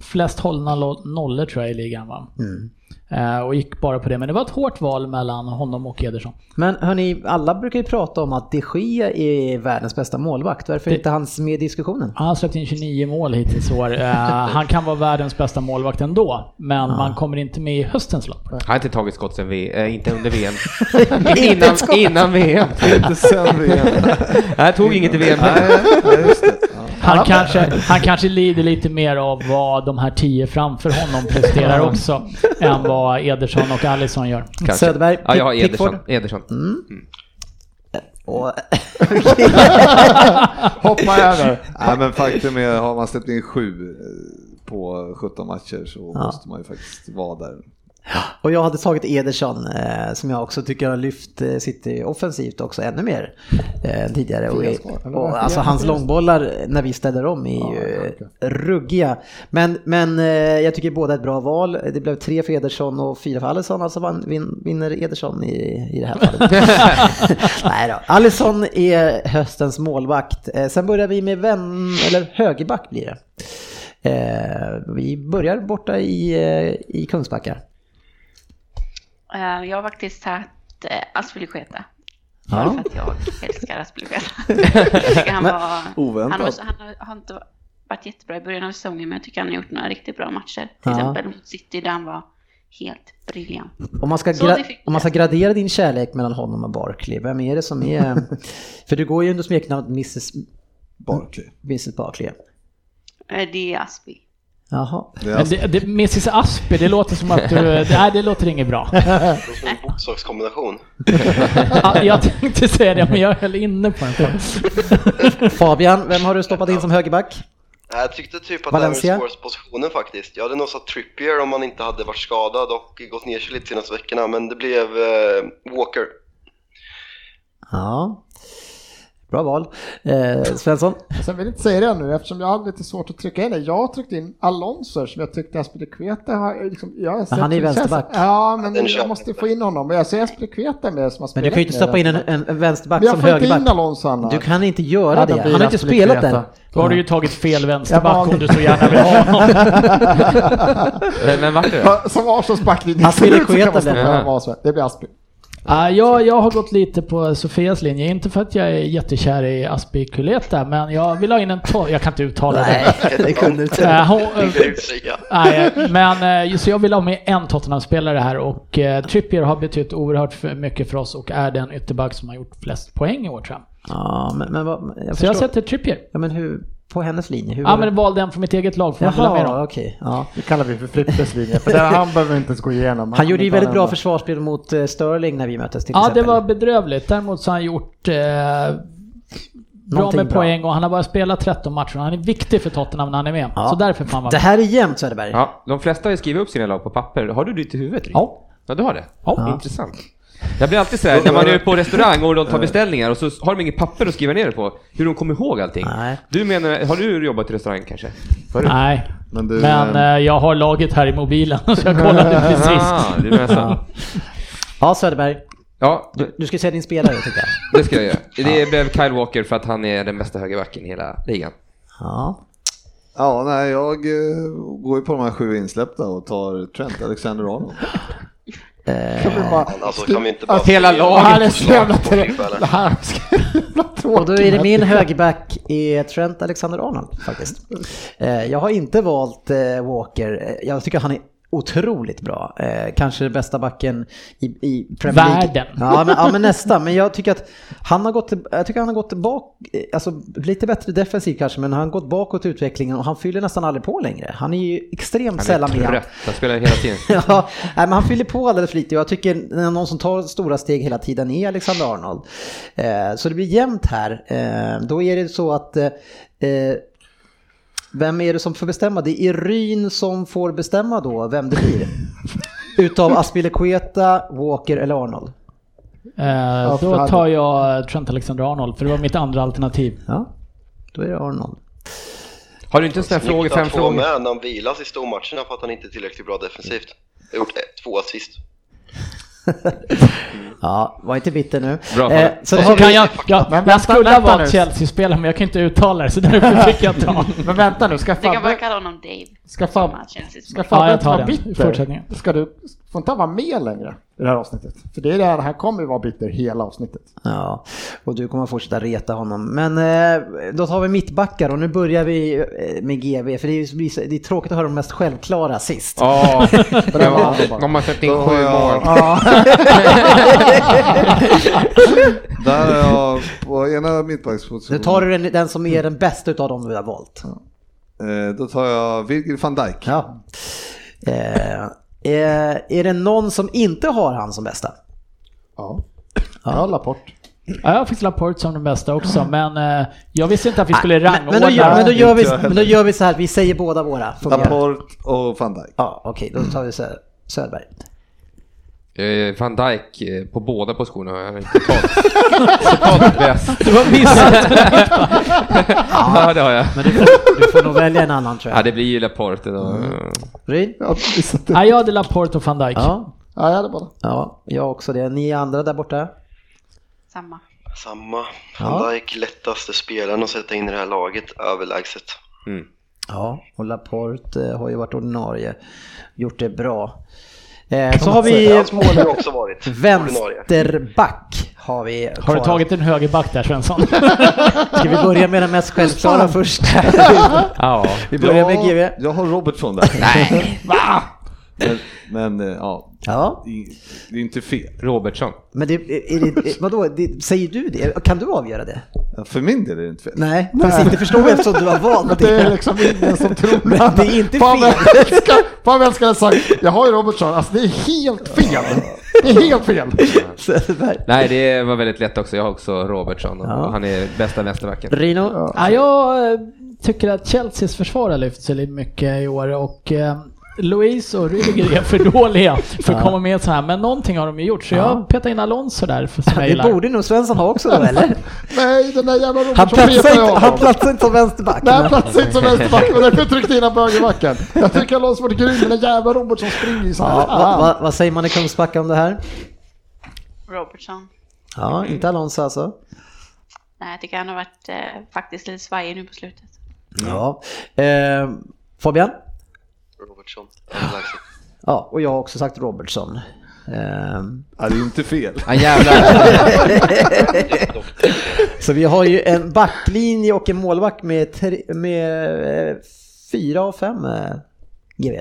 [SPEAKER 3] Flest hållna lo- nollor tror jag i ligan va? Eh, Och gick bara på det. Men det var ett hårt val mellan honom och Ederson.
[SPEAKER 2] Men hörni, alla brukar ju prata om att de Gea är världens bästa målvakt. Varför är inte han med i diskussionen?
[SPEAKER 3] Han har släppt in 29 mål hittills i år. Eh, Han kan vara världens bästa målvakt ändå, men man kommer inte med i höstens lopp.
[SPEAKER 4] Han har inte tagit skott sen V, eh, inte under VM. innan, innan VM.
[SPEAKER 5] Inte sen VM.
[SPEAKER 4] Jag tog inget i VM.
[SPEAKER 5] Nej, just det.
[SPEAKER 3] Han kanske, han kanske lider lite mer av vad de här tio framför honom presterar också, än vad Ederson och Alisson gör.
[SPEAKER 4] Kanske.
[SPEAKER 2] Söderberg,
[SPEAKER 4] Ja, jag har
[SPEAKER 2] Pick- Pickford.
[SPEAKER 4] Ederson. Ederson.
[SPEAKER 2] Mm. Och,
[SPEAKER 17] Hoppa över.
[SPEAKER 5] Nej, men faktum är, har man släppt in sju eh, på 17 matcher så måste man ju faktiskt vara där.
[SPEAKER 2] Och jag hade tagit Ederson eh, som jag också tycker har lyft eh, City offensivt också ännu mer eh, än tidigare. Och, och, alltså hans långbollar när vi ställer om är ju eh, ruggiga. Men, men eh, jag tycker båda är ett bra val. Det blev tre för Ederson och fyra för Alisson. Alltså vann, vin, vinner Ederson i, i det här fallet. Nej då. Alisson är höstens målvakt. Eh, sen börjar vi med vän, eller högerback blir det. Eh, vi börjar borta i, eh, i Kungsbacka.
[SPEAKER 6] Eh, Jag har faktiskt tagit eh, Aspilicueta.
[SPEAKER 2] Ja.
[SPEAKER 6] Bara För att jag älskar Aspilicueta. Jag tycker han, var, han,
[SPEAKER 5] Oväntat.
[SPEAKER 6] var, han har- har inte varit jättebra i början av säsongen men jag tycker han har gjort några riktigt bra matcher. Till
[SPEAKER 2] Ja.
[SPEAKER 6] exempel mot City där han var helt briljant.
[SPEAKER 2] Om man, ska
[SPEAKER 6] Så
[SPEAKER 2] gra-
[SPEAKER 6] det fick
[SPEAKER 2] om man ska gradera din kärlek mellan honom och Barkley, vem är det som är... För du går ju under smeknamnet Mrs.
[SPEAKER 5] Barkley.
[SPEAKER 2] Mrs. Barkley.
[SPEAKER 6] Eh, Det är Aspi.
[SPEAKER 2] Jaha.
[SPEAKER 5] Det är
[SPEAKER 3] Men det, det, Mrs Asper, det låter som att du... Nej, det låter inget bra.
[SPEAKER 7] Det är som en bokstavskombination.
[SPEAKER 3] Ja, Jag tänkte säga det, men jag höll inne på den.
[SPEAKER 2] Fabian, vem har du stoppat in som högerback?
[SPEAKER 7] Nej, Jag tyckte typ att det
[SPEAKER 2] Valencia?
[SPEAKER 7] här var den svåraste positionen faktiskt. Jag hade nog satt Trippier om han inte hade varit skadad och gått ner sig lite senaste veckorna, men det blev eh, Walker.
[SPEAKER 2] Ja. Bra val. Eh, Svensson?
[SPEAKER 15] Sen vill jag inte säga det nu eftersom jag hade lite svårt att trycka in det. Jag tryckte in Alonso som jag tyckte Aspilicueta har... Liksom, jag har sett-
[SPEAKER 2] han är ju
[SPEAKER 15] känns-
[SPEAKER 2] vänsterback.
[SPEAKER 15] Ja, men
[SPEAKER 7] Den
[SPEAKER 15] jag
[SPEAKER 7] köper
[SPEAKER 15] måste
[SPEAKER 7] inte.
[SPEAKER 15] få in honom. Men Jag ser Aspilicueta med som har
[SPEAKER 2] Men du kan ju inte stoppa in en, en, en vänsterback
[SPEAKER 15] Men jag
[SPEAKER 2] som
[SPEAKER 15] får inte in
[SPEAKER 2] högerback.
[SPEAKER 15] Alonso annars.
[SPEAKER 2] Du kan inte göra
[SPEAKER 15] Ja,
[SPEAKER 2] det.
[SPEAKER 15] då
[SPEAKER 2] Han
[SPEAKER 15] blir
[SPEAKER 2] har
[SPEAKER 15] det
[SPEAKER 2] inte spelat den.
[SPEAKER 15] Aspilicueta.
[SPEAKER 3] Då har du ju tagit fel
[SPEAKER 15] Jag
[SPEAKER 3] vänsterback
[SPEAKER 15] var-
[SPEAKER 3] om du så gärna vill ha honom.
[SPEAKER 4] Men, men vart är det?
[SPEAKER 15] Ja, Som Arsons backlinje
[SPEAKER 2] Aspilicueta
[SPEAKER 15] man stoppa
[SPEAKER 4] blir det.
[SPEAKER 15] in vad som helst. Det blir Aspi.
[SPEAKER 3] Ja, jag, jag har gått lite på Sofias linje, inte för att jag är jättekär i Aspi Kuleta, men jag vill ha in en torr... Jag kan inte uttala det.
[SPEAKER 2] Nej, det kunde du inte.
[SPEAKER 3] Äh, hon, eh,
[SPEAKER 7] Det är utsäga.
[SPEAKER 3] Nej, men eh, så jag vill ha med en Tottenham-spelare här och eh, Trippier har betytt oerhört för- mycket för oss och är den ytterback som har gjort flest poäng i år tror jag.
[SPEAKER 2] Ja, men, men vad, jag
[SPEAKER 3] Så
[SPEAKER 2] förstår.
[SPEAKER 3] jag sätter Trippier.
[SPEAKER 2] Ja, men hur, på hennes linje? Hur
[SPEAKER 3] Ja men valde en från mitt eget lag, får jag hålla med
[SPEAKER 2] Jaha,
[SPEAKER 3] dem.
[SPEAKER 2] okej. Ja.
[SPEAKER 15] Det kallar vi för Frippes linje. För där han behöver inte ens gå igenom.
[SPEAKER 2] Han gjorde ju
[SPEAKER 15] tar
[SPEAKER 2] väldigt
[SPEAKER 15] den
[SPEAKER 2] bra
[SPEAKER 15] ändå.
[SPEAKER 2] försvarsspel mot eh, Sterling när vi möttes till
[SPEAKER 3] Ja det
[SPEAKER 2] exempel.
[SPEAKER 3] var bedrövligt, däremot så har han gjort eh, bra
[SPEAKER 2] Någonting
[SPEAKER 3] med
[SPEAKER 2] bra.
[SPEAKER 3] poäng och han har bara spelat 13 matcher och han är viktig för Tottenham när han är med.
[SPEAKER 2] Ja.
[SPEAKER 3] Så därför får han vara
[SPEAKER 2] Det
[SPEAKER 3] med.
[SPEAKER 2] här är jämnt Söderberg.
[SPEAKER 4] Ja, de flesta har ju skrivit upp sina lag på papper. Har du ditt i huvudet? Rick?
[SPEAKER 3] Ja.
[SPEAKER 4] Ja, du har det?
[SPEAKER 3] Ja.
[SPEAKER 4] Intressant. Jag blir alltid såhär, när man är på restaurang och de tar beställningar och så har de inget papper att skriva ner det på, hur de kommer ihåg allting.
[SPEAKER 2] Nej.
[SPEAKER 4] Du menar, har du jobbat i restaurang kanske? Förut?
[SPEAKER 3] Nej,
[SPEAKER 5] Men du,
[SPEAKER 3] men
[SPEAKER 5] eh,
[SPEAKER 3] eh, jag har laget här i mobilen så jag kollade precis.
[SPEAKER 4] Ah, du menar så.
[SPEAKER 2] Ja, Söderberg.
[SPEAKER 4] Ja,
[SPEAKER 2] Du, du ska säga din spelare tycker jag.
[SPEAKER 4] det ska jag göra. Det blev Kyle Walker för att han är den bästa högerbacken i hela ligan.
[SPEAKER 2] Ja.
[SPEAKER 5] ja, nej, jag eh, går ju på de här sju insläppta och tar Trent Alexander-Arnold.
[SPEAKER 15] Kan vi bara-
[SPEAKER 7] Alltså kan vi inte bara...
[SPEAKER 4] Hela
[SPEAKER 15] Ja,
[SPEAKER 4] laget!
[SPEAKER 15] Han är så jävla trött.
[SPEAKER 7] Eller?
[SPEAKER 15] Han är så jävla tråkig.
[SPEAKER 2] Och då är det min högerback är Trent Alexander-Arnold faktiskt. Eh, Jag har inte valt eh, Walker. Eh, Jag tycker han är otroligt bra. Eh, Kanske den bästa backen i, i Premier League.
[SPEAKER 3] Världen.
[SPEAKER 2] Ja men, ja men nästan. Men jag tycker att han har gått, jag tycker han har gått bak, eh, alltså lite bättre defensivt kanske, men han har gått bakåt i utvecklingen och han fyller nästan aldrig på längre. Han är ju extremt
[SPEAKER 4] Han är
[SPEAKER 2] sällan med.
[SPEAKER 4] trött, han spelar hela tiden.
[SPEAKER 2] Ja, nej, men han fyller på alldeles för lite och jag tycker när någon som tar stora steg hela tiden är Alexander Arnold. Eh, så det blir jämnt här. Eh, då är det så att eh, eh, vem är det som får bestämma? Det är Ryn som får bestämma då vem det blir. Utav Aspilicueta, Walker eller Arnold.
[SPEAKER 3] Eh,
[SPEAKER 15] för
[SPEAKER 3] då
[SPEAKER 15] hade-
[SPEAKER 3] tar jag eh, Trent Alexander-Arnold för det var mitt andra alternativ.
[SPEAKER 2] Ja, då är det Arnold.
[SPEAKER 4] Har du inte en sån här fråga,
[SPEAKER 7] Snyggt
[SPEAKER 4] fem
[SPEAKER 7] att få
[SPEAKER 4] frågor?
[SPEAKER 7] med när han vilas i stormatcherna för att han inte är tillräckligt bra defensivt. Jag har gjort ett, två assist.
[SPEAKER 2] Ja, var inte bitter nu.
[SPEAKER 4] Bra,
[SPEAKER 2] Eh,
[SPEAKER 4] Fabian.
[SPEAKER 2] så
[SPEAKER 3] Och
[SPEAKER 2] har
[SPEAKER 3] så
[SPEAKER 2] vi,
[SPEAKER 3] kan jag, jag,
[SPEAKER 15] vänta,
[SPEAKER 3] jag skulle ha
[SPEAKER 15] vänta
[SPEAKER 3] varit
[SPEAKER 15] nu.
[SPEAKER 3] Chelsea-spelare men jag kan inte uttala det så därför fick jag ta.
[SPEAKER 15] Men vänta nu, ska
[SPEAKER 6] Du kan bara
[SPEAKER 15] Fabbe...
[SPEAKER 6] kalla honom Dave.
[SPEAKER 15] Ska
[SPEAKER 6] som
[SPEAKER 15] Fabbe...
[SPEAKER 6] har Chelsea som
[SPEAKER 15] Ska
[SPEAKER 6] målvakt.
[SPEAKER 15] Fabbe inte
[SPEAKER 3] Ja, jag tar
[SPEAKER 15] vara
[SPEAKER 3] den. I fortsättningen.
[SPEAKER 15] bitter? Ska du... Får inte han vara med längre i det här avsnittet? För det är det här, han kommer ju vara bitter hela avsnittet.
[SPEAKER 2] Ja, och du kommer fortsätta reta honom. Men eh, då tar vi mittbackar och nu börjar vi eh, med GB för det är, ju- det är tråkigt att höra de mest självklara sist.
[SPEAKER 4] Ja,
[SPEAKER 15] Bra.
[SPEAKER 4] de har släppt in
[SPEAKER 5] Då har
[SPEAKER 4] sju
[SPEAKER 5] jag-
[SPEAKER 4] mål.
[SPEAKER 5] Där har jag på ena mittbackspositionen.
[SPEAKER 2] Nu tar du den, den som är den bästa utav dem du har valt.
[SPEAKER 5] Eh, Då tar jag Virgil van Dijk.
[SPEAKER 2] Ja. Eh, eh, är det någon som inte har han som bästa?
[SPEAKER 15] Ja. Ja, Laporte.
[SPEAKER 3] Ja, jag fick Laporte som den bästa också, men eh, jag visste inte att vi skulle
[SPEAKER 2] Ah, men, men,
[SPEAKER 3] rangordna.
[SPEAKER 2] då gör, men, då gör vi,
[SPEAKER 5] Inte jag heller.
[SPEAKER 2] men då gör vi så här, vi säger båda våra. Får vi göra?
[SPEAKER 5] Laporte och van Dijk.
[SPEAKER 2] Ja, okej, då tar vi Sö- Söderberg.
[SPEAKER 4] Eh, Van Dijk eh, på båda positionerna. Han är totalt, totalt bäst.
[SPEAKER 3] Du har missat!
[SPEAKER 4] Ja, det har jag.
[SPEAKER 2] Men du får, du får nog välja en annan tror
[SPEAKER 4] Ja,
[SPEAKER 2] jag.
[SPEAKER 4] det blir ju Laporte då.
[SPEAKER 2] Ryn?
[SPEAKER 18] Jag hade missat det.
[SPEAKER 3] Nej, jag hade Laporte och van Dijk.
[SPEAKER 2] Ja.
[SPEAKER 18] Ja, jag hade bara.
[SPEAKER 2] ja, jag också det. Ni andra där borta?
[SPEAKER 6] Samma.
[SPEAKER 7] Samma. Van Dijk, lättaste spelaren att sätta in i det här laget, överlägset.
[SPEAKER 2] Ja, och Laporte eh, har ju varit ordinarie. Gjort det bra. Eh, så har vi
[SPEAKER 7] Hans mål har ju också varit ordinarie.
[SPEAKER 2] vänsterback. Har, vi
[SPEAKER 3] Har du
[SPEAKER 2] kvar.
[SPEAKER 3] tagit en högerback där Svensson?
[SPEAKER 2] Ska vi börja med den mest självklara först?
[SPEAKER 4] Ja.
[SPEAKER 2] vi börjar med
[SPEAKER 5] jag,
[SPEAKER 2] GV.
[SPEAKER 5] jag har Robertson där.
[SPEAKER 2] Nej.
[SPEAKER 5] Men, men eh, ja,
[SPEAKER 2] Ja,
[SPEAKER 5] det är- det är inte fel.
[SPEAKER 4] Robertson.
[SPEAKER 2] men det, är det, är- vadå, det, säger du det? Kan du avgöra det?
[SPEAKER 5] För min del är det inte fel.
[SPEAKER 2] Nej, fast inte förstår vi eftersom du har valt
[SPEAKER 18] Det är
[SPEAKER 2] det.
[SPEAKER 18] liksom ingen som tror
[SPEAKER 2] Men det är inte
[SPEAKER 18] Fan vad
[SPEAKER 2] fel.
[SPEAKER 18] jag älskar- Fan vad jag älskar att ha sagt, jag har ju Robertson, alltså det är helt fel. Det är helt fel.
[SPEAKER 2] Söderberg.
[SPEAKER 4] Nej, det var väldigt lätt också. Jag har också Robertson och
[SPEAKER 2] Ja.
[SPEAKER 4] han är bästa vänsterbacken.
[SPEAKER 2] Rino?
[SPEAKER 18] Alltså.
[SPEAKER 3] ja, jag eh, tycker att Chelseas försvar har lyft sig lite mycket i år och eh, Louise och Rüdiger är för dåliga för att komma med så här. Men någonting har de ju gjort så jag petar in Alonso där för som jag
[SPEAKER 2] Det
[SPEAKER 3] gillar.
[SPEAKER 2] borde nog Svensson ha också då eller?
[SPEAKER 18] Nej, den där jävla
[SPEAKER 2] Han
[SPEAKER 18] Robertson
[SPEAKER 2] platsar
[SPEAKER 18] petar jag
[SPEAKER 2] inte, han
[SPEAKER 18] honom.
[SPEAKER 2] platsar inte som vänsterback.
[SPEAKER 18] Nej, han
[SPEAKER 2] men-
[SPEAKER 18] platsar inte som vänsterback, men därför tryckte jag in honom på högerbacken. Jag tycker han låter som en grym, men den jävla Robertson springer ju så
[SPEAKER 2] Ja,
[SPEAKER 18] här.
[SPEAKER 2] va, va, vad säger man i Kungsbacka om det här?
[SPEAKER 6] Robertson.
[SPEAKER 2] Ja, inte Alonso alltså.
[SPEAKER 6] Nej, jag tycker han har varit eh, faktiskt lite svajig nu på slutet.
[SPEAKER 2] Ja. Eh, Fabian?
[SPEAKER 7] Robertson, överlägset.
[SPEAKER 2] Ja, och jag har också sagt Robertson. Eh,
[SPEAKER 5] Ja, det är inte fel.
[SPEAKER 4] Han jävlar.
[SPEAKER 2] så vi har ju en backlinje och en målvakt med, tre, med eh, fyra av fem eh, GV.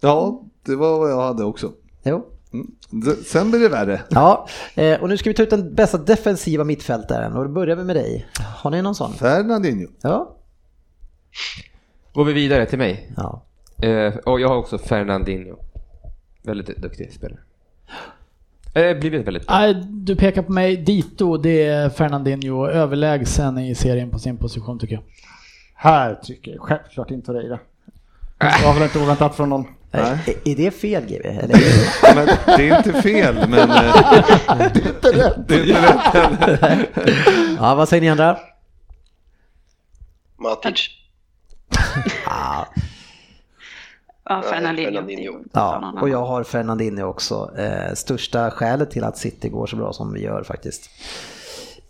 [SPEAKER 5] Ja, det var vad jag hade också.
[SPEAKER 2] Jo.
[SPEAKER 5] Mm. D- Sen blir det värre.
[SPEAKER 2] Ja, eh, och nu ska vi ta ut den bästa defensiva mittfältaren och då börjar vi med dig. Har ni någon sån?
[SPEAKER 5] Fernandinho.
[SPEAKER 2] Ja.
[SPEAKER 4] Går vi vidare till mig.
[SPEAKER 2] ja.
[SPEAKER 4] Eh, och jag har också Fernandinho. Väldigt duktig spelare. Eh, blivit väldigt bra.
[SPEAKER 3] Nej, du pekar på mig. Dito, det är Fernandinho. Överlägsen i serien på sin position tycker jag.
[SPEAKER 18] Här tycker jag självklart inte Torreira. Det var väl inte oväntat från någon.
[SPEAKER 2] Eh,
[SPEAKER 5] Nej.
[SPEAKER 2] Är, är det fel GV? Eller?
[SPEAKER 5] Men det är inte fel, men... eh, det är inte rätt. heller.
[SPEAKER 2] Ja, vad säger ni andra?
[SPEAKER 7] Matic,
[SPEAKER 6] Ja,
[SPEAKER 7] Nej,
[SPEAKER 6] Fernandinho.
[SPEAKER 7] Fernandinho.
[SPEAKER 2] Ja, och jag har Fernandinho också. Eh, största skälet till att City går så bra som vi gör faktiskt.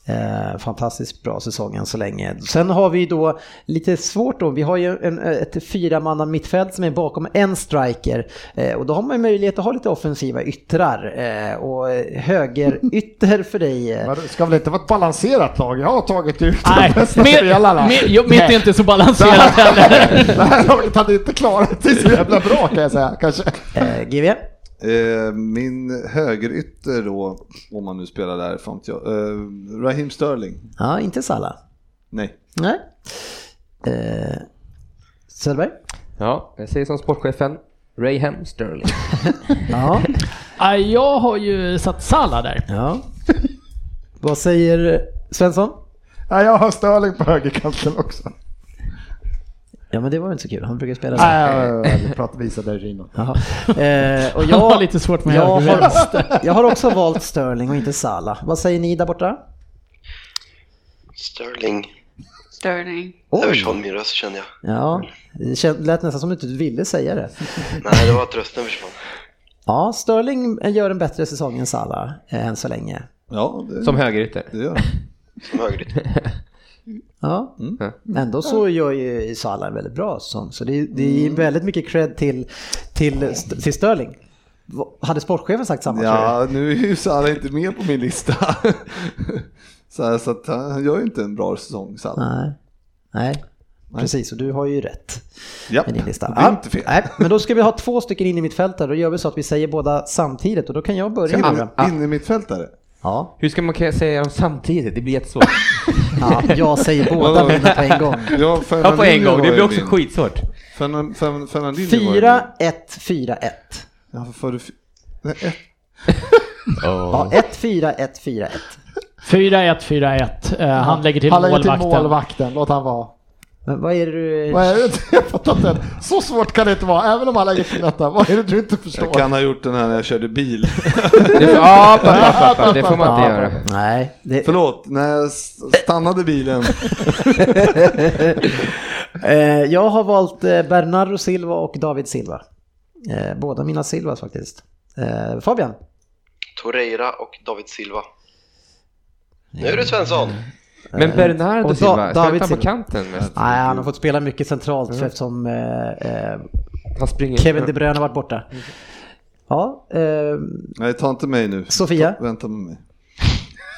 [SPEAKER 2] Eh, fantastiskt bra säsong än så länge. Sen har vi då lite svårt då. Vi har ju en, ett fyramanna mittfält som är bakom en striker. Eh, och då har man ju möjlighet att ha lite offensiva yttrar. Eh, och höger ytter för dig. eh,
[SPEAKER 18] Men det ska väl inte vara ett balanserat lag? Jag har tagit ut
[SPEAKER 3] Nej,
[SPEAKER 18] de bästa spelarna.
[SPEAKER 3] med, med, jo, mitt är inte så balanserat heller.
[SPEAKER 18] Det här laget hade inte klarat det så jävla bra kan jag säga kanske.
[SPEAKER 2] Eh, GV?
[SPEAKER 5] Eh, Min högerytter då, om man nu spelar där, fan vet jag. Eh, Raheem Sterling.
[SPEAKER 2] Ja, inte Salah.
[SPEAKER 5] Nej.
[SPEAKER 2] Nej. Eh, Söderberg?
[SPEAKER 4] Ja, jag säger som sportchefen. Rayham Sterling.
[SPEAKER 2] Ja.
[SPEAKER 3] Nej, jag har ju satt Salah där.
[SPEAKER 2] Ja. Vad säger Svensson?
[SPEAKER 18] Ja, jag har Sterling på högerkanten också.
[SPEAKER 2] Ja men det var ju inte så kul, han brukar spela så.
[SPEAKER 15] Eh,
[SPEAKER 18] Nej, vi pratar visa dig Rino.
[SPEAKER 2] Jaha. Eh, och
[SPEAKER 3] Jag har
[SPEAKER 2] jag,
[SPEAKER 3] lite svårt med
[SPEAKER 2] jag,
[SPEAKER 3] höger.
[SPEAKER 2] har, jag har också valt Sterling och inte Salah. Vad säger ni där borta?
[SPEAKER 7] Sterling,
[SPEAKER 6] Sterling.
[SPEAKER 7] där
[SPEAKER 2] Oj!
[SPEAKER 7] försvann min röst kände jag.
[SPEAKER 2] Ja, det kän- lät nästan som att du inte ville säga det.
[SPEAKER 7] Nej, det var att rösten försvann.
[SPEAKER 2] Ja, Sterling gör en bättre säsong än Salah eh, än så länge.
[SPEAKER 5] Ja, det,
[SPEAKER 4] Som högerytter.
[SPEAKER 5] det gör han.
[SPEAKER 7] Som högerytter.
[SPEAKER 2] Ja,
[SPEAKER 4] Mm.
[SPEAKER 2] ändå så gör ju Salah en väldigt bra säsong. Så det, det är väldigt mycket cred till, till, till Sterling. Va- Hade sportchefen sagt samma tror du?
[SPEAKER 5] Ja, nu är ju Salah inte med på min lista. Så, här, så att han gör ju inte en bra säsong, Salah.
[SPEAKER 2] Nej. Nej. Precis, och du har ju rätt.
[SPEAKER 5] Japp,
[SPEAKER 2] med din lista.
[SPEAKER 5] det är
[SPEAKER 2] Ja,
[SPEAKER 5] inte fel.
[SPEAKER 2] Nej, men då ska vi ha två stycken in i mitt fält där. Då gör vi så att vi säger båda samtidigt och då kan jag börja.
[SPEAKER 5] Inne,
[SPEAKER 2] Med.
[SPEAKER 5] inne i mittfältare.
[SPEAKER 2] Ja,
[SPEAKER 4] Hur ska man kunna säga dem samtidigt? Det blir jättesvårt.
[SPEAKER 2] ja, jag säger båda
[SPEAKER 5] Vadå?
[SPEAKER 2] mina på en gång.
[SPEAKER 5] Ja,
[SPEAKER 4] Ja,
[SPEAKER 5] Fernandinho
[SPEAKER 4] på en gång. Det
[SPEAKER 5] var ju
[SPEAKER 4] blir också
[SPEAKER 5] min.
[SPEAKER 4] skitsvårt.
[SPEAKER 5] Fernan- Fern- Fernandinho var ju min.
[SPEAKER 2] 4-1-4-1.
[SPEAKER 5] Ja, för du... Nej, ett.
[SPEAKER 2] Ja, 1-4-1-4-1.
[SPEAKER 3] 4-1, 4-1. Eh, han lägger till
[SPEAKER 18] Han lägger till
[SPEAKER 3] målvakten.
[SPEAKER 18] målvakten, låt han vara.
[SPEAKER 2] Men vad är det du...
[SPEAKER 15] Vad är det du har fattat den? Så svårt kan det inte vara, även om alla gick till detta. Vad är det du inte förstår?
[SPEAKER 5] Jag kan ha gjort den här när jag körde bil.
[SPEAKER 4] Det, ja, pa, pa, pa, pa, det får man inte göra.
[SPEAKER 2] Nej, det...
[SPEAKER 5] Förlåt, när jag s- stannade bilen.
[SPEAKER 2] Eh, jag har valt eh, Bernardo Silva och David Silva. Eh, båda mina Silvas faktiskt. Eh, Fabian?
[SPEAKER 7] Torreira och David Silva. Nu är det Svensson!
[SPEAKER 4] Men Bernardo
[SPEAKER 2] Och Da-
[SPEAKER 4] Silva, spelar
[SPEAKER 2] David
[SPEAKER 4] inte han
[SPEAKER 2] Silva.
[SPEAKER 4] på kanten mest?
[SPEAKER 2] Nej, han har fått spela mycket centralt
[SPEAKER 4] Mm.
[SPEAKER 2] för eftersom eh, eh,
[SPEAKER 4] Han springer
[SPEAKER 2] Kevin De Bruyne har varit borta.
[SPEAKER 4] Mm.
[SPEAKER 2] Ja, eh,
[SPEAKER 5] Nej, ta inte mig nu.
[SPEAKER 2] Sofia?
[SPEAKER 5] Vänta med mig.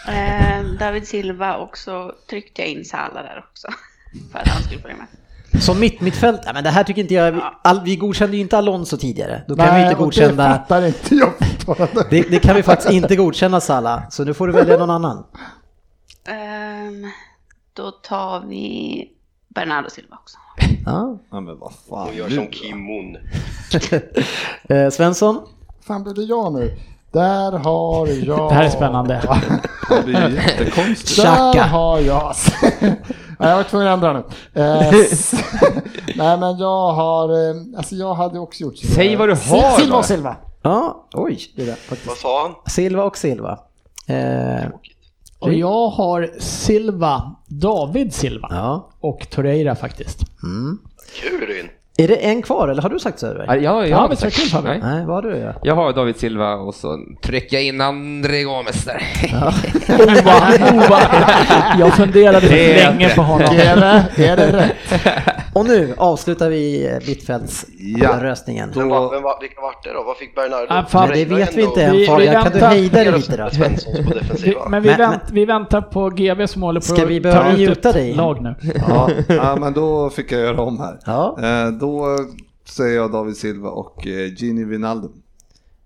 [SPEAKER 6] Eh, David Silva och så tryckte jag in Salah där också. För att han skulle följa med.
[SPEAKER 2] som mitt mittfält, nej, men det här tycker inte jag, vi, all, vi godkände ju inte Alonso tidigare. Då kan vi
[SPEAKER 15] Nej,
[SPEAKER 2] inte
[SPEAKER 15] och Det
[SPEAKER 2] godkänna,
[SPEAKER 15] fattar inte jag fortfarande.
[SPEAKER 2] det, det kan vi faktiskt inte godkänna Salla, så nu får du välja någon annan.
[SPEAKER 6] Ehm, då tar vi Bernardo Silva också.
[SPEAKER 2] Ja.
[SPEAKER 5] Ja, men vad fan.
[SPEAKER 7] Och gör
[SPEAKER 5] nu
[SPEAKER 7] som
[SPEAKER 5] då?
[SPEAKER 7] Kim Moon.
[SPEAKER 2] Eh, Svensson?
[SPEAKER 15] fan blev det jag nu? Där har jag...
[SPEAKER 3] Det här är spännande.
[SPEAKER 5] Det blir jättekonstigt.
[SPEAKER 2] Xhaka.
[SPEAKER 15] Där har jag... Nej, jag var tvungen att ändra nu. Eh, s- Nej, men jag har... eh, Alltså jag hade också gjort så.
[SPEAKER 4] Säg vad du
[SPEAKER 15] Sil-
[SPEAKER 4] har
[SPEAKER 15] Silva
[SPEAKER 4] då.
[SPEAKER 15] och Silva.
[SPEAKER 2] Ja, oj.
[SPEAKER 7] Vad sa han?
[SPEAKER 2] Silva och Silva. Eh,
[SPEAKER 3] Och jag har Silva, David Silva
[SPEAKER 2] ja.
[SPEAKER 3] och Torreira faktiskt.
[SPEAKER 7] Kul Ryn!
[SPEAKER 2] Är det en kvar eller har du sagt
[SPEAKER 4] Ja,
[SPEAKER 2] Söderberg?
[SPEAKER 4] jag, jag,
[SPEAKER 3] Ja,
[SPEAKER 4] har
[SPEAKER 3] men
[SPEAKER 4] sagt-
[SPEAKER 3] så kul, Fabian.
[SPEAKER 4] Nej.
[SPEAKER 2] Nej, vad har du? Ja.
[SPEAKER 4] jag har David Silva och så trycker jag in André Gomes där.
[SPEAKER 3] Ova, Ova. Jag funderade
[SPEAKER 4] Det är
[SPEAKER 3] länge
[SPEAKER 4] det.
[SPEAKER 3] på honom.
[SPEAKER 15] Är det, är det rätt?
[SPEAKER 2] Och nu avslutar vi eh, mittfältsröstningen.
[SPEAKER 7] Men vad, vem, var- vilka vart det då? Vad fick Bernardo?
[SPEAKER 3] Ah, fan,
[SPEAKER 2] Ja, det
[SPEAKER 7] Torreira
[SPEAKER 2] vet vi
[SPEAKER 7] ändå
[SPEAKER 2] inte än
[SPEAKER 3] Vi- vi
[SPEAKER 2] Fabian, kan du
[SPEAKER 3] väntar.
[SPEAKER 2] hejda dig
[SPEAKER 7] mer
[SPEAKER 2] lite då?
[SPEAKER 7] åt Svenssons på defensiva.
[SPEAKER 3] Men vi,
[SPEAKER 2] Men-
[SPEAKER 3] vänt, vi väntar på GB som håller på
[SPEAKER 2] Ska vi
[SPEAKER 3] att
[SPEAKER 2] börja
[SPEAKER 3] ta ut
[SPEAKER 2] mjuta
[SPEAKER 3] ett
[SPEAKER 2] dig?
[SPEAKER 3] lag nu.
[SPEAKER 5] Ja, ja, men då fick jag göra om här.
[SPEAKER 2] Ja.
[SPEAKER 5] Eh, Då säger jag David Silva och eh, Gini Wijnaldum.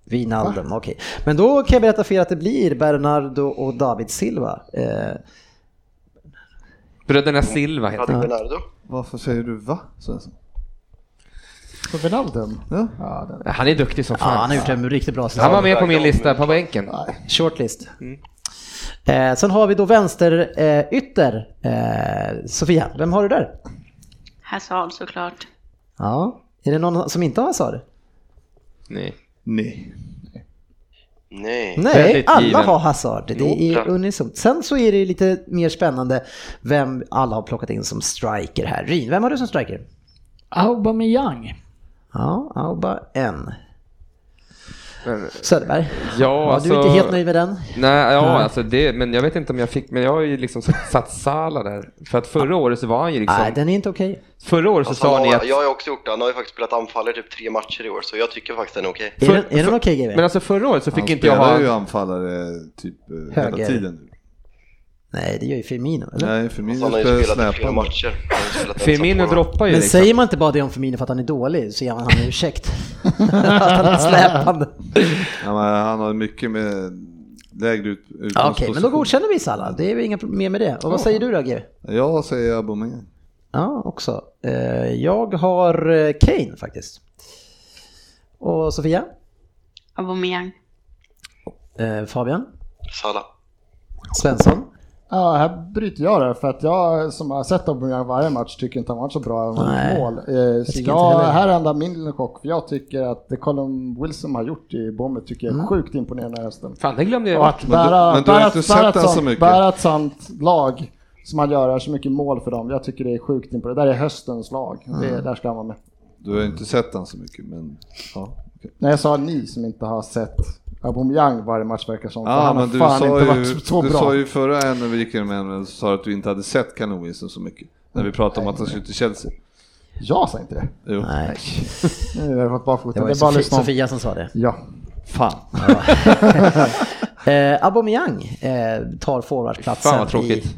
[SPEAKER 2] Wijnaldum, okej. Men då kan jag berätta för er att det blir Bernardo och David Silva. Eh,
[SPEAKER 4] Bröderna Silva heter
[SPEAKER 7] Hade Bernardo?
[SPEAKER 5] Varför säger du va, Svensson?
[SPEAKER 15] På Wijnaldum?
[SPEAKER 5] Ja.
[SPEAKER 15] Ja, den.
[SPEAKER 4] Han är duktig som
[SPEAKER 2] ja, han
[SPEAKER 4] fan.
[SPEAKER 2] har gjort en riktigt bra
[SPEAKER 4] Han Mm. var
[SPEAKER 2] säsong.
[SPEAKER 4] med på min lista på bänken.
[SPEAKER 2] Shortlist. Eh, sen har vi då vänster eh, ytter. Eh, Sofia, vem har du där?
[SPEAKER 6] Hazard såklart.
[SPEAKER 2] Ja. Är det någon som inte har Hazard?
[SPEAKER 4] Nej.
[SPEAKER 5] Nej.
[SPEAKER 7] Nej.
[SPEAKER 2] Nej,
[SPEAKER 4] Väldigt
[SPEAKER 2] alla
[SPEAKER 4] given.
[SPEAKER 2] har Hazard. Det
[SPEAKER 7] Jo,
[SPEAKER 2] är
[SPEAKER 7] ja.
[SPEAKER 2] unisont. Sen så är det ju lite mer spännande vem alla har plockat in som striker här. Ryn, vem har du som striker?
[SPEAKER 3] Aubameyang.
[SPEAKER 2] Ja, Auba en.
[SPEAKER 4] Men-
[SPEAKER 2] Söderberg,
[SPEAKER 4] Ja,
[SPEAKER 2] ja,
[SPEAKER 4] alltså,
[SPEAKER 2] du är inte helt nöjd med den?
[SPEAKER 4] Nej, ja, alltså det, men jag vet inte om jag fick, men jag har ju liksom satt Sala där. För att förra året så var han ju liksom,
[SPEAKER 2] Nej, den är inte okej.
[SPEAKER 4] förra året så
[SPEAKER 7] Alltså, han
[SPEAKER 4] sa ni
[SPEAKER 7] har,
[SPEAKER 4] att
[SPEAKER 7] jag har ju också gjort det. Han har ju faktiskt spelat anfallare typ tre matcher i år, så jag tycker faktiskt den är okej.
[SPEAKER 2] Är den, är den okej GB?
[SPEAKER 4] Men alltså förra året så
[SPEAKER 5] Han
[SPEAKER 4] fick inte jag ha...
[SPEAKER 5] spelar ju anfallare typ eh, hela
[SPEAKER 2] Höger.
[SPEAKER 5] tiden nu.
[SPEAKER 2] Nej, det gör ju Firmino. Eller?
[SPEAKER 5] Nej,
[SPEAKER 7] Alltså,
[SPEAKER 5] Firmino
[SPEAKER 7] Han har ju
[SPEAKER 5] spelar
[SPEAKER 7] spelat i flera
[SPEAKER 5] snäppan.
[SPEAKER 7] matcher. Han har ju spelat ensam
[SPEAKER 4] Firmino
[SPEAKER 7] på dem.
[SPEAKER 4] droppar ju
[SPEAKER 2] Men
[SPEAKER 4] liksom.
[SPEAKER 2] säger man inte bara det om Firmino för att han är dålig så ger man han en ursäkt. att han är släpande.
[SPEAKER 5] Ja, men han har mycket med lägre ut,
[SPEAKER 2] Ja, Okej, men då
[SPEAKER 5] utgångsposition.
[SPEAKER 2] godkänner vi Salah. Det är väl inga problem med det. Och vad säger du då GB?
[SPEAKER 5] Jag säger Aubameyang.
[SPEAKER 2] Ja, också. Eh, Jag har eh, Kane faktiskt. Och Sofia?
[SPEAKER 6] Aubameyang.
[SPEAKER 2] Eh, Fabian?
[SPEAKER 7] Salah.
[SPEAKER 2] Svensson?
[SPEAKER 15] Ja, här bryter jag det för att jag som har sett Aubameyang varje match tycker inte han varit så bra över
[SPEAKER 2] Nej.
[SPEAKER 15] mot mål. Eh, Så
[SPEAKER 2] tycker inte
[SPEAKER 15] jag,
[SPEAKER 2] heller.
[SPEAKER 15] här ändrar min lilla chock för jag tycker att det Colin Wilson har gjort i Bournemouth tycker
[SPEAKER 2] Mm.
[SPEAKER 15] jag är sjukt imponerande den här hösten.
[SPEAKER 4] Fan, det glömde
[SPEAKER 15] Och
[SPEAKER 4] jag.
[SPEAKER 15] att
[SPEAKER 5] Men du-
[SPEAKER 15] bära,
[SPEAKER 5] men du har
[SPEAKER 15] bära,
[SPEAKER 5] inte sett
[SPEAKER 15] bära, ett
[SPEAKER 5] den så
[SPEAKER 15] sånt-
[SPEAKER 5] mycket.
[SPEAKER 15] bära ett sånt lag som man gör, så mycket mål för dem. Jag tycker det är sjukt imponerande. Det där är höstens lag.
[SPEAKER 2] Mm.
[SPEAKER 15] Det, där ska han vara med.
[SPEAKER 5] Du har ju inte sett han så mycket, men ja. okej.
[SPEAKER 15] Nej, jag sa ni som inte har sett Aubameyang varje match verkar som. för
[SPEAKER 5] Ja,
[SPEAKER 15] han
[SPEAKER 5] men
[SPEAKER 15] har
[SPEAKER 5] du
[SPEAKER 15] fan
[SPEAKER 5] sa,
[SPEAKER 15] inte
[SPEAKER 5] ju,
[SPEAKER 15] varit så, så
[SPEAKER 5] du
[SPEAKER 15] bra.
[SPEAKER 5] sa ju förra en när vi gick igenom en så sa du att du inte hade sett Callum Wilson så mycket. När vi pratade om att han skulle till Chelsea.
[SPEAKER 15] Jag sa inte det.
[SPEAKER 5] Jo.
[SPEAKER 2] Nej,
[SPEAKER 15] Nu har jag fått
[SPEAKER 2] det
[SPEAKER 15] bakfoten.
[SPEAKER 2] var
[SPEAKER 15] Det
[SPEAKER 2] ju
[SPEAKER 15] är bara att
[SPEAKER 2] Sofia,
[SPEAKER 15] lyssna. om.
[SPEAKER 2] Sofia som sa det.
[SPEAKER 15] Ja.
[SPEAKER 5] Fan.
[SPEAKER 2] Eh, Aubameyang eh, tar forwardplatsen.
[SPEAKER 4] Fan, vad tråkigt.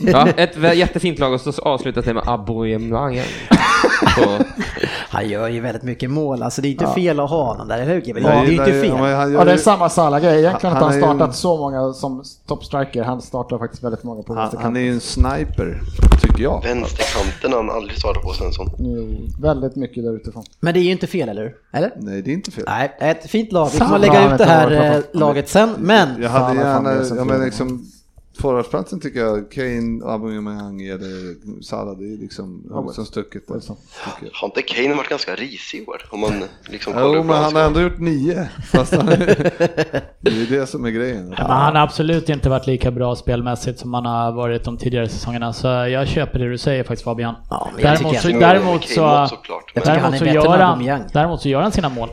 [SPEAKER 4] Ja, ett vä- jättefint lag och så avslutas det med Aubameyang. Så-
[SPEAKER 2] Han gör ju väldigt mycket mål, alltså det är inte fel att ha honom där, eller hur Kevin? Det
[SPEAKER 5] Jag
[SPEAKER 2] är ju
[SPEAKER 5] gillar
[SPEAKER 2] inte
[SPEAKER 5] ja, men
[SPEAKER 2] fel.
[SPEAKER 5] han gör
[SPEAKER 15] ja, det är
[SPEAKER 5] ju-
[SPEAKER 15] samma Salah-grej. Egentligen
[SPEAKER 5] Han
[SPEAKER 15] har inte
[SPEAKER 5] är
[SPEAKER 15] han
[SPEAKER 5] ju-
[SPEAKER 15] startat så många som toppstriker. Han startar faktiskt väldigt många på
[SPEAKER 5] Han, han
[SPEAKER 15] vänsterkanten.
[SPEAKER 5] är ju en sniper, tycker jag.
[SPEAKER 7] Vänsterkanten har han aldrig svarat på Svensson.
[SPEAKER 15] Jo, Väldigt mycket där utifrån.
[SPEAKER 2] Men det är ju inte fel, eller hur? Eller?
[SPEAKER 5] Nej, det är inte fel.
[SPEAKER 2] Nej, ett fint lag. Vi
[SPEAKER 15] Fan,
[SPEAKER 2] kommer
[SPEAKER 15] vad
[SPEAKER 2] lägga
[SPEAKER 15] han
[SPEAKER 2] ut det
[SPEAKER 15] inte har
[SPEAKER 2] här
[SPEAKER 15] varit
[SPEAKER 2] eh,
[SPEAKER 15] på-
[SPEAKER 2] laget sen, men
[SPEAKER 5] Jag hade
[SPEAKER 15] Fan, vad fan
[SPEAKER 5] gärna,
[SPEAKER 15] det är som
[SPEAKER 5] ja,
[SPEAKER 15] fel.
[SPEAKER 5] men liksom, Forwardsplatsen tycker jag, Kane, Aubameyang eller Salah, det är liksom
[SPEAKER 15] Ja,
[SPEAKER 5] ja, som stucket. där,
[SPEAKER 15] Wilson.
[SPEAKER 5] tycker jag.
[SPEAKER 7] Har inte Kane varit ganska risig i år? Om man liksom kollar
[SPEAKER 5] Jo,
[SPEAKER 7] upp
[SPEAKER 5] men han har
[SPEAKER 7] landslaget.
[SPEAKER 5] ändå gjort nio. Fast han, det är det som är grejen.
[SPEAKER 3] Men han har absolut inte varit lika bra spelmässigt som han har varit de tidigare säsongerna. Så jag köper det du säger faktiskt Fabian.
[SPEAKER 2] Ja, men jag
[SPEAKER 3] Däremot
[SPEAKER 2] tycker
[SPEAKER 3] så,
[SPEAKER 7] Jo,
[SPEAKER 3] däremot
[SPEAKER 7] Kane
[SPEAKER 3] så,
[SPEAKER 7] också, såklart.
[SPEAKER 2] Jag
[SPEAKER 7] Men,
[SPEAKER 2] tycker han
[SPEAKER 3] däremot,
[SPEAKER 2] är
[SPEAKER 3] så
[SPEAKER 2] bättre
[SPEAKER 3] gör
[SPEAKER 2] än
[SPEAKER 3] han,
[SPEAKER 2] Aubameyang.
[SPEAKER 3] däremot så gör han sina mål.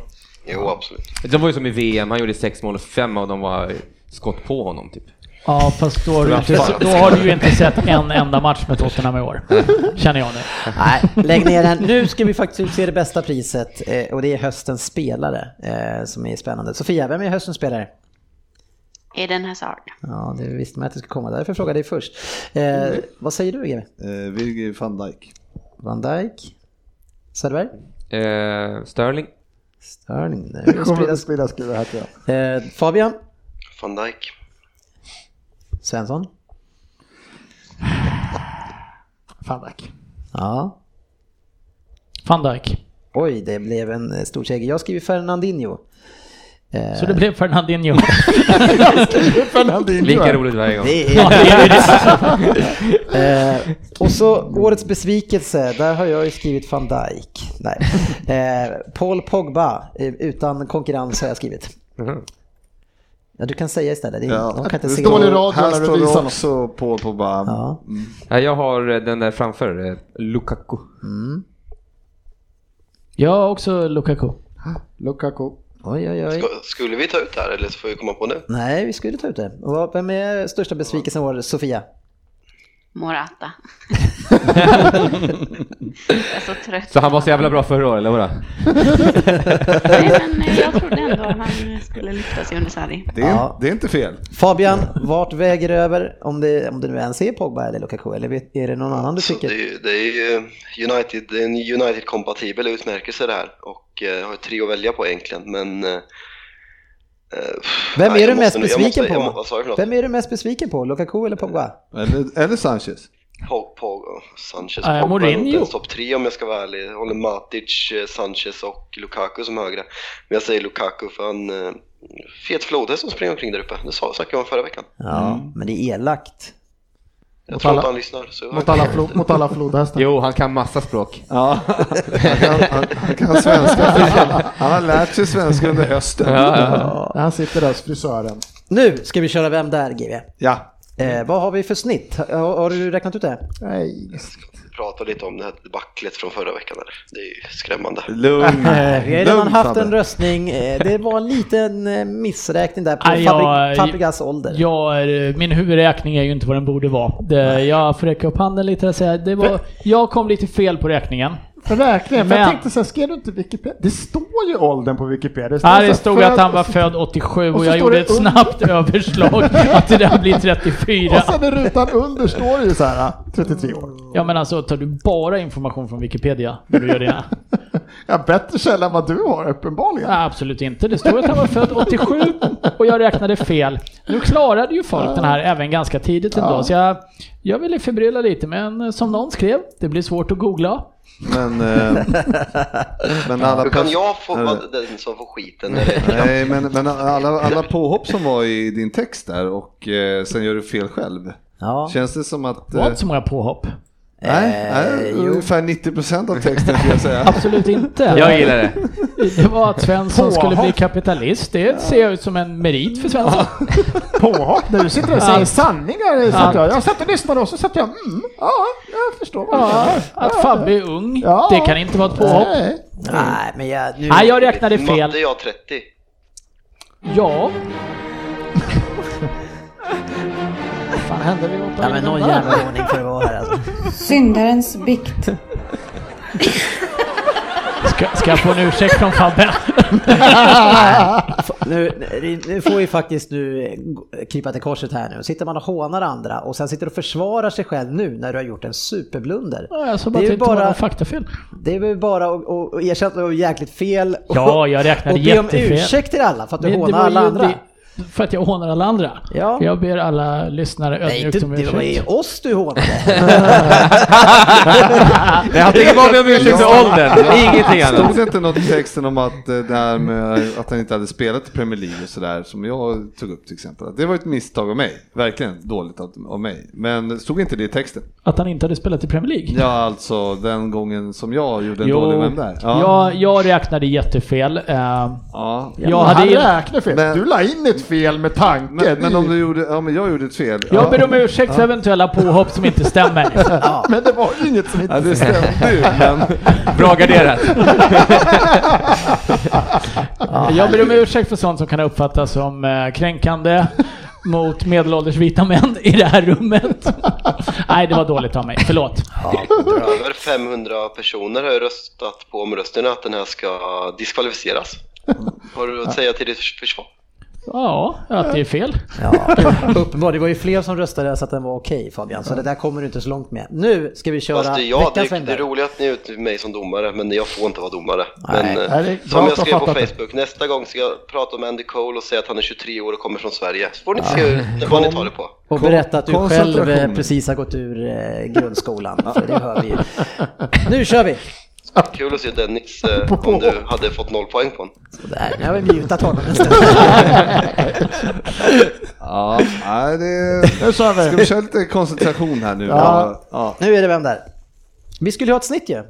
[SPEAKER 7] jo, absolut.
[SPEAKER 4] De var ju som i VM, han gjorde sex mål och fem av dem var skott på honom typ.
[SPEAKER 3] Ja fast då har, du inte, då har du ju inte sett en enda match med Tottenham i år. Känner jag nu.
[SPEAKER 2] Nej, lägg ner den. Nu ska vi faktiskt utse det bästa priset eh, och det är höstens spelare eh, som är spännande. Sofia, vem är höstens spelare?
[SPEAKER 6] Är den Hazard?
[SPEAKER 2] Ja, det visste man att det skulle komma. Därför frågade jag dig först. Eh, vad säger du, GW?
[SPEAKER 5] Eh, Virgil van Dijk.
[SPEAKER 2] Van Dijk? Söderberg?
[SPEAKER 4] Eh, Sterling.
[SPEAKER 2] Störning? Nej,
[SPEAKER 15] Det kommer
[SPEAKER 2] sprida-
[SPEAKER 15] att sprida skriva här till jag.
[SPEAKER 2] Eh, Fabian?
[SPEAKER 7] Van Dijk.
[SPEAKER 2] Svensson?
[SPEAKER 15] Fan tack.
[SPEAKER 2] Ja.
[SPEAKER 3] Van Dijk.
[SPEAKER 2] Oj, det blev en eh, stor seger. Jag skriver Fernandinho. Eh,
[SPEAKER 3] Så det blev Fernandinho.
[SPEAKER 15] Fernandinho.
[SPEAKER 4] Lika roligt varje gång.
[SPEAKER 2] det
[SPEAKER 3] Ja,
[SPEAKER 2] är...
[SPEAKER 3] det är det.
[SPEAKER 2] Eh, och så årets besvikelse, där har jag ju skrivit van Dijk. Nej. Eh, Paul Pogba, eh, utan konkurrens har jag skrivit.
[SPEAKER 4] Mm-hmm.
[SPEAKER 2] Ja, du kan säga istället. Det är,
[SPEAKER 5] Ja.
[SPEAKER 2] De kan inte
[SPEAKER 15] Det
[SPEAKER 2] se.
[SPEAKER 15] står i radio
[SPEAKER 5] Här
[SPEAKER 15] när du
[SPEAKER 5] står det
[SPEAKER 15] visar något.
[SPEAKER 5] också på, på bara...
[SPEAKER 2] Ja.
[SPEAKER 4] Ja, jag har eh, den där framför, eh, Lukaku.
[SPEAKER 3] Jag har också Lukaku.
[SPEAKER 15] Lukaku.
[SPEAKER 2] Oj, oj, oj.
[SPEAKER 7] Ska- Skulle vi ta ut det här eller så får vi komma på nu?
[SPEAKER 2] Nej, vi skulle ta ut det. Och vad- vem är största besvikelsen i år, Sofia?
[SPEAKER 6] Morata. jag är så trött.
[SPEAKER 4] Så han var så jävla bra förra året, eller vadå?
[SPEAKER 6] Nej, men eh, jag trodde ändå han skulle lyfta sig under Sarri.
[SPEAKER 5] Det, är,
[SPEAKER 2] Ja.
[SPEAKER 5] det är inte fel.
[SPEAKER 2] Fabian, vart väger det över? Om det, om det nu ens är Pogba eller Lukaku, eller vet- är det någon annan du
[SPEAKER 7] Så Alltså, det,
[SPEAKER 2] tycker?
[SPEAKER 7] är, ju- det är ju eh, United, det är en United-kompatibel utmärkelse det här och eh, har ju tre att välja på egentligen men... eh, eh,
[SPEAKER 2] Vem
[SPEAKER 7] nej,
[SPEAKER 2] är du
[SPEAKER 7] jag
[SPEAKER 2] mest
[SPEAKER 7] måste nog- jag måste-
[SPEAKER 2] besviken
[SPEAKER 7] jag må-
[SPEAKER 2] på?
[SPEAKER 7] Vad sa du för något?
[SPEAKER 2] Vem är du mest besviken på? Lukaku eller Pogba?
[SPEAKER 5] Eller, eller Sanchez.
[SPEAKER 7] Pog, Pog, Sanchez,
[SPEAKER 3] Eh,
[SPEAKER 7] Pogba
[SPEAKER 3] Mourinho.
[SPEAKER 7] är nog inte ens topp tre om jag ska vara ärlig. Jag håller Matic, eh, Sanchez och Lukaku som högre. Men jag säger Lukaku för han... eh, Fet flodhäst som springer omkring där uppe. Det sa- snackade jag om förra veckan.
[SPEAKER 2] Ja,
[SPEAKER 7] Mm.
[SPEAKER 2] men det är elakt.
[SPEAKER 7] Jag tror
[SPEAKER 15] alla-
[SPEAKER 7] att han lyssnar. Så
[SPEAKER 15] Mot alla, flo- mot alla flodhästar.
[SPEAKER 4] Jo, han kan massa språk.
[SPEAKER 5] Ja. Han, kan, han, han kan svenska. Han har lärt sig svenska under hösten.
[SPEAKER 15] Han sitter där hos frisören.
[SPEAKER 2] Nu ska vi köra Vem där GW?
[SPEAKER 5] Ja.
[SPEAKER 2] Eh, vad har vi för snitt? Har, har du räknat ut det?
[SPEAKER 15] Nej,
[SPEAKER 7] Vi pratade lite om det här debaclet från förra veckan. Där. Det är ju skrämmande.
[SPEAKER 5] Lugn.
[SPEAKER 3] Eh,
[SPEAKER 2] Eh, Vi har redan
[SPEAKER 5] Lugn,
[SPEAKER 2] haft en
[SPEAKER 5] Fabbe.
[SPEAKER 2] röstning. Eh, det var en liten eh, missräkning där på
[SPEAKER 3] Nej, Ah, jag-
[SPEAKER 2] Fabri- Fabregas ålder.
[SPEAKER 3] Jag är, eh, min huvudräkning är ju inte vad den borde vara. Det, jag får räcka upp handen lite och säga det var, jag kom lite fel på räkningen.
[SPEAKER 15] räkningen. Men
[SPEAKER 3] Men-
[SPEAKER 15] jag tänkte så här, skrev du inte Wikipedia? Det står ju åldern på Wikipedia. Det
[SPEAKER 3] Här
[SPEAKER 15] så här,
[SPEAKER 3] det stod
[SPEAKER 15] född-
[SPEAKER 3] att han var född 87 och,
[SPEAKER 15] och så
[SPEAKER 3] jag
[SPEAKER 15] står
[SPEAKER 3] gjorde
[SPEAKER 15] det
[SPEAKER 3] ett
[SPEAKER 15] under.
[SPEAKER 3] snabbt överslag att det där blir 34.
[SPEAKER 15] Och sen i rutan under står det ju så här, 33 år.
[SPEAKER 3] Ja men alltså tar du bara information från Wikipedia när du gör det?
[SPEAKER 15] Ja, bättre källa än vad du har uppenbarligen.
[SPEAKER 3] Nej, absolut inte. Det stod att han var född 87 och jag räknade fel. Nu klarade ju folk den här även ganska tidigt ändå så jag, jag ville förbrylla lite men som någon skrev, det blir svårt att googla.
[SPEAKER 5] Men, eh, men alla...
[SPEAKER 7] Hur kan
[SPEAKER 5] pers-
[SPEAKER 7] jag få
[SPEAKER 5] Nej,
[SPEAKER 7] vara den som får skiten? när det-
[SPEAKER 5] Nej, men, men alla, alla påhopp som var i din text där och eh, sen gör du fel själv.
[SPEAKER 2] Ja.
[SPEAKER 5] Känns det som att...
[SPEAKER 3] Det var
[SPEAKER 5] eh,
[SPEAKER 3] inte så många påhopp.
[SPEAKER 5] Nej,
[SPEAKER 3] Eh,
[SPEAKER 5] nej
[SPEAKER 2] jo.
[SPEAKER 5] ungefär 90% av texten skulle jag säga.
[SPEAKER 3] Absolut inte.
[SPEAKER 4] Jag gillar det.
[SPEAKER 3] Det var att Svensson skulle bli kapitalist. Det ser jag ut som en merit för Svensson.
[SPEAKER 15] Påhopp när du sitter och säger
[SPEAKER 3] Allt.
[SPEAKER 15] sanningar. Satt jag. jag satt och lyssnade och så satt jag, mm, ja, jag förstår vad du
[SPEAKER 3] Ja,
[SPEAKER 15] menar.
[SPEAKER 3] att Fabbe är ung,
[SPEAKER 15] Ja.
[SPEAKER 3] det kan inte vara ett påhopp.
[SPEAKER 15] Nej.
[SPEAKER 2] Nej, men jag... Nu...
[SPEAKER 3] Nej, Ah, jag räknade
[SPEAKER 7] Matte
[SPEAKER 3] fel.
[SPEAKER 7] är jag 30.
[SPEAKER 3] Ja,
[SPEAKER 15] Fan, hände det något?
[SPEAKER 2] Ja, men någon jävla ordning får det vara här alltså.
[SPEAKER 1] Syndarens bikt.
[SPEAKER 3] ska, ska jag få en ursäkt från Fabbe?
[SPEAKER 2] Nu, nu får vi faktiskt nu krypa till korset här nu. Sitter man och hånar andra och sen sitter och försvarar sig själv nu när du har gjort en superblunder.
[SPEAKER 3] Ja, Jag sa
[SPEAKER 2] det
[SPEAKER 3] bara
[SPEAKER 2] är
[SPEAKER 3] att
[SPEAKER 2] ju
[SPEAKER 3] det inte var någon
[SPEAKER 2] bara,
[SPEAKER 3] faktafel.
[SPEAKER 2] det är väl bara att- att att erkänna att du har jäkligt fel och,
[SPEAKER 3] Ja, jag räknade
[SPEAKER 2] och be om
[SPEAKER 3] jättefel.
[SPEAKER 2] ursäkt till alla för att du
[SPEAKER 3] Men det
[SPEAKER 2] hånar
[SPEAKER 3] var ju
[SPEAKER 2] alla andra.
[SPEAKER 3] det- För att jag hånar alla andra.
[SPEAKER 2] Ja.
[SPEAKER 3] Jag ber alla lyssnare
[SPEAKER 2] Nej,
[SPEAKER 3] ödmjukt
[SPEAKER 2] inte,
[SPEAKER 3] om
[SPEAKER 2] det var ju
[SPEAKER 3] ursäkt.
[SPEAKER 2] oss du hånade.
[SPEAKER 4] Jag tänker bara be om ursäkt för åldern, ingenting
[SPEAKER 5] Stod
[SPEAKER 4] annat.
[SPEAKER 5] det inte något i texten om att eh, det här med att han inte hade spelat i Premier League och sådär som jag tog upp till exempel. Att Det var ett misstag av mig. Verkligen dåligt av av mig. Men stod inte det i texten?
[SPEAKER 3] Att han inte hade spelat i Premier League.
[SPEAKER 5] Ja, alltså den gången som jag gjorde en dålig vän där. Ja.
[SPEAKER 3] Jag, jag räknade jättefel. Eh,
[SPEAKER 5] Ja.
[SPEAKER 3] jag
[SPEAKER 18] han
[SPEAKER 3] hade ju...
[SPEAKER 18] räknar fel.
[SPEAKER 5] Men-
[SPEAKER 18] Du la in ett fel med tanken.
[SPEAKER 5] Men, men om
[SPEAKER 18] i-
[SPEAKER 5] du gjorde, ja men jag gjorde ett fel.
[SPEAKER 3] Jag ber om ursäkt för eventuella påhopp som inte stämmer.
[SPEAKER 18] men det var ju inget som inte...
[SPEAKER 5] Ja, det stämde ju, men
[SPEAKER 4] Bra garderat.
[SPEAKER 3] Jag ber om ursäkt för sånt som kan uppfattas som eh, kränkande mot medelålders vita män i det här rummet. Nej, det var dåligt av mig. Förlåt.
[SPEAKER 7] Över 500 personer har ju röstat på omröstningen att den här ska diskvalificeras. Har du att säga till ditt försvar?
[SPEAKER 3] Ja, att det är fel.
[SPEAKER 2] ja, uppenbar. Det var ju fler som röstade så att den var okej Fabian, så det där kommer du inte så långt med. Nu ska vi köra
[SPEAKER 7] Fast det, ja, det,
[SPEAKER 2] veckans
[SPEAKER 7] är- det
[SPEAKER 2] Wennberg.
[SPEAKER 7] är roligt att ni utger mig som domare, men jag får inte vara domare.
[SPEAKER 2] Nej.
[SPEAKER 7] Men, eh,
[SPEAKER 18] Nej, det är bra
[SPEAKER 7] som
[SPEAKER 18] att
[SPEAKER 7] jag
[SPEAKER 18] du har
[SPEAKER 7] skrev på
[SPEAKER 18] fattat det.
[SPEAKER 7] Facebook, nästa gång ska jag prata om Andy Cole och säga att han är 23 år och kommer från Sverige. Så får ni se hur- vad ni tar det på.
[SPEAKER 2] Och berätta att du
[SPEAKER 5] Kon-
[SPEAKER 2] själv eh,
[SPEAKER 5] koncentration.
[SPEAKER 2] precis har gått ur eh, grundskolan, för det hör vi ju. Nu kör vi!
[SPEAKER 7] Kul att se Dennis, eh, om du hade fått noll poäng på honom.
[SPEAKER 2] Sådär, nu har vi mutat honom en stund.
[SPEAKER 5] Ja, nej, det...
[SPEAKER 18] Nu kör vi.
[SPEAKER 5] Ska vi köra lite koncentration här nu?
[SPEAKER 2] Ja.
[SPEAKER 5] ja.
[SPEAKER 2] Nu är det vem där? Vi skulle ju ha ett snitt ju.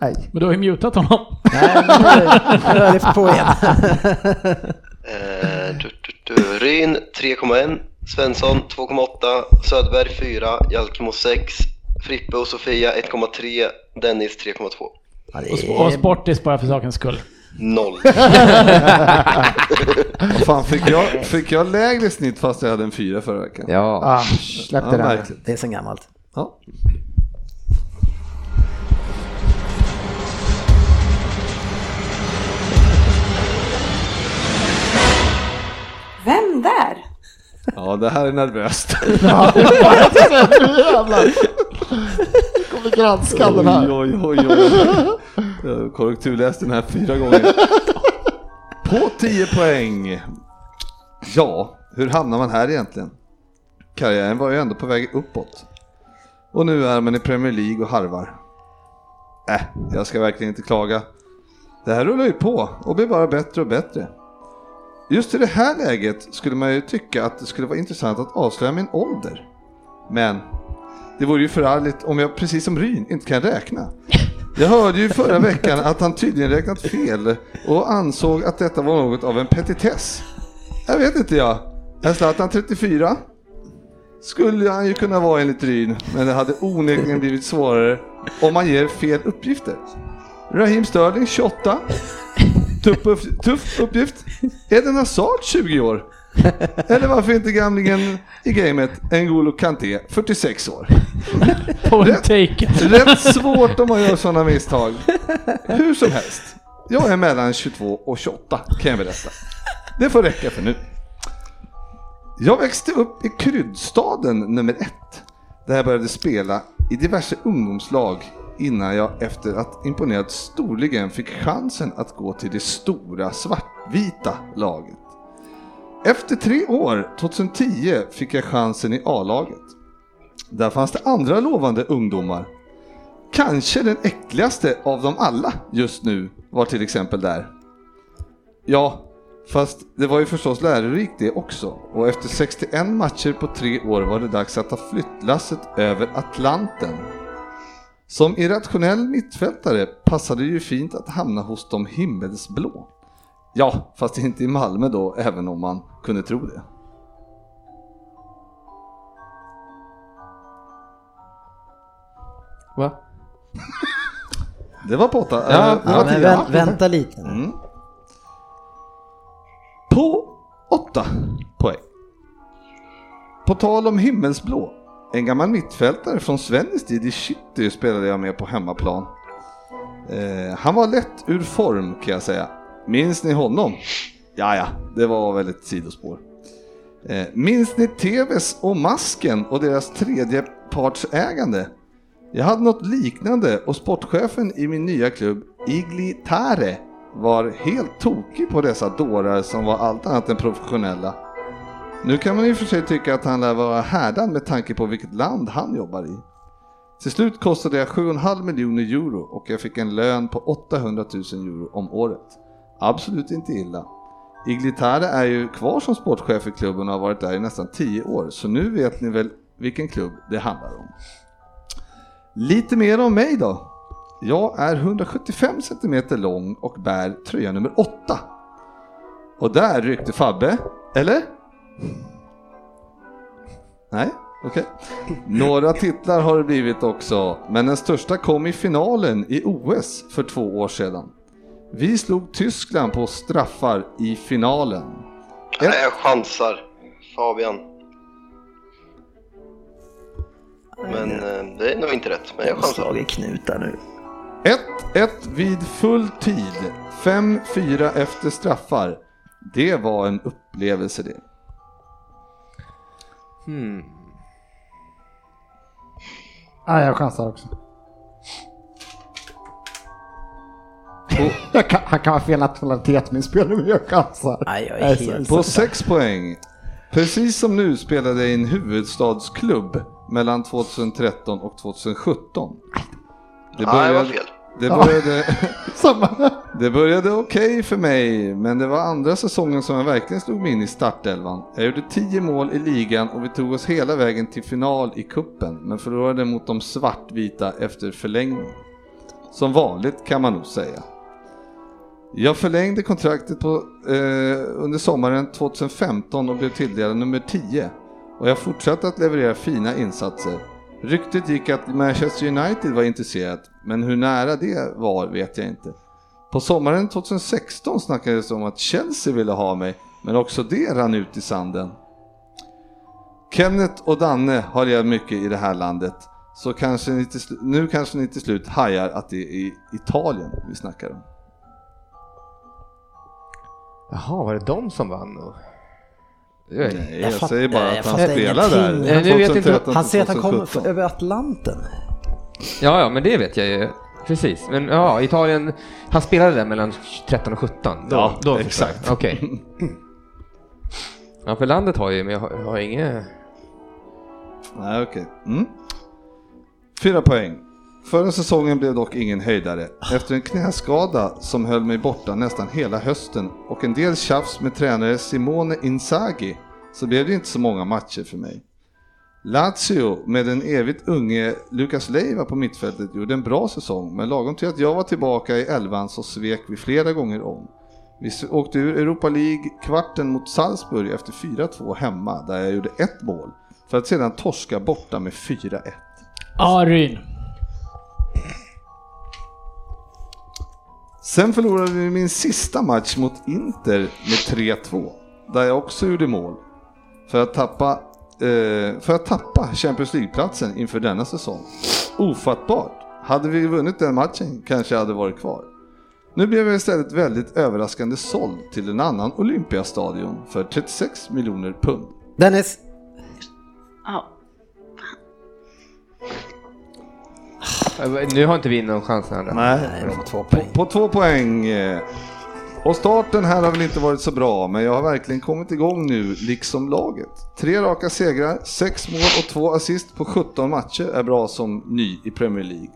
[SPEAKER 18] Nej.
[SPEAKER 3] Men du har ju mutat honom.
[SPEAKER 2] Nej, men nu nu har jag lyft på igen.
[SPEAKER 7] Eh, du, du, du. Ryn 3,1, Svensson 2,8, Södberg 4, Jalkemo 6, Frippe och Sofia 1,3, Dennis 3,2.
[SPEAKER 2] Ja, det
[SPEAKER 3] Och
[SPEAKER 2] är...
[SPEAKER 3] sportis bara för sakens skull.
[SPEAKER 7] Noll.
[SPEAKER 5] Vad Fan, fick, jag, fick jag lägre snitt fast jag hade en fyra förra veckan?
[SPEAKER 4] Ja.
[SPEAKER 18] Ah, släpp
[SPEAKER 5] Ja,
[SPEAKER 18] det där.
[SPEAKER 5] verkligen.
[SPEAKER 2] det är sen gammalt.
[SPEAKER 5] Ja.
[SPEAKER 1] Vem där?
[SPEAKER 5] ja, det här är nervöst.
[SPEAKER 18] Nu jävlar. Kommer granska den här.
[SPEAKER 5] Oj, oj, oj, oj. Jag korrekturläste den här fyra gånger. På 10 poäng. Ja, hur hamnar man här egentligen? Karriären var ju ändå på väg uppåt. Och nu är man i Premier League och harvar. Äh, jag ska verkligen inte klaga. Det här rullar ju på och blir bara bättre och bättre. Just i det här läget skulle man ju tycka att det skulle vara intressant att avslöja min ålder. Men det vore ju förargligt om jag precis som Ryn inte kan räkna. Jag hörde ju förra veckan att han tydligen räknat fel och ansåg att detta var något av en petitess. Jag vet inte jag. Är Zlatan 34? Skulle han ju kunna vara enligt Ryn, men det hade onekligen blivit svårare om man ger fel uppgifter. Raheem Sterling 28. Tuff, upp, tuff uppgift. Eden Hazard 20 år. Eller varför inte gamlingen i gamet N'Golo Kanté 46 år.
[SPEAKER 3] Point taken.
[SPEAKER 5] Rätt svårt om man gör sådana misstag. Hur som helst. Jag är mellan 22 och 28 kan jag berätta. Det får räcka för nu. Jag växte upp i kryddstaden nummer ett. Där jag började spela i diverse ungdomslag innan jag efter att imponerat storligen fick chansen att gå till det stora svartvita laget. Efter tre år, 2010, fick jag chansen i A-laget. Där fanns det andra lovande ungdomar. Kanske den äckligaste av dem alla just nu var till exempel där. Ja, fast det var ju förstås lärorikt det också. Och efter 61 matcher på tre år var det dags att ta flyttlasset över Atlanten. Som irrationell mittfältare passade det ju fint att hamna hos de himmelsblå. Ja, fast inte i Malmö då, även om man kunde tro det.
[SPEAKER 4] Va?
[SPEAKER 5] Det var på åtta.
[SPEAKER 4] Ja,
[SPEAKER 5] eh, det
[SPEAKER 2] Ja,
[SPEAKER 5] var
[SPEAKER 2] men
[SPEAKER 5] tio.
[SPEAKER 2] vä- vänta lite. nu.
[SPEAKER 5] Mm. På åtta poäng. På tal om himmelsblå. En gammal mittfältare från Svennis tid i City spelade jag med på hemmaplan. Eh, han var lätt ur form kan jag säga. Minns ni honom? Ja, ja, det var väl ett sidospår. Eh, minns ni TVs och Masken och deras tredjepartsägande? Jag hade något liknande och sportchefen i min nya klubb, Igli Tare, var helt tokig på dessa dårar som var allt annat än professionella. Nu kan man i och för sig tycka att han lär vara härdad med tanke på vilket land han jobbar i. Till slut kostade jag 7,5 miljoner euro och jag fick en lön på 800 000 euro om året. Absolut inte illa. Iglitare är ju kvar som sportchef i klubben och har varit där i nästan 10 år, så nu vet ni väl vilken klubb det handlar om. Lite mer om mig då. Jag är 175 cm lång och bär tröja nummer 8. Och där ryckte Fabbe, eller? Nej, okej. Några titlar har det blivit också, men den största kom i finalen i OS för två år sedan. Vi slog Tyskland på straffar i finalen.
[SPEAKER 7] Nej, jag chansar. Fabian. Men eh, det är nog inte rätt, men jag chansar.
[SPEAKER 2] Slagen knutar nu.
[SPEAKER 5] 1-1 vid full tid, 5-4 efter straffar. Det var en upplevelse det.
[SPEAKER 15] Nej, jag chansar också. Jag kan, han kan ha fel nationalitet min spelare, men jag chansar.
[SPEAKER 2] Nej, jag är
[SPEAKER 15] Nej, så-
[SPEAKER 2] helt-
[SPEAKER 5] På 6 poäng. Precis som nu spelade jag i en huvudstadsklubb mellan 2013 och 2017. Det
[SPEAKER 7] Nej, det var fel.
[SPEAKER 5] Det började,
[SPEAKER 15] Samma.
[SPEAKER 5] det började okej för mig, men det var andra säsongen som jag verkligen slog mig in i startelvan. Jag gjorde 10 mål i ligan och vi tog oss hela vägen till final i kuppen, men förlorade mot de svartvita efter förlängning. Som vanligt kan man nog säga. Jag förlängde kontraktet på, eh, under sommaren 2015 och blev tilldelad nummer 10. Och jag fortsatte att leverera fina insatser. Ryktet gick att Manchester United var intresserat, men hur nära det var vet jag inte. På sommaren 2016 snackades det om att Chelsea ville ha mig, men också det rann ut i sanden. Kenneth och Danne har levt mycket i det här landet, så kanske ni till slu- nu kanske ni till slut hajar att det är Italien vi snackar om.
[SPEAKER 4] Jaha, var det de som vann? då? Det är-
[SPEAKER 5] Nej,
[SPEAKER 2] Jag
[SPEAKER 5] jag,
[SPEAKER 2] fatt-
[SPEAKER 5] säger bara
[SPEAKER 2] jag
[SPEAKER 5] att han
[SPEAKER 2] fattar
[SPEAKER 5] spelar där.
[SPEAKER 2] ingenting.
[SPEAKER 4] Nej, nu vet jag inte.
[SPEAKER 5] 2013,
[SPEAKER 2] Han säger att han kommer
[SPEAKER 5] 2017.
[SPEAKER 2] över Atlanten.
[SPEAKER 4] Ja, ja, men det vet jag ju. Precis, men ja, Italien, han spelade där mellan 13 och 17. Då,
[SPEAKER 5] Ja,
[SPEAKER 4] då förstår
[SPEAKER 5] exakt.
[SPEAKER 4] jag. Okej. Ja, för landet har ju, men jag har, jag har inget...
[SPEAKER 5] Nej, okej. Mm. Fyra poäng. Förra säsongen blev dock ingen höjdare. Efter en knäskada som höll mig borta nästan hela hösten och en del tjafs med tränare Simone Inzaghi så blev det inte så många matcher för mig. Lazio med den evigt unge Lucas Leiva på mittfältet gjorde en bra säsong men lagom till att jag var tillbaka i elvan så svek vi flera gånger om. Vi s- åkte ur Europa League-kvarten mot Salzburg efter 4-2 hemma där jag gjorde ett mål för att sedan torska borta med 4-1.
[SPEAKER 3] Aryn.
[SPEAKER 5] Sen förlorade vi min sista match mot Inter med 3-2, där jag också gjorde mål för att tappa, eh, för att tappa Champions League-platsen inför denna säsong. Ofattbart! Hade vi vunnit den matchen kanske jag hade varit kvar. Nu blev jag istället väldigt överraskande såld till en annan Olympiastadion för 36 miljoner pund.
[SPEAKER 2] Dennis,
[SPEAKER 6] Ja,
[SPEAKER 4] Nu har inte vi någon chans här. Nej.
[SPEAKER 5] Nej,
[SPEAKER 2] de får två
[SPEAKER 5] På,
[SPEAKER 2] poäng.
[SPEAKER 5] på två poäng. eh. Och starten här har väl inte varit så bra, men jag har verkligen kommit igång nu, liksom laget. Tre raka segrar, sex mål och två assist på 17 matcher är bra som ny i Premier League.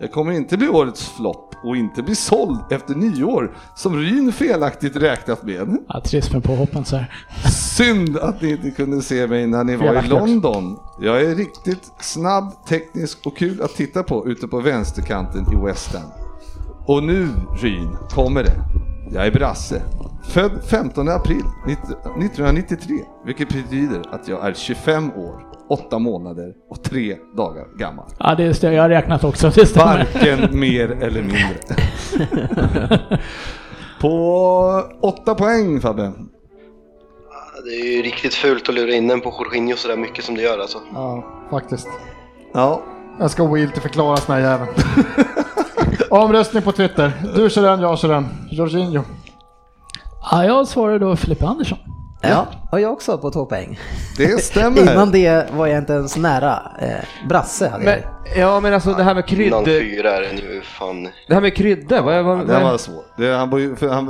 [SPEAKER 5] Jag kommer inte bli årets flopp och inte bli såld efter nyår, som Ryn felaktigt räknat med.
[SPEAKER 3] Ja, trist med påhoppen så här.
[SPEAKER 5] Synd att ni inte kunde se mig när ni var i
[SPEAKER 3] Felaktigt.
[SPEAKER 5] London. Jag är riktigt snabb, teknisk och kul att titta på ute på vänsterkanten i West End. Och nu, Ryn, kommer det. Jag är brasse. Född 15 april 19- 1993, vilket betyder att jag är 25 år, 8 månader och 3 dagar gammal.
[SPEAKER 3] Ja, det stämmer. Jag har räknat också. Det stämmer.
[SPEAKER 5] Varken mer eller mindre. På 8 poäng Fabbe.
[SPEAKER 7] Det är ju riktigt fult att lura in den på Jorginho sådär mycket som det gör alltså.
[SPEAKER 15] Ja, faktiskt.
[SPEAKER 5] Ja,
[SPEAKER 15] Jag ska ogiltigförklaras den här jäveln. Omröstning på Twitter. Du kör den, jag kör den. Jorginho.
[SPEAKER 3] Ja, jag svarar då Filippa Andersson.
[SPEAKER 2] Ja, och jag också på två poäng.
[SPEAKER 5] Det stämmer.
[SPEAKER 2] Innan det var jag inte ens nära. Eh, brasse hade
[SPEAKER 4] Men,
[SPEAKER 2] jag.
[SPEAKER 4] ja men alltså det här med
[SPEAKER 7] Innan
[SPEAKER 4] kryddor.
[SPEAKER 7] fyra är det nu fan
[SPEAKER 4] Det här med kryddor, vad, vad,
[SPEAKER 5] Den var
[SPEAKER 4] vad,
[SPEAKER 5] svår. Det, han var ju, för han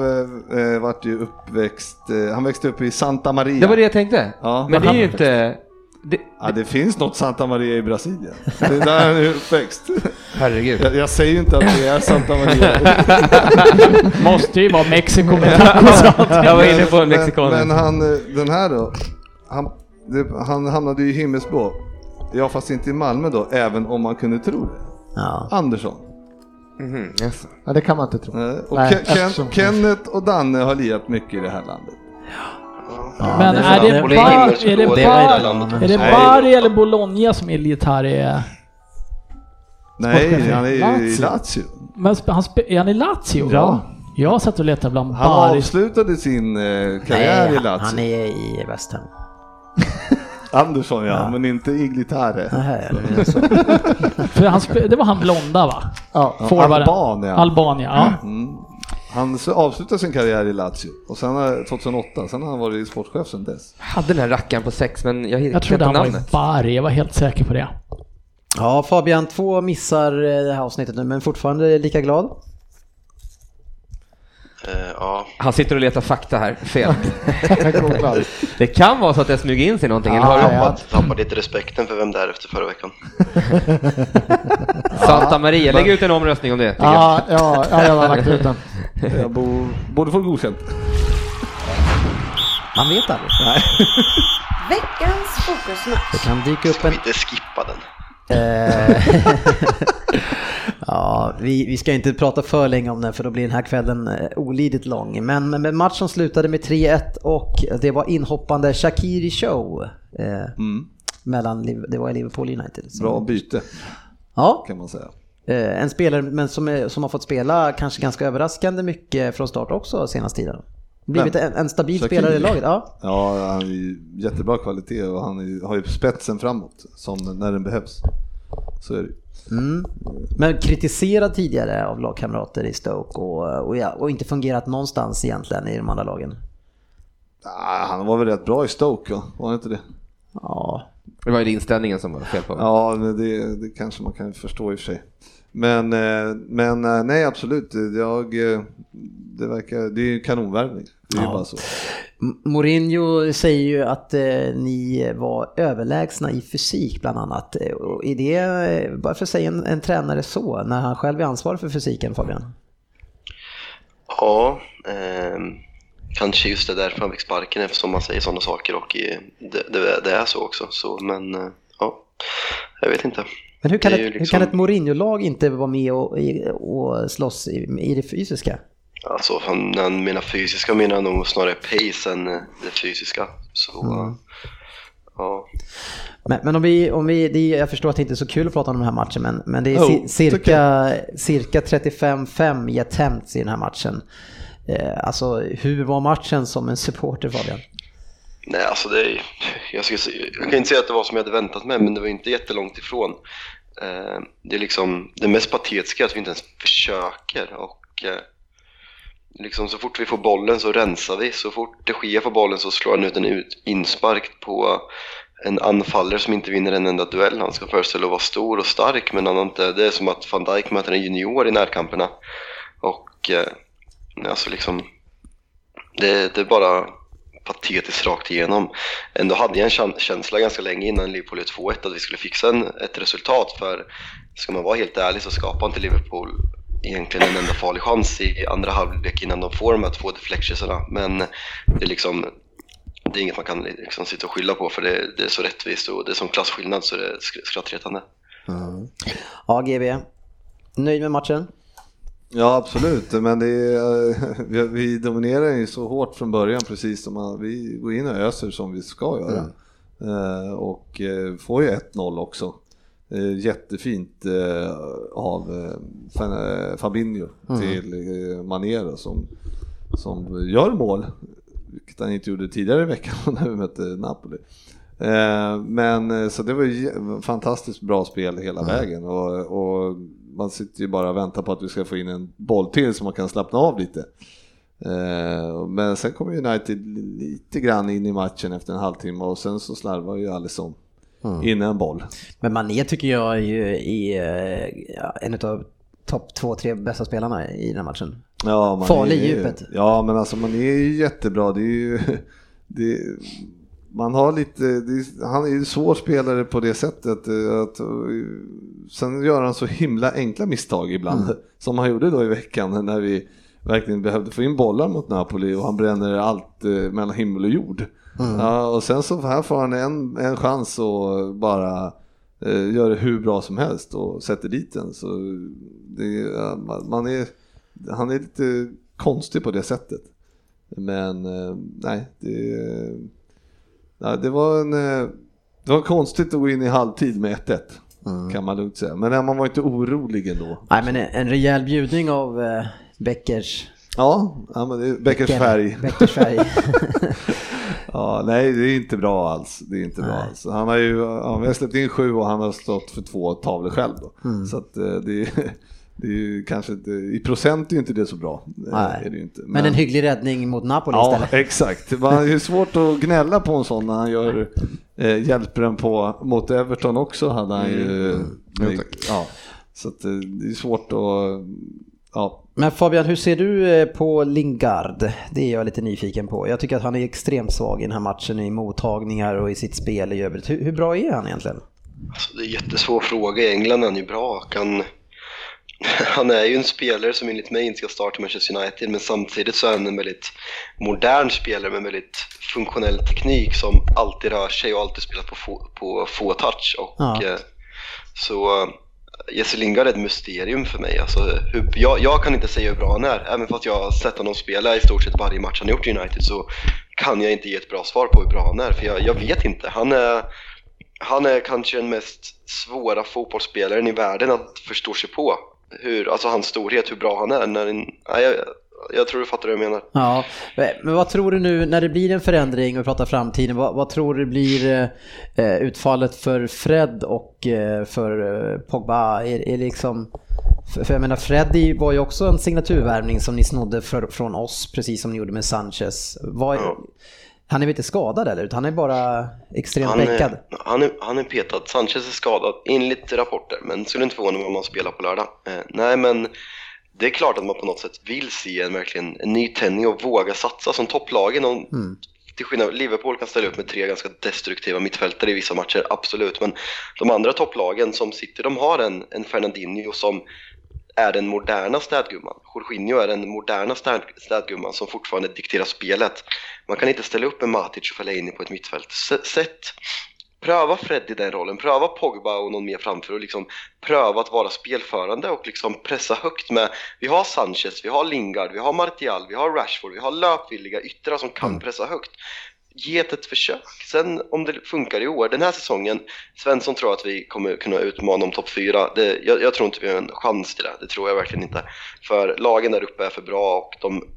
[SPEAKER 5] eh, vart ju uppväxt, eh, han växte upp i Santa Maria.
[SPEAKER 4] det var det jag tänkte.
[SPEAKER 5] Ja.
[SPEAKER 4] Men det är ju inte... Det,
[SPEAKER 5] Ja, det finns något Santa Maria i Brasilien. Det är där han är uppväxt.
[SPEAKER 4] herregud.
[SPEAKER 5] Jag, jag säger ju inte att det är Santa Maria.
[SPEAKER 3] Måste ju vara Mexiko med tacos och allt.
[SPEAKER 4] Jag var inne på en
[SPEAKER 5] Men-
[SPEAKER 4] mexikan.
[SPEAKER 5] Men han, eh, den här då. Han, det, han hamnade ju i himmelsblå. Ja, fast inte i Malmö då, även om man kunde tro det.
[SPEAKER 2] Ja.
[SPEAKER 5] Andersson.
[SPEAKER 4] Mhm, jaså.
[SPEAKER 15] Ja, det kan man inte tro.
[SPEAKER 5] Eh, Och
[SPEAKER 15] Nej,
[SPEAKER 5] Ken, Ken,
[SPEAKER 15] eftersom-
[SPEAKER 5] Kenneth och Danne har lirat mycket i det här landet.
[SPEAKER 3] Men är det
[SPEAKER 7] Och det är
[SPEAKER 3] Bar-
[SPEAKER 7] himmelsblå
[SPEAKER 3] är det
[SPEAKER 7] i
[SPEAKER 3] Bar-
[SPEAKER 7] hela landet.
[SPEAKER 3] Är det
[SPEAKER 5] Nej.
[SPEAKER 3] Bari eller Bologna som Iljetar är?
[SPEAKER 5] Nej, han är ju i
[SPEAKER 15] Lazio.
[SPEAKER 5] Lazio.
[SPEAKER 3] Men sp- han sp- är han i Lazio?
[SPEAKER 5] Ja.
[SPEAKER 3] Jag satt och letade bland
[SPEAKER 5] Han
[SPEAKER 3] Bari.
[SPEAKER 5] avslutade sin eh, karriär
[SPEAKER 2] Nej,
[SPEAKER 5] i Lazio.
[SPEAKER 2] han är i West Ham.
[SPEAKER 5] Andersson ja, men inte Iglitare.
[SPEAKER 2] Nähä, är det så?
[SPEAKER 3] För han sp- det var han blonda va?
[SPEAKER 15] Ja,
[SPEAKER 3] Forwarden.
[SPEAKER 5] Albania.
[SPEAKER 3] Albania, ja.
[SPEAKER 5] Han s- avslutade sin karriär i Lazio och sen har- 2008, sen har han varit sportchef sedan dess.
[SPEAKER 4] Jag hade den här rackaren på sex men jag hittade
[SPEAKER 3] Jag
[SPEAKER 4] inte
[SPEAKER 3] trodde han var i
[SPEAKER 4] namnet.
[SPEAKER 3] Bari, jag var helt säker på det.
[SPEAKER 2] Ja, Fabian, två missar eh, det här avsnittet nu, men fortfarande lika glad.
[SPEAKER 7] Eh, ja.
[SPEAKER 4] Han sitter och letar fakta här, fel.
[SPEAKER 15] jag googlar.
[SPEAKER 4] Det kan vara så att jag smyger in sig i någonting, eller har du hoppat?
[SPEAKER 7] Tappade lite respekten för vem det är efter förra veckan.
[SPEAKER 4] Santa Maria, lägg ut en omröstning om det. tycker jag.
[SPEAKER 15] Ja, ja, ja, jag har lagt ut den.
[SPEAKER 5] Jag bo, borde få godkänt.
[SPEAKER 2] Man vet aldrig.
[SPEAKER 1] Veckans fokusmatch.
[SPEAKER 2] Det kan dyka upp
[SPEAKER 7] Ska
[SPEAKER 2] en...
[SPEAKER 7] vi inte skippa den?
[SPEAKER 2] eh, ja, vi, vi ska inte prata för länge om den för då blir den här kvällen eh, olidligt lång. Men, men men matchen slutade med 3-1 och det var inhoppande Shakiri show. Eh, mellan, Liv- det var i Liverpool United. Så-
[SPEAKER 5] Mm, Bra byte
[SPEAKER 2] Ja,
[SPEAKER 5] kan man säga.
[SPEAKER 2] eh, en spelare men som, är, som har fått spela kanske ganska överraskande mycket från start också senaste tiden. Blivit
[SPEAKER 5] Vem?
[SPEAKER 2] en, en stabil
[SPEAKER 5] Shaqiri?
[SPEAKER 2] spelare i laget. Ja.
[SPEAKER 5] Ja, han är ju jättebra kvalitet och han är, ju- har ju spetsen framåt som när den behövs. Så är det ju.
[SPEAKER 2] Mm. Men kritiserad tidigare av lagkamrater i Stoke och, och, ja, och inte fungerat någonstans egentligen i de andra lagen.
[SPEAKER 5] Ah, han var väl rätt bra i Stoke, va? var han inte det?
[SPEAKER 2] Ja,
[SPEAKER 4] Det var ju inställningen som var fel på.
[SPEAKER 5] Ja, men det, det kanske man kan förstå i och för sig. Men, eh, men eh, nej, absolut. Jag, eh, det, verkar, det är ju kanonvärvning. Det är ju bara så.
[SPEAKER 2] M- Mourinho säger ju att eh, ni var överlägsna i fysik bland annat. Eh, Och är det, eh, varför säger en, en tränare så när han själv är ansvarig för fysiken Fabian?
[SPEAKER 7] Ja, ehm, kanske just det därför han fick sparken eftersom man säger sådana saker och i, det, det, det är så också. Så, men eh, ja, jag vet inte.
[SPEAKER 2] Men hur kan,
[SPEAKER 7] Det
[SPEAKER 2] ett,
[SPEAKER 7] är ju
[SPEAKER 2] hur
[SPEAKER 7] liksom-
[SPEAKER 2] kan ett Mourinho-lag inte vara med och, i- och slåss i, i det fysiska?
[SPEAKER 7] Alltså, han, när han menar fysiska menar han nog snarare pace än eh, det fysiska. Så ja,
[SPEAKER 2] Men, men om vi, om vi det är, jag förstår att det inte är så kul att prata om den här matchen, men, men det är
[SPEAKER 5] Jo,
[SPEAKER 2] ci-
[SPEAKER 5] tycker
[SPEAKER 2] cirka, cirka 35-5 i attempts i den här matchen. Eh, alltså hur var matchen som en supporter Fabian?
[SPEAKER 7] nej alltså det är, jag, ska, se- jag kan inte säga att det var som jag hade väntat mig men det var inte jättelångt ifrån. Eh, det är liksom det mest patetiska är att vi inte ens försöker och eh, liksom så fort vi får bollen så rensar vi. Så fort det sker får bollen så slår han ut en ut, inspark på en anfallare som inte vinner en enda duell. Han ska föreställa att vara stor och stark men han har inte, det är som att van Dijk möter en junior i närkamperna. Och eh, nej, alltså liksom, det, det är bara patetiskt rakt igenom. Ändå hade jag en kän- känsla ganska länge innan Liverpool gjorde 2-1 att vi skulle fixa en, ett resultat för ska man vara helt ärlig så skapar inte Liverpool egentligen en enda farlig chans i andra halvlek innan de får de här två deflectionsarna. Men det är liksom det är inget man kan liksom sitta och skylla på för det, det är så rättvist och det är som klassskillnad så det är sk- skrattretande.
[SPEAKER 2] Ja, GB. Nöjd med matchen?
[SPEAKER 5] Ja, absolut. Men det är, vi, vi dominerar ju så hårt från början, precis som man, vi går in och öser som vi ska göra. Eh, och eh, får ju 1-0 också. Eh, jättefint eh, av eh, Fan- eh, Fabinho till eh, Mané då, som, som gör mål. Vilket han inte gjorde tidigare i veckan när vi mötte Napoli. Eh, Men eh, så det var ju jä- fantastiskt bra spel hela vägen och, och man sitter ju bara och väntar på att vi ska få in en boll till så man kan slappna av lite. Eh, Men sen kom ju United lite grann in i matchen efter en halvtimme och sen så slarvar ju Alisson in en boll.
[SPEAKER 2] Men Mané tycker jag är ju i, eh, ja, en av topp två, tre bästa spelarna i den här matchen.
[SPEAKER 5] Ja, man
[SPEAKER 2] Farlig
[SPEAKER 5] är
[SPEAKER 2] i
[SPEAKER 5] ju-
[SPEAKER 2] djupet.
[SPEAKER 5] Ja, men alltså man är ju jättebra. Det är ju, det, man har lite, det, är- han är ju en svår spelare på det sättet. eh, Att, eh, sen gör han så himla enkla misstag ibland.
[SPEAKER 2] Mm.
[SPEAKER 5] Som han gjorde då i veckan när vi verkligen behövde få in bollar mot Napoli och han bränner allt eh, mellan himmel och jord.
[SPEAKER 2] Mm.
[SPEAKER 5] Ja, och sen så här får han en, en chans och bara eh, gör det hur bra som helst och sätter dit den. Så det, ja, man- man är, han är lite konstig på det sättet. Men eh, nej, det, nej, det var en... eh, Det var konstigt att gå in i halvtid med 1-1. Kan man lugnt säga. Men nej, man var inte orolig ändå.
[SPEAKER 2] Nej men en rejäl bjudning av eh, Beckers,
[SPEAKER 5] Ja, ja men det är Beckers färg.
[SPEAKER 2] Beckers färg.
[SPEAKER 5] Ja, nej, det är inte bra alls. Det är inte bra
[SPEAKER 2] Nej.
[SPEAKER 5] alls. Han har ju ja, vi har släppt in sju och han har stått för två tavlor själv. Då.
[SPEAKER 2] Mm.
[SPEAKER 5] Så att eh, det är, det är ju kanske inte, i procent är ju inte det så bra. Eh,
[SPEAKER 2] Nej.
[SPEAKER 5] Är det ju inte.
[SPEAKER 2] men... en hygglig räddning mot Napoli
[SPEAKER 5] Ja,
[SPEAKER 2] istället.
[SPEAKER 5] exakt. Man- Det är svårt att gnälla på en sån när han gör, eh, hjälper den på mot Everton också. Hade han ju,
[SPEAKER 15] Mm. Jo, tack.
[SPEAKER 5] ja. Så att, eh, det är svårt att... Ja,
[SPEAKER 2] Men Fabian, hur ser du eh, på Lingard? Det är jag lite nyfiken på. Jag tycker att han är extremt svag i den här matchen i mottagningar och i sitt spel i övrigt. Hur, hur bra är han egentligen?
[SPEAKER 7] Alltså, det är en jättesvår fråga. I England är han ju bra. och Han, han är ju en spelare som enligt mig inte ska starta i Manchester United, men samtidigt så är han en väldigt modern spelare med en väldigt funktionell teknik som alltid rör sig och alltid spelar på få, på få touch. Och,
[SPEAKER 2] Ja.
[SPEAKER 7] eh, Så eh, Jesse Lingard är ett mysterium för mig. Alltså, hur, jag, jag kan inte säga hur bra han är, även fast jag har sett honom spela i stort sett varje match han har gjort i United så kan jag inte ge ett bra svar på hur bra han är, för jag, jag vet inte. Han är, han är kanske den mest svåra fotbollsspelaren i världen att förstå sig på. Hur, alltså hans storhet, hur bra han är. När, nej, jag, jag tror du fattar vad jag menar.
[SPEAKER 2] Ja, men vad tror du nu när det blir en förändring och vi pratar framtiden, vad, vad tror du blir eh, utfallet för Fred och eh, för eh, Pogba? Är, är liksom, för, för jag menar Fred är- var ju också en signaturvärvning som ni snodde för, från oss, precis som ni gjorde med Sanchez. Vad,
[SPEAKER 7] Ja.
[SPEAKER 2] Han är väl inte skadad eller? Utan han är bara extremt
[SPEAKER 7] Han
[SPEAKER 2] bäckad.
[SPEAKER 7] är, han, är, han är petad. Sanchez är skadad enligt rapporter, men skulle inte förvåna mig om han spelar på lördag. Eh, nej, men det är klart att man på något sätt vill se en, verkligen, en ny tändning och våga satsa som topplagen. Och,
[SPEAKER 2] Mm.
[SPEAKER 7] Till skillnad Liverpool kan ställa upp med tre ganska destruktiva mittfältare i vissa matcher, absolut. Men de andra topplagen som sitter, de har en, en Fernandinho som är den moderna städgumman. Jorginho är den moderna städ, städgumman som fortfarande dikterar spelet. Man kan inte ställa upp med Matic och Fellaini på ett mittfält. S- Sätt pröva Fred i den rollen, pröva Pogba och någon mer framför och liksom pröva att vara spelförande och liksom pressa högt med vi har Sanchez, vi har Lingard, vi har Martial, vi har Rashford, vi har löpvilliga yttrar som kan pressa högt. Ge det ett försök. Sen om det funkar i år, den här säsongen, Svensson tror att vi kommer kunna utmana om topp fyra. Det, jag, jag tror inte vi har en chans till det, det tror jag verkligen inte. För lagen där uppe är för bra och de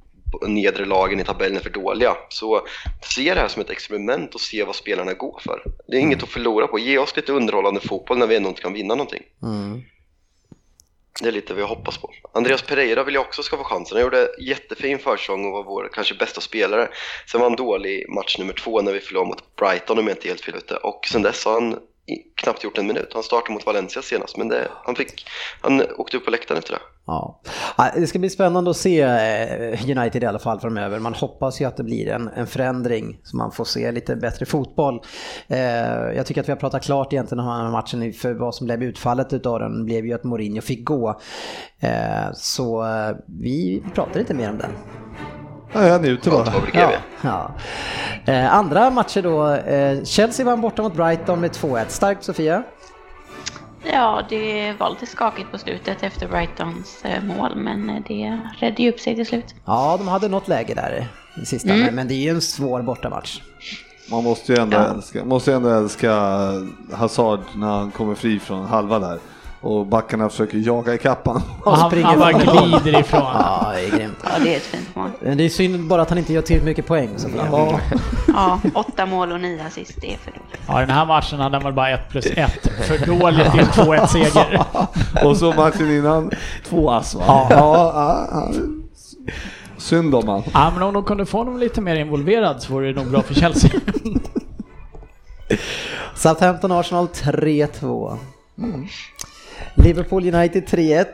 [SPEAKER 7] nedre lagen i tabellen är för dåliga. Så se det här som ett experiment och se vad spelarna går för. Det är inget att förlora på. Ge oss lite underhållande fotboll när vi ändå inte kan vinna någonting.
[SPEAKER 2] Mm.
[SPEAKER 7] Det är lite vad jag hoppas på. Andreas Pereira vill jag också ska få chansen. Han gjorde jättefin försäsong och var vår kanske bästa spelare. Sen var han dålig i match nummer två när vi förlorade mot Brighton om jag inte är helt fel ute. Och sen dess har han i- knappt gjort en minut. Han startade mot Valencia senast, men det, han, fick, han åkte upp på läktaren efter det.
[SPEAKER 2] Ja. Ja, Det ska bli spännande att se eh, United i alla fall framöver. Man hoppas ju att det blir en, en förändring så man får se lite bättre fotboll. Eh, Jag tycker att vi har pratat klart egentligen om den här matchen för vad som blev utfallet utav den blev ju att Mourinho fick gå. Eh, Så eh, vi pratar inte mer om den.
[SPEAKER 5] ja jag njuter bara.
[SPEAKER 7] Vad brukar
[SPEAKER 2] Ja,
[SPEAKER 7] vi?
[SPEAKER 2] ja. Eh, Andra matcher då. eh, Chelsea vann borta mot Brighton med 2-1. Starkt Sofia.
[SPEAKER 6] Ja, det var lite skakigt på slutet efter Brightons eh, mål, men eh, det redde ju upp sig till slut.
[SPEAKER 2] Ja, de hade något läge där i sista,
[SPEAKER 3] Mm.
[SPEAKER 2] men- men det är ju en svår bortamatch.
[SPEAKER 5] Man måste ju ändå,
[SPEAKER 6] Ja.
[SPEAKER 5] älska, måste ju ändå älska Hazard när han kommer fri från halva där. Och backarna försöker jaga i kappan.
[SPEAKER 3] Och han,
[SPEAKER 2] springer
[SPEAKER 3] han bara
[SPEAKER 2] bakom.
[SPEAKER 3] glider ifrån.
[SPEAKER 2] Ja, det är grymt.
[SPEAKER 6] Ja, det är ett fint mål.
[SPEAKER 2] Men Eh, Det är synd bara att han inte gör tillräckligt mycket poäng. Sofia.
[SPEAKER 6] Ja, åtta mål och nio assist, det är för dåligt.
[SPEAKER 3] Ja, den här matchen hade man bara 1 plus 1. För dåligt i en 2-1-seger.
[SPEAKER 5] och så matchen innan, två ass va? Ja. ja, han- Synd om han.
[SPEAKER 3] Ja, men om de kunde få honom lite mer involverad så vore det nog bra för Chelsea.
[SPEAKER 2] Southampton Arsenal 3-2. Mm. Liverpool United 3-1.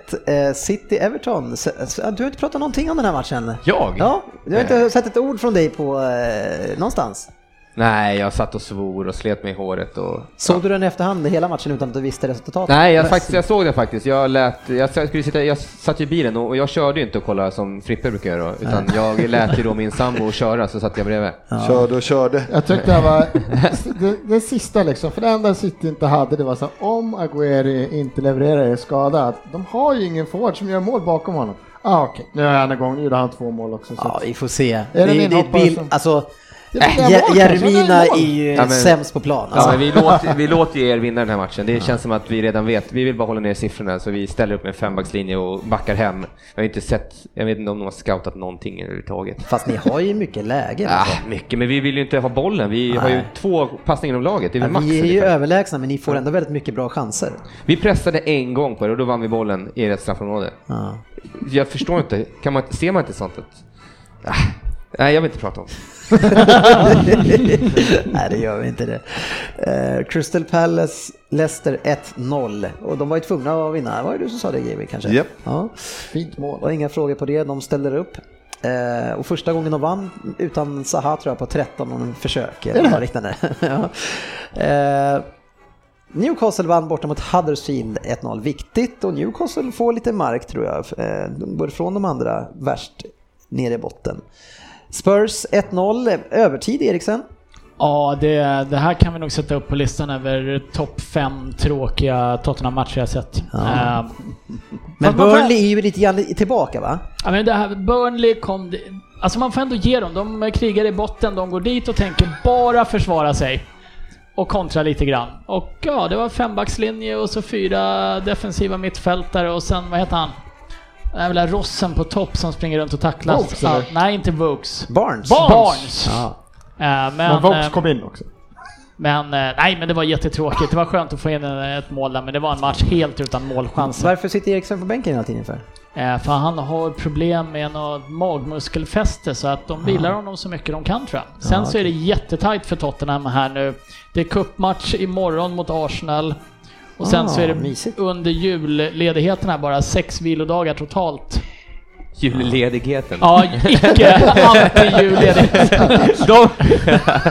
[SPEAKER 2] Eh, City Everton. S- s- Du har inte pratat någonting om den här matchen.
[SPEAKER 4] Jag?
[SPEAKER 2] Ja, du har inte sett ett ord från dig på eh, någonstans.
[SPEAKER 4] Nej, jag satt och svor och slet mig i håret och...
[SPEAKER 2] Såg du den i efterhand hela matchen utan att du visste resultatet?
[SPEAKER 4] Nej, jag, faktiskt, jag såg det faktiskt. Jag, lät, jag, sa- skulle sitta, jag satt ju i bilen och och jag körde ju inte och kollade som Frippe brukar göra. Utan jag lät ju då min sambo köra så satt jag bredvid.
[SPEAKER 5] Körde och körde.
[SPEAKER 15] Jag tyckte det var det, det sista liksom, för det enda City inte hade det var så här, om Aguero inte levererar är skadad, de har ju ingen forward som gör mål bakom honom. Ah, okej, nu är han igång, nu gjorde han två mål också. Så.
[SPEAKER 2] Ja, vi får se. det,
[SPEAKER 15] det
[SPEAKER 2] är-
[SPEAKER 15] min
[SPEAKER 2] det är
[SPEAKER 15] hoppare
[SPEAKER 2] bild,
[SPEAKER 15] som-
[SPEAKER 2] alltså,
[SPEAKER 15] Det är
[SPEAKER 2] äh,
[SPEAKER 15] mål
[SPEAKER 2] Jer-
[SPEAKER 15] kanske,
[SPEAKER 2] Jeremina
[SPEAKER 15] det är
[SPEAKER 2] är
[SPEAKER 15] mål.
[SPEAKER 2] ju
[SPEAKER 4] Ja, men-
[SPEAKER 2] sämst på plan.
[SPEAKER 4] Ja,
[SPEAKER 2] Alltså.
[SPEAKER 4] men vi, låter, vi låter ju er vinna den här matchen. Det känns som att vi redan vet. Vi vill bara hålla ner siffrorna så vi ställer upp en fembackslinje och backar hem. Jag har inte sett, jag vet inte om de har scoutat någonting överhuvudtaget.
[SPEAKER 2] Fast ni har ju mycket lägen.
[SPEAKER 4] Ah,
[SPEAKER 2] alltså.
[SPEAKER 4] mycket, men vi vill ju inte ha bollen. Vi har ju
[SPEAKER 2] Nej.
[SPEAKER 4] två passningar om laget. Det är väl
[SPEAKER 2] Ja,
[SPEAKER 4] max
[SPEAKER 2] ni är ju
[SPEAKER 4] ungefär.
[SPEAKER 2] överlägsna men ni får ändå väldigt mycket bra chanser.
[SPEAKER 4] Vi pressade en gång på det och då vann vi bollen i ert straffområde.
[SPEAKER 2] Ja.
[SPEAKER 4] Jag förstår inte. Kan man, ser man inte sånt? Att, ah, nej, jag vill inte prata om det.
[SPEAKER 2] Nej, det gör vi inte det. Eh, Crystal Palace, Leicester 1-0. Och de var ju tvungna att vinna. Var det du som sa det GW kanske?
[SPEAKER 5] Japp.
[SPEAKER 2] Ja.
[SPEAKER 15] Fint mål.
[SPEAKER 2] Och inga frågor på det, de ställer upp. Eh, och första gången de vann utan Zaha tror jag på 13 försök eller något liknande. ja. eh, Newcastle vann borta mot Huddersfield 1-0. Viktigt och Newcastle får lite mark tror jag. Eh, de går ifrån de andra värst nere i botten. Spurs 1-0, övertid Eriksen.
[SPEAKER 3] ja, det, det här kan vi nog sätta upp på listan över topp fem tråkiga Tottenham-matcher jag sett. Eh,
[SPEAKER 2] Men
[SPEAKER 3] Fast man får-
[SPEAKER 2] Burnley är ju lite grann tillbaka va?
[SPEAKER 3] Ja, men det här Burnley kom... Alltså man får ändå ge dem. De krigar i botten, de går dit och tänker bara försvara sig. Och kontra lite grann. Och ja, det var fembackslinje och så fyra defensiva mittfältare och sen, vad heter han? Den här jävla rossen på topp som springer runt och tacklas.
[SPEAKER 15] Vokes, eller?
[SPEAKER 3] Ja, nej, inte Vokes.
[SPEAKER 2] Barnes.
[SPEAKER 3] Barnes!
[SPEAKER 2] Ja.
[SPEAKER 3] Eh, men,
[SPEAKER 15] Men Vokes
[SPEAKER 3] eh,
[SPEAKER 15] kom in också.
[SPEAKER 3] men, eh, nej men det var jättetråkigt. Det var skönt att få in eh, ett mål där, men det var en match helt utan målchanser.
[SPEAKER 2] Varför sitter Eriksen på bänken hela tiden för?
[SPEAKER 3] Eh, För han har problem med något magmuskelfäste så att de vilar honom så mycket de kan tror jag. Sen så är det jättetajt för Tottenham här nu. Det är cupmatch imorgon mot Arsenal. Och sen
[SPEAKER 2] Ah,
[SPEAKER 3] så är det
[SPEAKER 2] mysigt.
[SPEAKER 3] under julledigheten här bara sex vilodagar totalt.
[SPEAKER 4] Julledigheten.
[SPEAKER 3] Ja, icke anti-julledigt.
[SPEAKER 4] De...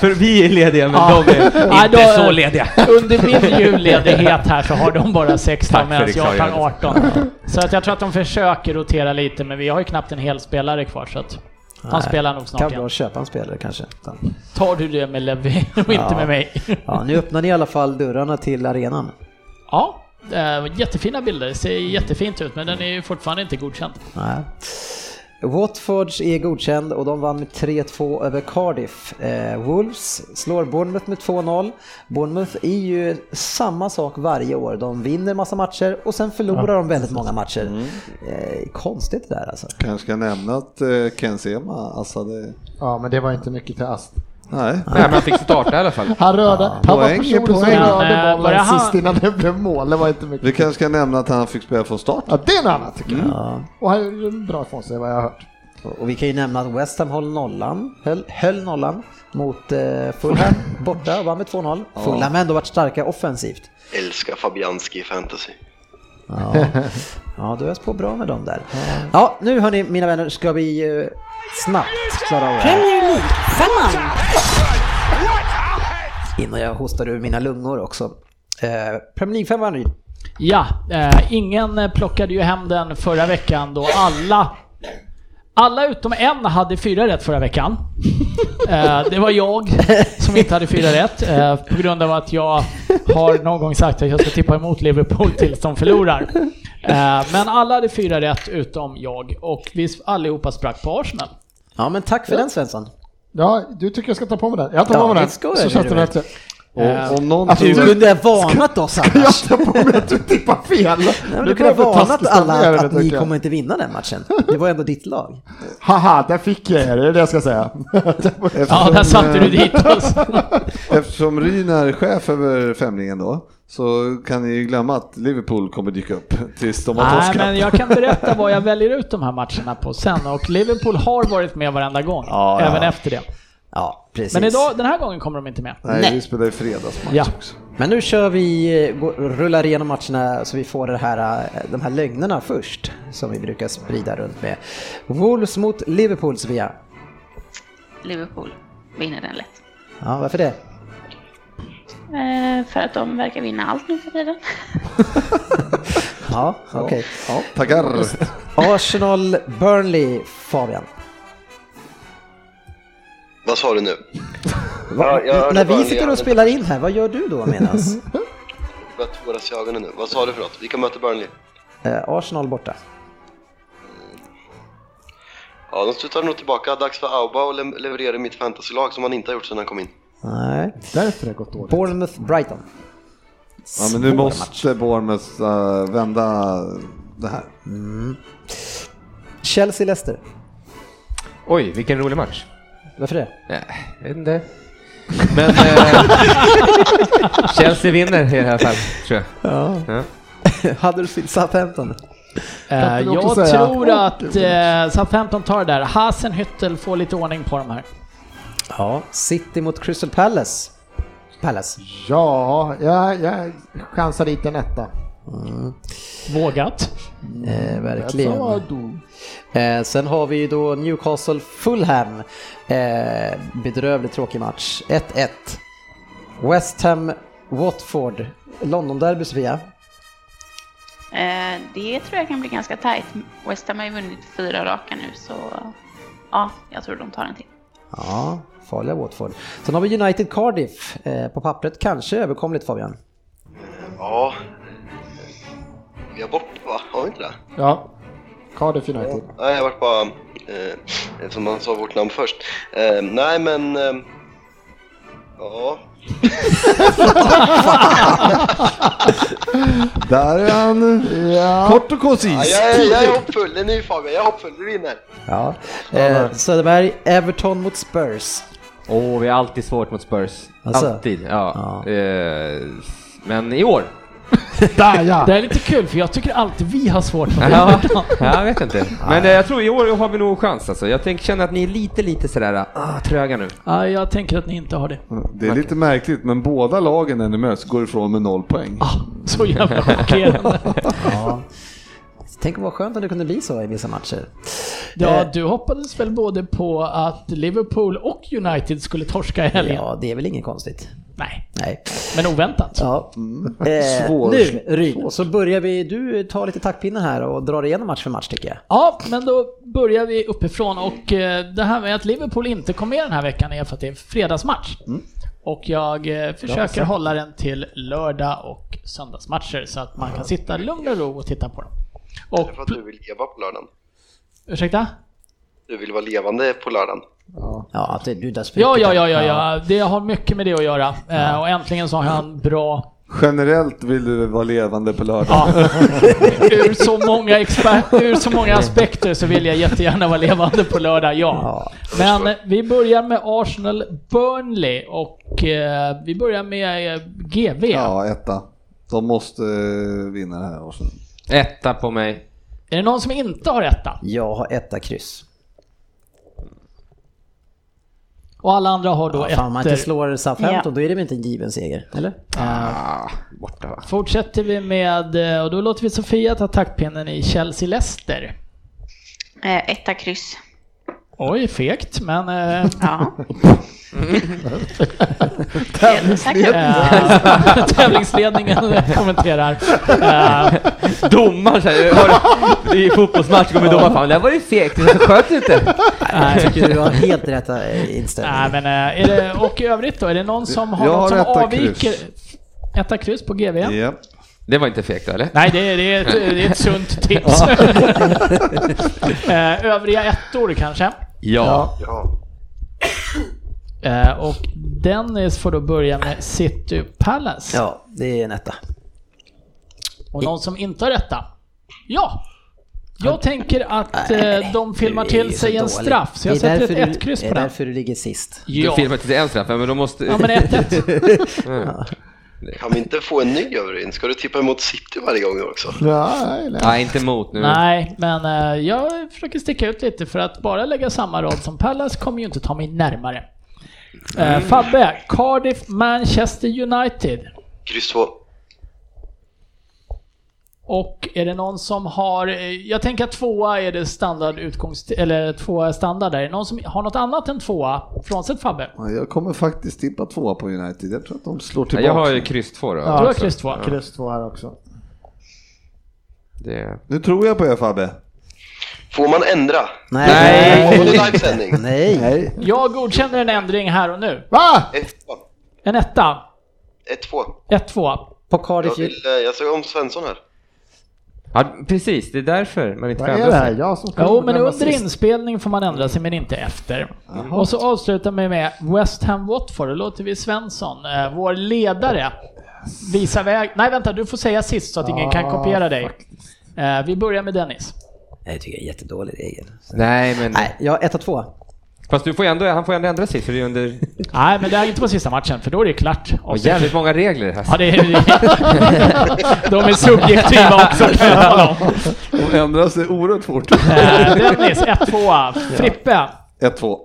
[SPEAKER 4] För vi är lediga men
[SPEAKER 3] Ja.
[SPEAKER 4] de är
[SPEAKER 3] Nej,
[SPEAKER 4] inte
[SPEAKER 3] då-
[SPEAKER 4] så lediga.
[SPEAKER 3] Under min julledighet här så har de bara 16
[SPEAKER 4] Tack för
[SPEAKER 3] medan jag tar
[SPEAKER 4] klargörandet.
[SPEAKER 3] 18. Så att jag tror att de försöker rotera lite men vi har ju knappt en hel spelare kvar så att han
[SPEAKER 2] Nej.
[SPEAKER 3] spelar nog
[SPEAKER 2] Kan
[SPEAKER 3] snart
[SPEAKER 2] vara
[SPEAKER 3] igen.
[SPEAKER 2] att köpa en spelare kanske. Utan-
[SPEAKER 3] Tar du det med Levi och inte
[SPEAKER 2] Ja.
[SPEAKER 3] med mig?
[SPEAKER 2] Ja, nu öppnar ni i alla fall dörrarna till arenan.
[SPEAKER 3] Ja, eh, jättefina bilder. Det ser jättefint ut, men den är ju fortfarande inte godkänd.
[SPEAKER 2] Nej. Watfords är godkänd och de vann med 3-2 över Cardiff. Eh, Wolves slår Bournemouth med 2-0. Bournemouth är ju samma sak varje år. De vinner massa matcher och sen förlorar de väldigt många matcher. Eh, konstigt det där alltså.
[SPEAKER 5] Kanske ska nämna att eh, Ken Sema assade...
[SPEAKER 15] Ja, men det var inte mycket till ast.
[SPEAKER 5] Nej.
[SPEAKER 4] Nej, men han fick starta i alla fall.
[SPEAKER 15] Han rörde, han var
[SPEAKER 5] Poäng är
[SPEAKER 15] personen som
[SPEAKER 5] poäng.
[SPEAKER 3] Men, eh,
[SPEAKER 15] rörde
[SPEAKER 3] var det
[SPEAKER 15] bollen
[SPEAKER 3] han-
[SPEAKER 15] sist innan det blev mål. Det var inte mycket.
[SPEAKER 5] Vi kanske ska nämna att han fick spela från start.
[SPEAKER 15] Ja, det är något annat tycker jag.
[SPEAKER 2] Ja.
[SPEAKER 15] Och han gjorde en bra ifrån sig vad jag har hört.
[SPEAKER 2] Och och vi kan ju nämna att West Ham höll nollan, höll, höll nollan mot eh, Fulham borta och vann med 2-0. Fulham har ändå varit starka offensivt.
[SPEAKER 7] Älskar Fabianski i fantasy.
[SPEAKER 2] Ja, ja du har på bra med dem där. Ja, nu hörni mina vänner ska vi eh, snabbt klara av det här
[SPEAKER 1] Premier League-femman.
[SPEAKER 2] innan jag hostar ur mina lungor också. Eh, Premier League 5 vann ju.
[SPEAKER 3] Ja, eh, ingen eh, plockade ju hem den förra veckan då alla alla utom en hade fyra rätt förra veckan. Eh, Det var jag som inte hade fyra rätt eh, på grund av att jag har någon gång sagt att jag ska tippa emot Liverpool tills de förlorar. Eh, Men alla hade fyra rätt utom jag och vi allihopa sprack på Arsenal.
[SPEAKER 2] Ja men tack för den Svensson.
[SPEAKER 15] Ja, du tycker jag ska ta på mig den. Jag tar
[SPEAKER 2] Ja,
[SPEAKER 15] på mig
[SPEAKER 2] det
[SPEAKER 15] den.
[SPEAKER 2] ska jag,
[SPEAKER 15] så
[SPEAKER 2] det
[SPEAKER 15] sätter
[SPEAKER 2] är
[SPEAKER 15] du rätt.
[SPEAKER 5] Och, om någon
[SPEAKER 19] Alltså, du
[SPEAKER 5] tror-
[SPEAKER 19] kunde ha varnat oss
[SPEAKER 18] Jag
[SPEAKER 19] annars.
[SPEAKER 18] tar på mig att du tippar fel.
[SPEAKER 19] Nej, men
[SPEAKER 18] Nu
[SPEAKER 19] du kunde ha
[SPEAKER 18] börjar vi
[SPEAKER 19] varnat
[SPEAKER 18] taskigt
[SPEAKER 19] alla
[SPEAKER 18] stämningar,
[SPEAKER 19] att,
[SPEAKER 18] vet
[SPEAKER 19] att
[SPEAKER 18] jag
[SPEAKER 19] ni
[SPEAKER 18] inte.
[SPEAKER 19] kommer inte vinna den matchen. Det var ändå ditt lag.
[SPEAKER 18] Haha, där fick jag er, det är det jag ska säga.
[SPEAKER 3] Ja, där satte du
[SPEAKER 5] eh,
[SPEAKER 3] dit oss.
[SPEAKER 5] Eftersom Ryn är chef över Femlingen då, så kan ni ju glömma att Liverpool kommer dyka upp tills de har
[SPEAKER 3] Nej,
[SPEAKER 5] torskat.
[SPEAKER 3] men jag kan berätta vad jag väljer ut de här matcherna på sen och Liverpool har varit med varenda gång,
[SPEAKER 5] Ja, ja.
[SPEAKER 3] även efter det.
[SPEAKER 2] Ja, precis.
[SPEAKER 3] Men idag, den här gången kommer de inte med.
[SPEAKER 5] Nej,
[SPEAKER 2] Nej.
[SPEAKER 5] vi spelar ju fredagsmatch
[SPEAKER 3] Ja.
[SPEAKER 5] också.
[SPEAKER 2] Men nu kör vi, eh, gå- rullar igenom matcherna så vi får det här, eh, de här lögnerna först som vi brukar sprida runt med. Wolves mot Liverpool, Sofia.
[SPEAKER 6] Liverpool vinner den lätt.
[SPEAKER 2] Ja, varför det?
[SPEAKER 6] Eh, för att de verkar vinna allt nu för tiden.
[SPEAKER 2] Ja, okej.
[SPEAKER 5] Ja, tackar.
[SPEAKER 2] Arsenal, Burnley, Fabian.
[SPEAKER 7] Vad sa du nu?
[SPEAKER 2] Va-
[SPEAKER 7] jag hörde
[SPEAKER 2] När
[SPEAKER 7] Burnley,
[SPEAKER 2] vi sitter
[SPEAKER 7] jag
[SPEAKER 2] och spelar in här, vad gör du då medans?
[SPEAKER 7] Jag tåras i ögonen nu. Vad sa du för något? Vilka möter Burnley?
[SPEAKER 2] Eh, Arsenal borta.
[SPEAKER 7] Ja, de slutar nog tillbaka. Dags för Auba att lem- leverera i mitt fantasylag som han inte har gjort sedan han kom in.
[SPEAKER 2] Nej.
[SPEAKER 18] Därför har det gått dåligt.
[SPEAKER 2] Bournemouth, Brighton.
[SPEAKER 5] Ja, men nu
[SPEAKER 2] Svår
[SPEAKER 5] måste Bournemouth eh, vända det här.
[SPEAKER 2] Chelsea, Leicester.
[SPEAKER 4] Oj, vilken rolig match.
[SPEAKER 2] Varför det?
[SPEAKER 4] Nej, jag vet inte. Men eh, Chelsea vinner i det här fallet, tror jag. Ja.
[SPEAKER 2] Huddersfield, Southampton.
[SPEAKER 3] Eh,
[SPEAKER 18] du
[SPEAKER 3] jag
[SPEAKER 18] också säga?
[SPEAKER 3] tror att eh, Southampton tar det där. Hasenhüttel får lite ordning på de här.
[SPEAKER 2] Ja. City mot Crystal Palace. Palace.
[SPEAKER 18] Ja, jag, jag chansar dit en etta.
[SPEAKER 3] Vågat.
[SPEAKER 2] Eh,
[SPEAKER 18] Jag sa
[SPEAKER 2] verkligen.
[SPEAKER 18] du.
[SPEAKER 2] Eh, sen har vi ju då Newcastle Fulham. Eh, bedrövligt tråkig match. 1-1. West Ham Watford. Londonderby Sofia.
[SPEAKER 6] Eh, det tror jag kan bli ganska tajt. West Ham har ju vunnit fyra raka nu så ja, jag tror de tar en till.
[SPEAKER 2] Ja, farliga Watford. Sen har vi United Cardiff. Eh, på pappret kanske överkomligt Fabian.
[SPEAKER 7] Ja... Vi har bort, va? Har vi inte det?
[SPEAKER 18] Ja, Cardiff United.
[SPEAKER 7] Nej, jag vart bara... Eh, eftersom man sa vårt namn först. Eh, nej, men... Eh, ja...
[SPEAKER 5] Där är han. Kort och
[SPEAKER 7] Ja,
[SPEAKER 5] koncis.
[SPEAKER 7] jag, är- jag är hoppfull. Det är ny Fabian. Jag är hoppfull. Vi vinner.
[SPEAKER 2] Ja. Eh, Söderberg, Everton mot Spurs.
[SPEAKER 4] Åh, vi har alltid svårt mot Spurs.
[SPEAKER 2] Alltså?
[SPEAKER 4] Alltid. Ja.
[SPEAKER 2] Ja.
[SPEAKER 4] Eh, men i år.
[SPEAKER 18] Där ja!
[SPEAKER 3] Det här är lite kul för jag tycker alltid vi har svårt med det.
[SPEAKER 4] Ja, jag vet inte. Men eh, jag tror i år har vi nog chans alltså. Jag tänker känna att ni är lite, lite sådär ah, tröga nu.
[SPEAKER 3] Ja, jag tänker att ni inte har det.
[SPEAKER 5] Det är lite märkligt, men båda lagen när ni möts går ifrån med noll poäng.
[SPEAKER 3] Ah, så jävla chockerande.
[SPEAKER 2] Ja. Tänk vad skönt om det kunde bli så i vissa matcher.
[SPEAKER 3] Ja, du hoppades väl både på att Liverpool och United skulle torska i helgen?
[SPEAKER 2] Ja, det är väl inget konstigt.
[SPEAKER 3] Nej,
[SPEAKER 2] Nej.
[SPEAKER 3] men oväntat.
[SPEAKER 2] Ja.
[SPEAKER 15] Mm.
[SPEAKER 2] Eh,
[SPEAKER 5] Svår-
[SPEAKER 2] nu Ryd, så börjar vi, du tar lite taktpinnen här och drar igenom match för match tycker jag.
[SPEAKER 3] Ja, men då börjar vi uppifrån och eh, det här med att Liverpool inte kom med den här veckan är för att det är fredagsmatch.
[SPEAKER 7] Mm.
[SPEAKER 3] Och jag eh, försöker hålla den till lördag och söndagsmatcher så att man kan sitta lugn och ro och titta på dem. Och,
[SPEAKER 7] Det är för att du vill leva på lördagen.
[SPEAKER 3] ursäkta?
[SPEAKER 7] Du vill vara levande på lördagen.
[SPEAKER 2] Ja, att det- du där sprutet
[SPEAKER 3] Ja, ja,
[SPEAKER 2] där.
[SPEAKER 3] ja, ja, ja, det har mycket med det att göra. Eh, Och äntligen så har jag en bra
[SPEAKER 5] Generellt vill du vara levande på lördag.
[SPEAKER 3] Ja. Ur så många exper- ur så många aspekter så vill jag jättegärna vara levande på lördag, ja. Men eh, vi börjar med Arsenal Burnley och eh, vi börjar med eh, GV.
[SPEAKER 5] Ja, etta. De måste eh, vinna det här. Arsenal.
[SPEAKER 4] Etta på mig.
[SPEAKER 3] Är det någon som inte har etta?
[SPEAKER 2] Jag har etta kryss.
[SPEAKER 3] Och alla andra har då
[SPEAKER 2] Fan, om man inte
[SPEAKER 3] ettor.
[SPEAKER 2] slår Southampton, då är det väl inte en given seger? Eller?
[SPEAKER 4] Borta va?
[SPEAKER 3] Fortsätter vi med, eh, och då låter vi Sofia ta taktpinnen i Chelsea-Leicester.
[SPEAKER 6] Eh, etta kryss.
[SPEAKER 3] Oj, fegt, men... eh,
[SPEAKER 6] Ja.
[SPEAKER 3] eh, Tävlingsledningen kommenterar. Eh,
[SPEAKER 4] Domaren säger, har- i fotbollsmatch kommer domaren fram. Det här var ju fegt, det sköt inte.
[SPEAKER 2] Jag tycker du har helt rätt eh, inställning.
[SPEAKER 3] Nej men eh, är det, och i övrigt då, är det någon som har
[SPEAKER 5] Jag
[SPEAKER 3] något som
[SPEAKER 5] har etta
[SPEAKER 3] avviker?
[SPEAKER 5] kryss.
[SPEAKER 3] Etta kryss på GV?
[SPEAKER 5] Japp.
[SPEAKER 4] Det var inte fegt eller?
[SPEAKER 3] Nej, det är, det, är ett, det är ett sunt tips. Eh, Övriga ettor kanske?
[SPEAKER 4] Ja.
[SPEAKER 7] Ja.
[SPEAKER 3] Eh, och Dennis får då börja med City Palace.
[SPEAKER 2] Ja, det är en etta.
[SPEAKER 3] Och någon som inte har detta? Ja! Jag tänker att eh, de filmar
[SPEAKER 2] Du är
[SPEAKER 3] till
[SPEAKER 2] så
[SPEAKER 3] sig en
[SPEAKER 2] dålig.
[SPEAKER 3] straff, så jag
[SPEAKER 2] Det är
[SPEAKER 3] sätter
[SPEAKER 2] därför
[SPEAKER 3] ett
[SPEAKER 2] du-
[SPEAKER 3] 1-kryss
[SPEAKER 2] Det
[SPEAKER 3] på
[SPEAKER 2] är
[SPEAKER 3] den.
[SPEAKER 2] därför du ligger sist.
[SPEAKER 4] Du
[SPEAKER 3] Ja,
[SPEAKER 4] filmar till en straff, ja, men då måste...
[SPEAKER 3] ja men 1-1.
[SPEAKER 7] Kan vi inte få en ny övervind? Ska du tippa emot City varje gång också?
[SPEAKER 15] Ja, eller?
[SPEAKER 4] Nej, inte emot
[SPEAKER 15] Mm.
[SPEAKER 4] nu.
[SPEAKER 3] Nej, men eh, jag försöker sticka ut lite för att bara lägga samma rad som Palace kommer ju inte ta mig närmare.
[SPEAKER 15] Mm.
[SPEAKER 3] Eh, Fabbe, Cardiff, Manchester United.
[SPEAKER 7] Kryss 2.
[SPEAKER 3] Och är det någon som har, eh, jag tänker att tvåa är det standard utgångs, eller tvåa är standard där. Är det någon som har något annat än tvåa? Frånsett Fabbe?
[SPEAKER 5] Ja, Jag kommer faktiskt tippa tvåa på United. Jag tror att de slår
[SPEAKER 4] Nej,
[SPEAKER 5] tillbaka.
[SPEAKER 4] Jag har ju kryss två då.
[SPEAKER 3] Du har
[SPEAKER 4] också.
[SPEAKER 3] kryss tvåa.
[SPEAKER 15] Kryss två här också.
[SPEAKER 4] Det...
[SPEAKER 5] Nu tror jag på er Fabbe.
[SPEAKER 7] Får man ändra?
[SPEAKER 2] Nej.
[SPEAKER 7] Får man
[SPEAKER 2] Nej.
[SPEAKER 7] i livesändning?
[SPEAKER 2] Nej.
[SPEAKER 5] Nej.
[SPEAKER 3] Jag godkänner en ändring här och nu.
[SPEAKER 15] Va?
[SPEAKER 7] 1-2.
[SPEAKER 3] En etta.
[SPEAKER 7] 1-2.
[SPEAKER 3] 1-2.
[SPEAKER 2] På
[SPEAKER 7] Jag,
[SPEAKER 2] Cardiff...
[SPEAKER 7] vill, eh, jag såg om Svensson här.
[SPEAKER 4] Ja, precis. Det är därför man inte
[SPEAKER 15] Vad
[SPEAKER 4] kan
[SPEAKER 15] är
[SPEAKER 4] ändra
[SPEAKER 15] det här?
[SPEAKER 4] sig.
[SPEAKER 15] Jag som
[SPEAKER 3] Jo, men
[SPEAKER 15] glömma
[SPEAKER 3] under
[SPEAKER 15] sist.
[SPEAKER 3] inspelning får man ändra sig, men inte efter. Och så avslutar vi med West Ham Watford. Då låter vi Svensson, eh, vår ledare, visa väg. Nej, vänta, du får säga sist så att ingen kan kopiera dig. Eh, vi börjar med Dennis.
[SPEAKER 2] Nej, jag tycker det är en jättedålig regel.
[SPEAKER 4] Nej, men...
[SPEAKER 2] Nej, jag har etta tvåa.
[SPEAKER 4] Fast du får ju ändå, han får ju ändå ändra sig, för det är under...
[SPEAKER 3] Nej, men det är inte på sista matchen, för då är det klart.
[SPEAKER 4] Och jävligt många regler här.
[SPEAKER 3] Ja, det är, de är subjektiva också kan jag tala om.
[SPEAKER 5] De ändrar sig oerhört fort.
[SPEAKER 3] Eh, Dennis, 1-2. Frippe,
[SPEAKER 5] 1-2.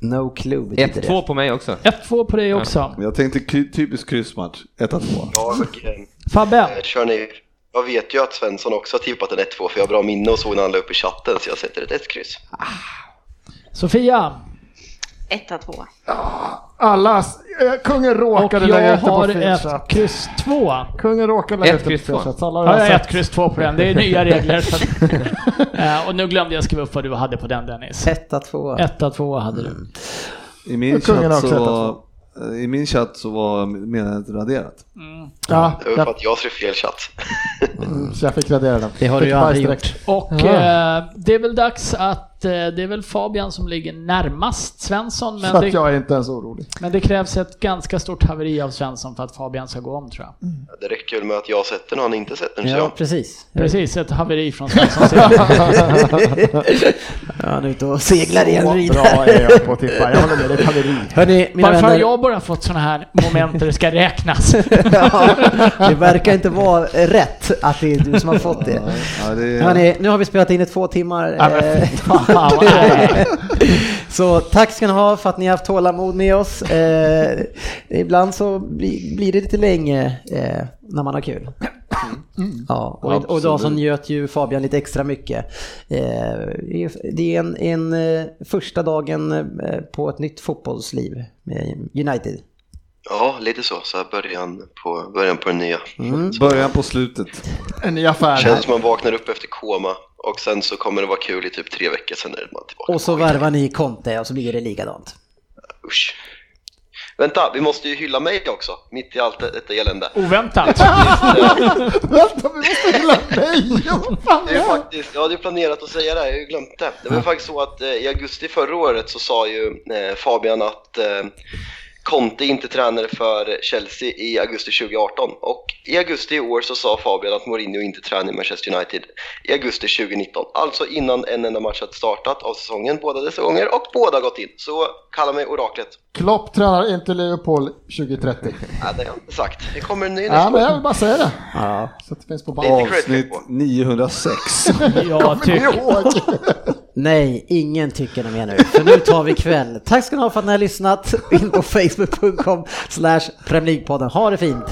[SPEAKER 2] No clue betyder det.
[SPEAKER 4] 1-2 på mig också.
[SPEAKER 3] 1-2 på dig också.
[SPEAKER 5] Jag tänkte kry- typisk kryssmatch. 1-2.
[SPEAKER 7] Jag eh,
[SPEAKER 3] Fabbe,
[SPEAKER 7] kör ni. Jag vet ju att Svensson också har tippat en 1-2 för jag har bra minne och såg när han la upp i chatten så jag sätter ett 1-kryss.
[SPEAKER 3] Sofia,
[SPEAKER 6] Etta, tvåa.
[SPEAKER 15] Alla, s- eh, kungen
[SPEAKER 3] och
[SPEAKER 15] råkade lägga
[SPEAKER 3] jag
[SPEAKER 15] ut det på
[SPEAKER 3] har
[SPEAKER 15] fel
[SPEAKER 3] ett
[SPEAKER 15] chatt.
[SPEAKER 3] kryss 2.
[SPEAKER 15] Kungen råkade lägga
[SPEAKER 4] Ett
[SPEAKER 15] ut det på
[SPEAKER 4] kryss
[SPEAKER 15] fel
[SPEAKER 4] två.
[SPEAKER 15] chatt. så alla har
[SPEAKER 3] Ja, jag har
[SPEAKER 15] sett.
[SPEAKER 3] ett kryss två på den. Det är nya regler. Så att, Eh, och nu glömde jag skriva upp vad du hade på den Dennis.
[SPEAKER 2] Etta tvåa.
[SPEAKER 3] Etta, tvåa hade du.
[SPEAKER 5] I min
[SPEAKER 15] Och kungen har
[SPEAKER 5] chatt
[SPEAKER 15] också
[SPEAKER 5] så
[SPEAKER 15] ett
[SPEAKER 5] var... I min chatt så var meddelandet raderat.
[SPEAKER 15] Ja,
[SPEAKER 7] Det var för
[SPEAKER 15] jag,
[SPEAKER 7] att jag skrev fel chatt.
[SPEAKER 15] så jag fick radera den.
[SPEAKER 2] Det har du ju
[SPEAKER 15] Fick bajs
[SPEAKER 2] aldrig
[SPEAKER 15] direkt.
[SPEAKER 3] Och eh, det är väl dags att eh, det är väl Fabian som ligger närmast Svensson.
[SPEAKER 15] Så
[SPEAKER 3] Men
[SPEAKER 15] att
[SPEAKER 3] det,
[SPEAKER 15] jag är inte ens orolig.
[SPEAKER 3] men det krävs ett ganska stort haveri av Svensson för att Fabian ska gå om tror jag.
[SPEAKER 7] Det räcker väl med att jag sätter den och han inte sätter den. så
[SPEAKER 2] Ja,
[SPEAKER 7] jag-
[SPEAKER 2] precis.
[SPEAKER 3] Precis, ett haveri från Svenssons sida.
[SPEAKER 2] Ja, han är ute och seglar igen,
[SPEAKER 15] Så
[SPEAKER 2] Rydberg.
[SPEAKER 15] bra är jag på att tippa. Jag håller med, det är ett haveri.
[SPEAKER 2] Hörni, mina
[SPEAKER 3] Varför har
[SPEAKER 2] vänner.
[SPEAKER 3] jag bara fått sådana här moment där det ska räknas?
[SPEAKER 2] ja, det verkar inte vara rätt att det är du som har fått det.
[SPEAKER 5] Ja, det
[SPEAKER 2] Hörni, nu har vi spelat in i två timmar.
[SPEAKER 3] Ja, men
[SPEAKER 2] Eh,
[SPEAKER 3] Fan, vad är det?
[SPEAKER 2] Så tack ska ni ha för att ni har haft tålamod med oss. Eh, ibland så bli, blir det lite länge eh, när man har kul.
[SPEAKER 3] Mm.
[SPEAKER 2] Ja, och, och idag så
[SPEAKER 5] Absolut.
[SPEAKER 2] njöt ju Fabian lite extra mycket. Eh, det är- det är en, en eh, första dagen eh, på ett nytt fotbollsliv med United.
[SPEAKER 7] Ja, lite så. Så här början på, början på den nya.
[SPEAKER 5] Början på slutet.
[SPEAKER 15] En ny affär.
[SPEAKER 7] Känns som man vaknar upp efter koma och sen så kommer det vara kul i typ tre veckor, sen är man tillbaka.
[SPEAKER 2] Och så värvar ni Conte och så blir det likadant.
[SPEAKER 7] Usch. Vänta, vi måste ju hylla mig också, mitt i allt det- detta elände.
[SPEAKER 3] Oväntat.
[SPEAKER 15] Vänta, vi måste hylla mig! Vad fan är
[SPEAKER 7] Det är
[SPEAKER 15] det
[SPEAKER 7] ju
[SPEAKER 15] här?
[SPEAKER 7] faktiskt, jag hade ju planerat att säga det, här, jag har ju glömt det. Det var ju faktiskt så att eh, i augusti förra året så sa ju eh, Fabian att eh, Conte inte tränade för Chelsea i augusti 2018 och i augusti i år så sa Fabian att Mourinho inte tränar i Manchester United i augusti 2019. Alltså innan en enda match hade startat av säsongen båda dessa gånger och båda gått in. Så kalla mig oraklet.
[SPEAKER 15] Klopp tränar inte Liverpool 2030.
[SPEAKER 7] Nej, Äh, det har jag inte sagt. Det kommer en ny
[SPEAKER 15] Ja,
[SPEAKER 7] nästa
[SPEAKER 15] men
[SPEAKER 7] år.
[SPEAKER 15] jag vill bara säga det. Så att det finns på band.
[SPEAKER 7] Lite cred
[SPEAKER 5] Avsnitt
[SPEAKER 7] på.
[SPEAKER 5] 906.
[SPEAKER 3] Jag tycker...
[SPEAKER 15] Ihåg.
[SPEAKER 2] Nej, ingen tycker det mer nu. För nu tar vi kväll. Tack ska ni ha för att ni har lyssnat. In på facebook.com slash Premier League-podden. Ha det fint!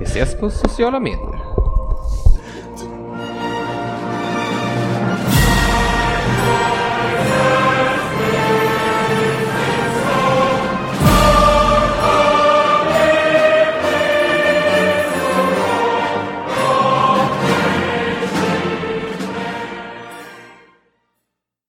[SPEAKER 4] Vi ses på sociala medier.